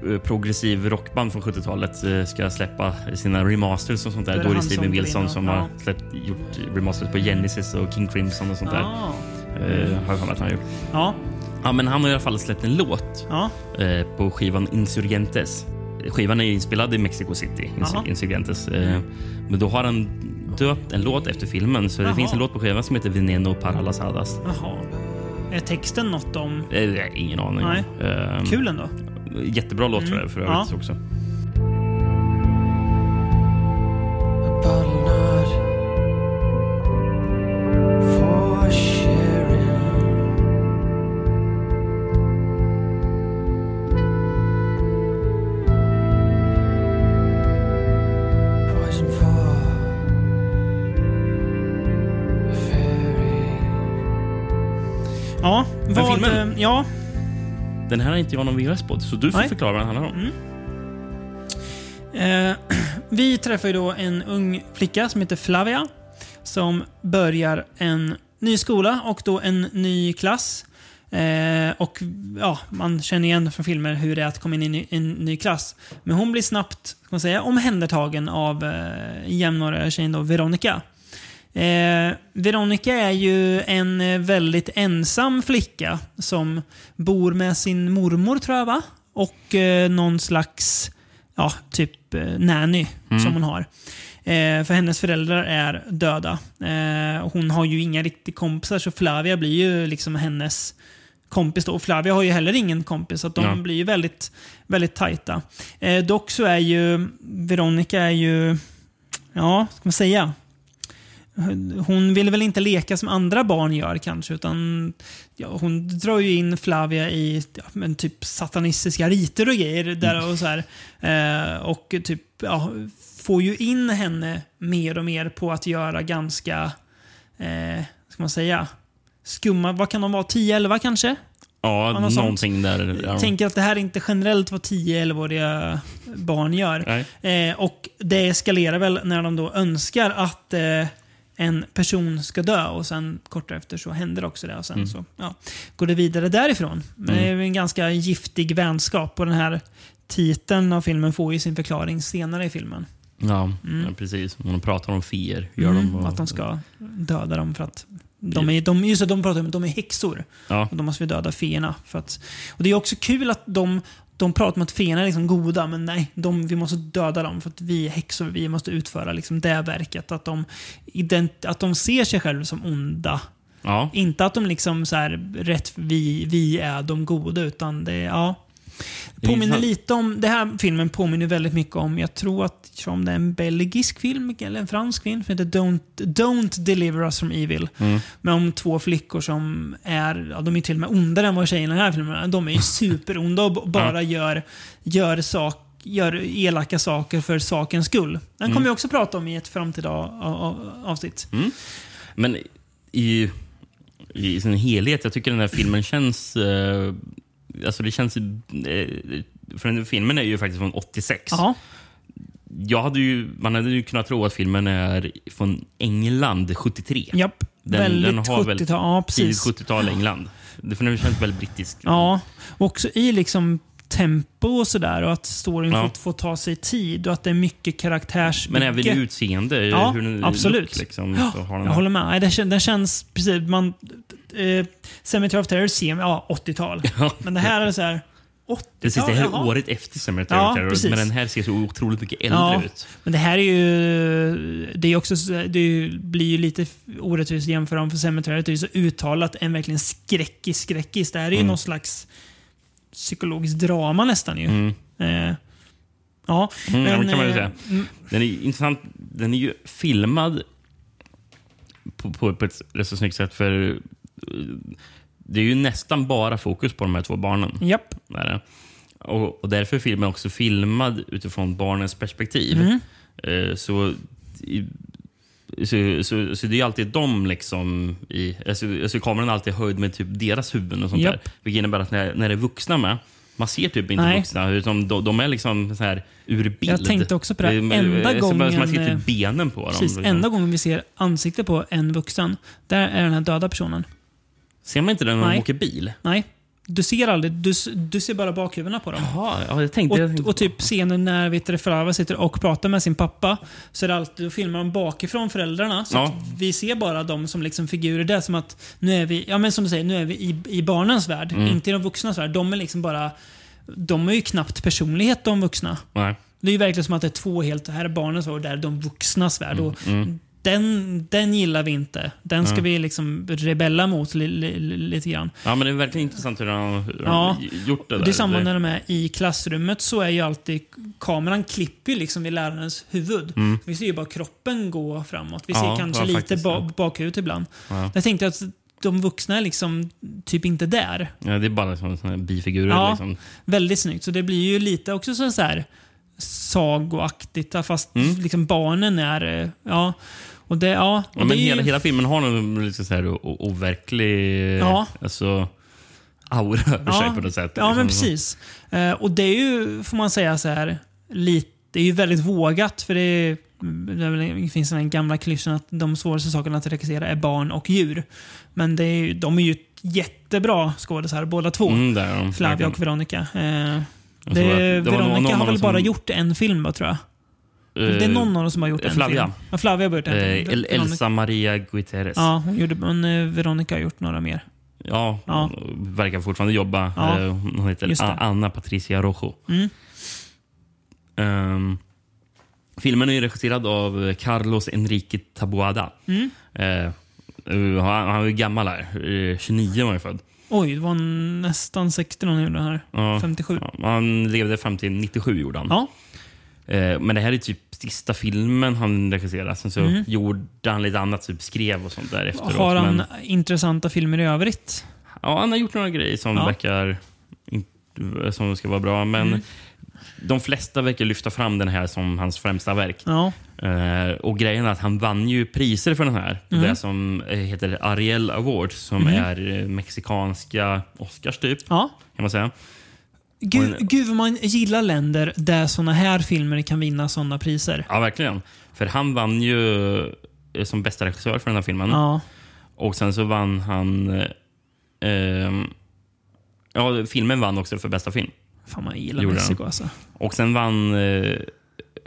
Speaker 2: eh, progressiv rockband från 70-talet eh, ska släppa sina remasters och sånt
Speaker 1: Då
Speaker 2: där.
Speaker 1: är
Speaker 2: Då är det
Speaker 1: han som
Speaker 2: Steven
Speaker 1: går in
Speaker 2: Wilson
Speaker 1: och-
Speaker 2: som
Speaker 1: ja.
Speaker 2: har släppt, gjort remasters på Genesis och King Crimson och sånt där.
Speaker 1: Ja.
Speaker 2: Eh, har jag för mig att han har gjort.
Speaker 1: Ja.
Speaker 2: Ja, men han har i alla fall släppt en låt
Speaker 1: Ja.
Speaker 2: eh, på skivan Insurgentes. Skivan är inspelad i Mexico City, Ins-
Speaker 1: Jaha.
Speaker 2: Insurgentes. Eh, men då har han döpt en låt efter filmen, så det
Speaker 1: Jaha.
Speaker 2: finns en låt på skivan som heter Veneno para las hadas.
Speaker 1: Jaha. Är texten något om...
Speaker 2: Eh, ingen aning.
Speaker 1: Nej.
Speaker 2: Ehm,
Speaker 1: Kul ändå.
Speaker 2: Jättebra låt för, för
Speaker 1: Mm. Ja.
Speaker 2: övrigt också.
Speaker 12: for sharing. Poison for the fairy.
Speaker 1: Ja,
Speaker 2: Men
Speaker 1: vad...
Speaker 2: filmen?
Speaker 1: eh, Ja,
Speaker 2: Den här har inte jag någon VHS på, så du får
Speaker 1: Nej. Mm.
Speaker 2: förklara vad den handlar om.
Speaker 1: Eh, vi träffar ju då en ung flicka som heter Flavia. Som börjar en ny skola och då en ny klass. Eh, och ja, Man känner igen från filmer hur det är att komma in i ny- en ny klass. Men hon blir snabbt kan man säga, omhändertagen av eh, jämnåriga tjejen då, Veronica. Eh, Veronica är ju en eh, väldigt ensam flicka som bor med sin mormor, tror jag, va? Och eh, någon slags ja, typ eh, nanny
Speaker 13: Mm.
Speaker 1: som hon har. Eh, för hennes föräldrar är döda. Eh, och hon har ju inga riktiga kompisar, så Flavia blir ju liksom hennes kompis då. Och Flavia har ju heller ingen kompis, så att de
Speaker 13: Ja.
Speaker 1: blir ju väldigt, väldigt tajta. Eh, dock så är ju Veronica är ju, ja, ska man säga? Hon vill väl inte leka som andra barn gör kanske, utan ja, hon drar ju in Flavia i ja, men typ satanistiska riter och grejer. Där och, så här. Eh, och typ ja, får ju in henne mer och mer på att göra ganska, eh, ska man säga, skumma, vad kan de vara, 10-11 kanske?
Speaker 2: Ja,
Speaker 1: något sånt.
Speaker 2: någonting där. Ja.
Speaker 1: Jag tänker att det här är inte generellt vad 10-11-åriga barn gör. Eh, och det eskalerar väl när de då önskar att eh, en person ska dö och sen kort därefter så händer också det. Och sen
Speaker 13: Mm.
Speaker 1: så ja, går det vidare därifrån. Men Det är
Speaker 13: Mm.
Speaker 1: ju en ganska giftig vänskap och den här titeln av filmen får ju sin förklaring senare i filmen.
Speaker 2: Ja,
Speaker 1: Mm.
Speaker 2: ja, precis. Hon pratar om fear. Gör
Speaker 1: Mm,
Speaker 2: de, och-
Speaker 1: Att de ska döda dem för att de är, de, just det, de pratar om att de är häxor.
Speaker 2: Ja.
Speaker 1: Och då måste vi döda feerna. För att, och det är också kul att de, de pratar om att feerna är liksom goda, men nej, de, vi måste döda dem för att vi är häxor. Vi måste utföra liksom det verket. Att de, ident, att de ser sig själva som onda.
Speaker 2: Ja.
Speaker 1: Inte att de liksom så här, rätt, vi, vi är de goda, utan det är, ja. Det
Speaker 13: Det är
Speaker 1: Påminner
Speaker 13: intressant.
Speaker 1: lite om, det här filmen påminner väldigt mycket om, jag tror att tror om det är en belgisk film eller en fransk film som heter Don't, Don't Deliver Us From Evil.
Speaker 13: Mm.
Speaker 1: Men om två flickor som är, ja, de är till och med ondare än vad tjejerna i den här filmen är. De är ju superonda och b- bara gör, gör, sak, gör elaka saker för sakens skull. Den
Speaker 2: Mm.
Speaker 1: kommer vi också prata om i ett framtida a- a- avsnitt.
Speaker 2: Mm. Men i, i sin helhet, jag tycker den här filmen känns... Eh, alltså det känns... Eh, för den här filmen är ju faktiskt från 86.
Speaker 1: Ja.
Speaker 2: Jag hade ju, man hade ju kunnat tro att filmen är från England 73.
Speaker 1: Japp. Väldigt 70-tal, ja, precis.
Speaker 2: tidigt 70-tal England. Det för den känns väldigt brittisk.
Speaker 1: Ja, och också i liksom tempo och sådär och att storyn
Speaker 2: Ja.
Speaker 1: får, får ta sig tid och att det är mycket karaktärsbygge.
Speaker 2: Men även i utseende,
Speaker 1: Ja,
Speaker 2: hur den
Speaker 1: absolut.
Speaker 2: look, liksom,
Speaker 1: Ja,
Speaker 2: så har den
Speaker 1: jag håller med. Nej, Den, kän- den känns precis... Man, eh, Cemetery of Terror ser man- ja, 80-tal. Men det här är så här... 80-tal?
Speaker 2: Precis, det här är
Speaker 1: Jaha.
Speaker 2: året efter Cemetery
Speaker 1: Ja,
Speaker 2: ja, Terror,
Speaker 1: precis.
Speaker 2: men den här ser så otroligt mycket äldre ut.
Speaker 1: Men det här är ju... Det, är också, så- det är ju- blir ju lite orättvist att jämföra om för Cemetery. Det är ju så uttalat en verkligen skräckis, skräckis. Det här är ju
Speaker 2: Mm.
Speaker 1: någon slags psykologiskt drama nästan ju.
Speaker 2: Mm.
Speaker 1: Eh, ja,
Speaker 2: Mm, ja,
Speaker 1: men,
Speaker 2: det kan man ju
Speaker 1: eh,
Speaker 2: säga.
Speaker 1: mm,
Speaker 2: Den är ju intressant. Den är ju filmad på, på, på ett rätt så snyggt sätt. För eh, Det är ju nästan bara fokus på de här två barnen.
Speaker 1: eh, Japp.
Speaker 2: Där är det. Och, och därför är filmen också filmad utifrån barnens perspektiv.
Speaker 1: Mm.
Speaker 2: Eh, så, i, så, så, så det är ju alltid de liksom i... Alltså, alltså kameran är alltid höjd med typ deras huvuden och sånt
Speaker 1: Japp.
Speaker 2: där. Vilket innebär att när, när det är vuxna med, man ser typ inte
Speaker 1: Nej.
Speaker 2: vuxna. Utan de, de är liksom så här ur bild. Eh,
Speaker 1: Jag tänkte också på det.
Speaker 2: är-
Speaker 1: Enda
Speaker 2: är som-
Speaker 1: gången-
Speaker 2: Man ser typ benen på dem.
Speaker 1: Precis,
Speaker 2: liksom.
Speaker 1: enda gången vi ser ansikte på en vuxen, där är den här döda personen.
Speaker 2: Ser man inte den när de
Speaker 1: Nej.
Speaker 2: åker bil?
Speaker 1: Nej. Du ser aldrig, du, s- du ser bara bakhuvudena på dem.
Speaker 2: Jaha, ja, jag tänkte-
Speaker 1: och,
Speaker 2: jag tänkte-
Speaker 1: och typ scenen när vet du, Ferrara sitter och pratar med sin pappa, så är det alltid, då filmar de bakifrån föräldrarna. Så
Speaker 2: Ja.
Speaker 1: att vi ser bara dem som liksom figurer där, som att nu är vi, ja men som du säger, nu är vi i, i barnens värld,
Speaker 2: Mm.
Speaker 1: inte i de vuxnas värld. De är liksom bara, de är ju knappt personlighet de vuxna.
Speaker 2: Nej.
Speaker 1: Det är ju verkligen som att det är två helt, här är barnens värld och där är de vuxnas värld. Och
Speaker 2: Mm.
Speaker 1: den, den gillar vi inte. Den ska
Speaker 2: Ja.
Speaker 1: vi liksom rebella mot li, li, li, lite grann.
Speaker 2: Ja, men det är verkligen intressant hur de hur de
Speaker 1: Ja,
Speaker 2: gjort det där.
Speaker 1: Det är samma när de är i klassrummet så är ju alltid kameran klipper ju liksom vid lärarens huvud.
Speaker 2: Mm.
Speaker 1: Vi ser ju bara kroppen gå framåt. Vi ser
Speaker 2: Ja,
Speaker 1: kanske
Speaker 2: ja,
Speaker 1: lite
Speaker 2: faktiskt,
Speaker 1: ba- bakut ibland.
Speaker 2: Ja.
Speaker 1: Jag tänkte att de vuxna är liksom typ inte där.
Speaker 2: Ja, det är bara liksom såna här bifigurer.
Speaker 1: Ja,
Speaker 2: Liksom.
Speaker 1: Väldigt snyggt. Så det blir ju lite också så så här sagoaktigt fast liksom barnen är... eh, Ja, och det, ja, och
Speaker 2: Mm. Ja,
Speaker 1: det
Speaker 2: men
Speaker 1: är ju-
Speaker 2: hela, hela filmen har någon liksom så här o- o- overklig
Speaker 1: Ja.
Speaker 2: alltså, aura över sig på något sätt.
Speaker 1: Ja, men
Speaker 2: Liksom så.
Speaker 1: precis. Eh, och det är ju, får man säga så här, lite, det är ju väldigt vågat för det, är, det är väl- det finns den här gamla klyschan att de svåraste sakerna att regissera är barn och djur. Men det är ju, de är ju jättebra skådisar båda två.
Speaker 2: Mm, där, ja,
Speaker 1: Flavia
Speaker 2: verkligen.
Speaker 1: och Veronica. Eh,
Speaker 2: Jag
Speaker 1: det,
Speaker 2: tror att det var någon-
Speaker 1: Veronica
Speaker 2: någon av
Speaker 1: har
Speaker 2: dem
Speaker 1: väl bara
Speaker 2: som-
Speaker 1: gjort en film, va, tror jag. det är
Speaker 2: Eh,
Speaker 1: någon av dem som har gjort en
Speaker 2: Flavia.
Speaker 1: film. Ja, Flavia har gjort en.
Speaker 2: Eh, El- Elsa Maria Guterres.
Speaker 1: Ja, hon gjorde, men eh, Veronica har gjort några mer.
Speaker 2: Ja,
Speaker 1: Ja.
Speaker 2: hon verkar fortfarande jobba.
Speaker 1: Ja.
Speaker 2: Eh, Hon
Speaker 1: Just
Speaker 2: heter
Speaker 1: det.
Speaker 2: A- Anna Patricia Rojo.
Speaker 1: Mm.
Speaker 2: Ehm, filmen är ju regisserad av Carlos Enrique Taboada.
Speaker 1: Mm.
Speaker 2: Eh, han, han är ju gammal här. Eh, 29 var han född.
Speaker 1: Oj, det var nästan 60 någon gjorde här.
Speaker 2: Ja.
Speaker 1: 57.
Speaker 2: Ja, han levde fram till 97 gjorde han.
Speaker 1: Ja.
Speaker 2: Eh, Men det här är typ sista filmen han regisserade. Sen så
Speaker 1: Mm.
Speaker 2: gjorde han lite annat, typ skrev och sånt där efteråt.
Speaker 1: Har han
Speaker 2: Men,
Speaker 1: intressanta filmer i övrigt?
Speaker 2: ja, han har gjort några grejer som
Speaker 1: Ja.
Speaker 2: verkar in- som ska vara bra. Men
Speaker 1: Mm.
Speaker 2: de flesta verkar lyfta fram den här som hans främsta verk.
Speaker 1: Ja.
Speaker 2: Eh, och grejen är att han vann ju priser för den här.
Speaker 1: Mm.
Speaker 2: Det som eh, heter Ariel Awards som
Speaker 1: Mm.
Speaker 2: är eh, mexikanska Oscars typ. Kan man säga.
Speaker 1: Gud, gud vad man gillar länder där såna här filmer kan vinna såna priser.
Speaker 2: Ja, verkligen. För han vann ju eh, som bästa regissör för den här filmen.
Speaker 1: Ja.
Speaker 2: Och sen så vann han... eh, ehm, ja, filmen vann också för bästa film.
Speaker 1: Fan, man gillar
Speaker 2: Gjorde
Speaker 1: Mexiko
Speaker 2: den.
Speaker 1: alltså.
Speaker 2: Och sen vann... eh,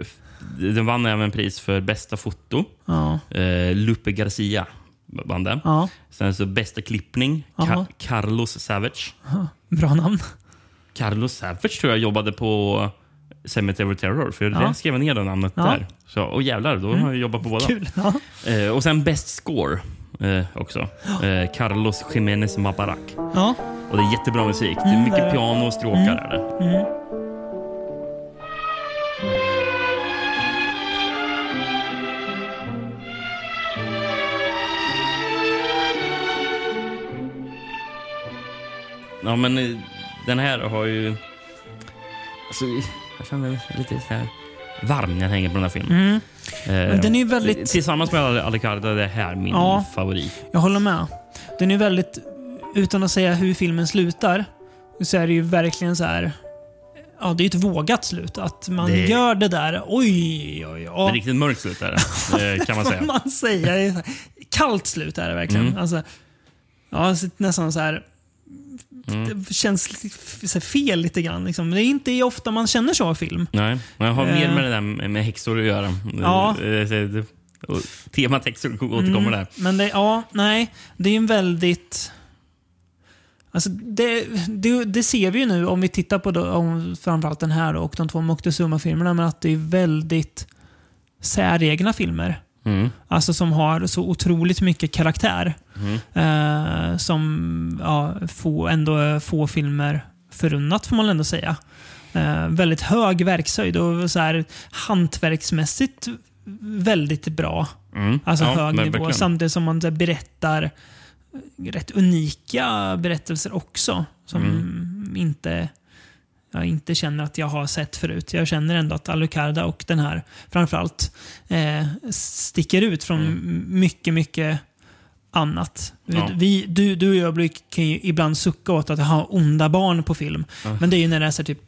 Speaker 2: f- den vann även pris för bästa foto.
Speaker 1: Ja.
Speaker 2: Eh, Lupe Garcia vann den.
Speaker 1: Ja.
Speaker 2: Sen så bästa klippning,
Speaker 1: Jaha.
Speaker 2: Ka- Carlos Savage.
Speaker 1: Aha, Bra namn.
Speaker 2: Carlos Savage tror jag jobbade på Cemetery Terror, för
Speaker 1: Ja.
Speaker 2: jag skrev ner det namnet
Speaker 1: Ja.
Speaker 2: där. Så, och jävlar, då
Speaker 1: Mm.
Speaker 2: har jag jobbat på båda.
Speaker 1: Kul. Ja.
Speaker 2: Eh, och sen Best Score eh, också. Eh, Carlos Jiménez Mabarak.
Speaker 1: Ja.
Speaker 2: Och det är jättebra musik. Det
Speaker 1: Mm,
Speaker 2: är
Speaker 1: det är
Speaker 2: mycket
Speaker 1: det.
Speaker 2: piano och stråkar.
Speaker 1: Mm.
Speaker 2: Är det.
Speaker 1: Mm.
Speaker 2: Ja, men eh, den här har ju... Alltså, jag känner mig lite så här varm när jag tänker på den här filmen.
Speaker 1: Mm. Men den är
Speaker 2: Eh,
Speaker 1: ju väldigt-
Speaker 2: Tillsammans med Alicarda är det här min
Speaker 1: Ja.
Speaker 2: favorit.
Speaker 1: Jag håller med. Den är väldigt, utan att säga hur filmen slutar, så är det ju verkligen så här. Ja, det är ju ett vågat slut. Att man
Speaker 2: Det-
Speaker 1: gör det där. Oj, oj,
Speaker 2: Det är
Speaker 1: oj.
Speaker 2: riktigt mörkt slut där, eh, kan man säga.
Speaker 1: man säga. Det är så här, Kallt slut är det verkligen.
Speaker 2: Mm.
Speaker 1: Alltså, ja, så- nästan så här.
Speaker 2: Mm.
Speaker 1: Det känns f- så här fel lite grann. Liksom. Det är inte ofta man känner så i film.
Speaker 2: Nej, men jag har mer
Speaker 1: Eh.
Speaker 2: med det där med med häxor att göra.
Speaker 1: Ja. Mm.
Speaker 2: Eh, så det- och Temat häxor återkommer där.
Speaker 1: Men det, ja, nej. Det är en väldigt... Alltså det, det, det ser vi ju nu om vi tittar på då, om framförallt den här och de två Moctezuma-filmerna, men att det är väldigt säregna filmer.
Speaker 2: Mm.
Speaker 1: Alltså som har så otroligt mycket karaktär.
Speaker 2: Mm.
Speaker 1: Eh, som ja, få, ändå få filmer förunnat får man ändå säga. Eh, väldigt hög verkshöjd och så här, hantverksmässigt väldigt bra.
Speaker 2: Mm.
Speaker 1: Alltså
Speaker 2: Ja,
Speaker 1: hög
Speaker 2: men
Speaker 1: nivå.
Speaker 2: verkligen.
Speaker 1: Samtidigt som man så här, berättar rätt unika berättelser också. Som
Speaker 2: Mm.
Speaker 1: inte jag inte känner att jag har sett förut. Jag känner ändå att Alucarda och den här framförallt eh, sticker ut från
Speaker 2: Mm.
Speaker 1: m- mycket, mycket annat.
Speaker 2: Ja.
Speaker 1: Vi, du, du och jag brukar kan ju ibland sucka åt att ha onda barn på film.
Speaker 2: Ja.
Speaker 1: Men det är ju när det är så här typ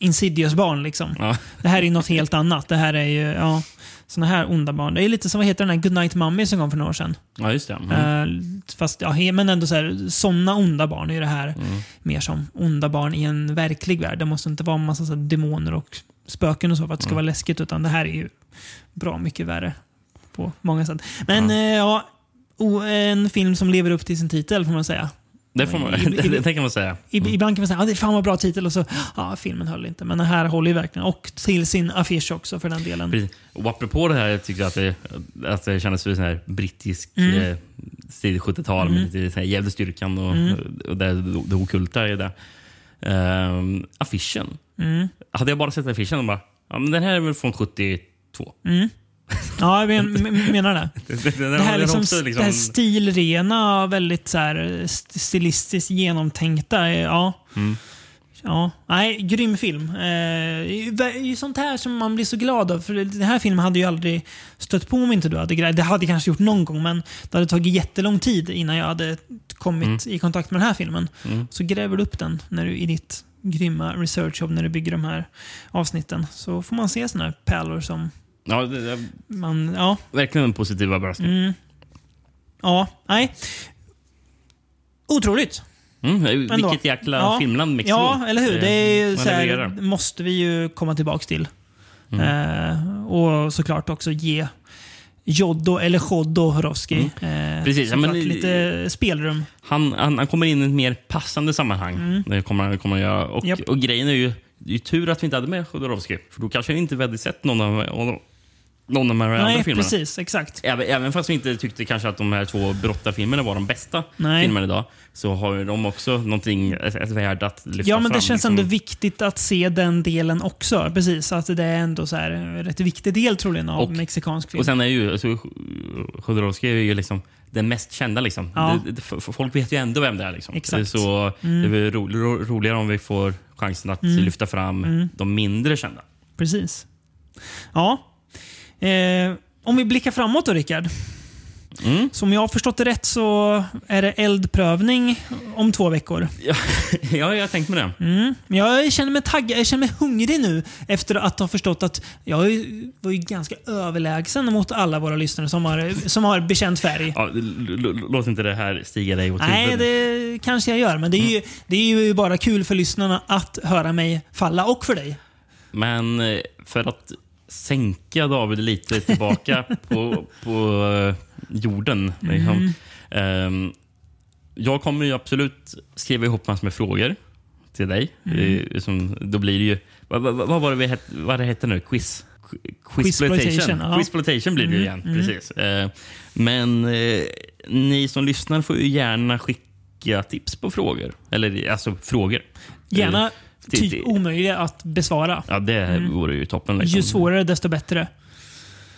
Speaker 1: Insidious-barn liksom.
Speaker 2: Ja.
Speaker 1: Det här är ju något helt annat. Det här är ju, ja, såna här onda barn. Det är lite som, vad heter den här Goodnight Mommy som kom för några år sedan?
Speaker 2: Ja, just det. Mm.
Speaker 1: Eh, fast, ja, he- men ändå så här, sådana onda barn är ju det här
Speaker 2: Mm.
Speaker 1: mer som onda barn i en verklig värld. Det måste inte vara en massa så här, demoner och spöken och så för att det ska
Speaker 2: Mm.
Speaker 1: vara läskigt, utan det här är ju bra mycket värre på många sätt. Men eh, ja, o- en film som lever upp till sin titel får man säga.
Speaker 2: Det, får man, det, det kan man säga.
Speaker 1: Ib- Ibland kan man säga att ah, det är fan vad bra titel och så ah, filmen höll inte. Men den här håller ju verkligen. Och till sin affisch också för den delen.
Speaker 2: Precis. Och apropå det här, jag tyckte att det, att det kändes som en sån här brittisk
Speaker 1: Mm.
Speaker 2: eh, stil 70-tal med
Speaker 1: Mm.
Speaker 2: lite så här jävla styrkan och,
Speaker 1: Mm.
Speaker 2: och det, det okulta i det. Ehm, affischen.
Speaker 1: Mm.
Speaker 2: Hade jag bara sett affischen och bara, ja, men den här är väl från 72.
Speaker 1: Mm. Ja, jag men, men- menar det.
Speaker 2: Den-
Speaker 1: Det här, är
Speaker 2: den
Speaker 1: liksom,
Speaker 2: också
Speaker 1: det här stilrena, väldigt så här, st- stilistiskt genomtänkta. eh, Ja.
Speaker 2: Mm.
Speaker 1: Ja, nej, grym film. Eh, det är ju sånt här som man blir så glad av. För den här filmen hade ju aldrig stött på om inte du hade grejat. Det hade jag kanske gjort någon gång, men det hade tagit jättelång tid innan jag hade kommit
Speaker 2: Mm.
Speaker 1: i kontakt med den här filmen.
Speaker 2: Mm.
Speaker 1: Så gräver du upp den när du i ditt grymma researchjobb när du bygger de här avsnitten. Så får man se såna här pärlor som
Speaker 2: Ja, det, det,
Speaker 1: man... Ja.
Speaker 2: verkligen en positiv överraskning.
Speaker 1: Mm. Ja, nej. Otroligt.
Speaker 2: Mm.
Speaker 1: Ändå.
Speaker 2: Vilket jäkla
Speaker 1: Ja.
Speaker 2: filmland Mexiko. Eh,
Speaker 1: Ja, eller hur? Det är ju
Speaker 2: man
Speaker 1: så
Speaker 2: levererar. Mm.
Speaker 1: här, måste vi ju komma tillbaka till. Eh, och såklart också ge Joddo eller Choddo Horowski eh,
Speaker 2: Mm. Precis, ja, men-
Speaker 1: såklart lite spelrum.
Speaker 2: Han, han, han kommer in i ett mer passande sammanhang.
Speaker 1: Mm.
Speaker 2: Det kommer, han- kommer han göra. Och,
Speaker 1: Japp.
Speaker 2: och grejen är ju, det är ju tur att vi inte hade med Jodorowsky. För då kanske vi inte hade sett någon av, någon av de här
Speaker 1: Nej,
Speaker 2: andra filmerna.
Speaker 1: precis. Exakt.
Speaker 2: Även, även fast vi inte tyckte kanske att de här två brottarfilmerna var de bästa
Speaker 1: Nej.
Speaker 2: filmerna idag, så har ju de också någonting, ett, ett värde att lyfta
Speaker 1: Ja, men det
Speaker 2: fram, liksom.
Speaker 1: känns ändå viktigt att se den delen också. Precis, att det är ändå så här, en rätt viktig del troligen av
Speaker 2: Och-
Speaker 1: mexikansk film.
Speaker 2: Och sen är ju alltså, Jodorowsky är ju liksom den mest kända. Liksom.
Speaker 1: Ja.
Speaker 2: Det, det, f- folk vet ju ändå vem det är. Liksom.
Speaker 1: Exakt.
Speaker 2: Det är så
Speaker 1: Mm.
Speaker 2: det blir ro, ro, roligare om vi får chansen att
Speaker 1: Mm.
Speaker 2: lyfta fram
Speaker 1: Mm.
Speaker 2: de mindre kända.
Speaker 1: Precis. Ja. Eh, om vi blickar framåt då, Rickard.
Speaker 2: Mm.
Speaker 1: Så om jag har förstått det rätt så är det eldprövning om två veckor.
Speaker 2: Ja, ja jag har tänkt med det.
Speaker 1: Mm. Men jag känner mig taggad, jag känner mig hungrig nu efter att ha förstått att jag är ju- var ju ganska överlägsen mot alla våra lyssnare som har, som har bekänt färg.
Speaker 2: Ja, l- l- l- låt inte det här stiga dig åt
Speaker 1: Nej,
Speaker 2: huvudet.
Speaker 1: det kanske jag gör, men det är,
Speaker 2: Mm.
Speaker 1: ju, det är ju bara kul för lyssnarna att höra mig falla och för dig.
Speaker 2: Men eh, för att sänka David lite tillbaka på, på eh, jorden. Liksom.
Speaker 1: Mm.
Speaker 2: Ehm, jag kommer ju absolut skriva ihop massor med frågor till dig.
Speaker 1: Mm.
Speaker 2: Eh, Som, då blir det ju... Vad, vad, vad var det vi het, vad det hette nu? Quiz? Qu-
Speaker 1: Quizploitation, ja.
Speaker 2: Quizploitation blir det ju
Speaker 1: Mm,
Speaker 2: igen.
Speaker 1: mm.
Speaker 2: Precis. Eh, Men eh, ni som lyssnar får ju gärna skicka tips på frågor. Eller alltså frågor.
Speaker 1: Gärna
Speaker 2: Eh, till-
Speaker 1: ty-
Speaker 2: till-
Speaker 1: omöjliga att besvara.
Speaker 2: Ja, det
Speaker 1: Mm.
Speaker 2: vore ju toppen.
Speaker 1: Ju
Speaker 2: Liksom.
Speaker 1: svårare desto bättre.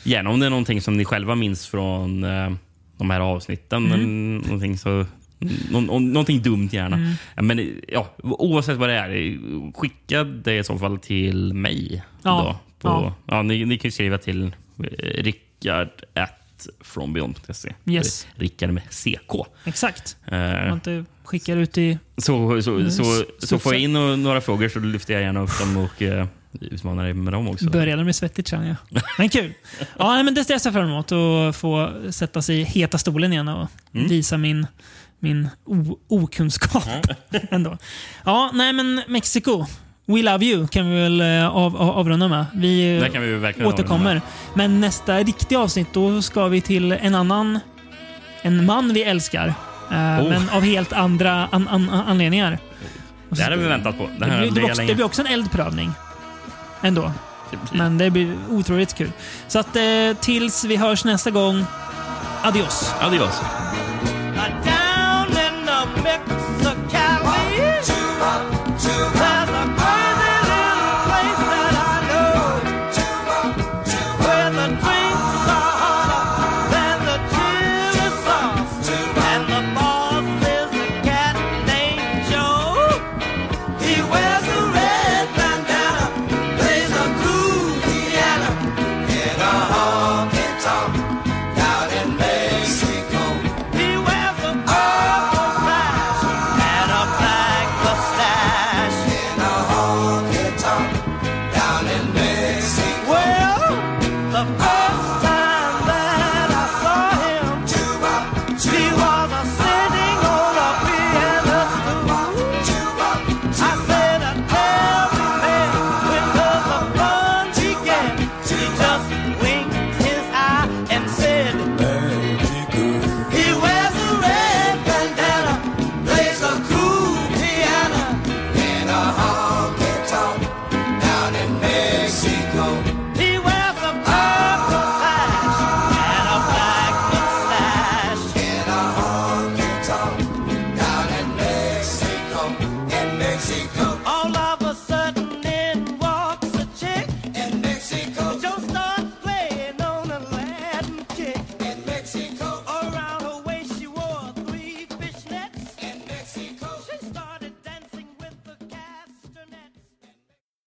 Speaker 2: Gärna om det är någonting som ni själva minns från eh, de här avsnitten.
Speaker 1: Mm.
Speaker 2: Mm. Någonting, så, någon, om- någonting dumt gärna.
Speaker 1: Mm.
Speaker 2: Ja, Men eh, ja, oavsett vad det är, eh, skicka det i så fall till mig.
Speaker 1: Ja.
Speaker 2: Då, på,
Speaker 1: Ja.
Speaker 2: ja. ni, ni kan ju skriva till eh, rickard at frombeyond.se.
Speaker 1: Yes.
Speaker 2: Rickard med CK.
Speaker 1: Exakt. Om
Speaker 2: Eh,
Speaker 1: man inte skickar ut i...
Speaker 2: så,
Speaker 1: Mm.
Speaker 2: så, så,
Speaker 1: s-
Speaker 2: så får jag in no- några frågor så lyfter jag gärna upp dem och eh, utmanar dig med dem också.
Speaker 1: Började med svettigt känner jag. Men kul. Ja, nej, men det ser jag fram emot att få sätta sig i heta stolen igen och
Speaker 2: Mm.
Speaker 1: visa min, min o- okunskap. Ändå. Ja, nej men Mexiko. We love you kan vi väl eh, av, av, avrunda med. Vi eh,
Speaker 2: Det kan vi verkligen avrunda
Speaker 1: återkommer.
Speaker 2: med.
Speaker 1: Men nästa riktiga avsnitt, då ska vi till en annan... En man vi älskar. Eh,
Speaker 2: Oh.
Speaker 1: Men av helt andra an, an, an, anledningar.
Speaker 2: Det här har vi väntat på. Det,
Speaker 1: Det
Speaker 2: här har
Speaker 1: blir, det,
Speaker 2: legat
Speaker 1: blir också,
Speaker 2: länge.
Speaker 1: det blir också en eldprövning. Ändå. Men det blir otroligt kul. Så att eh, tills vi hörs nästa gång. Adios.
Speaker 2: Adios.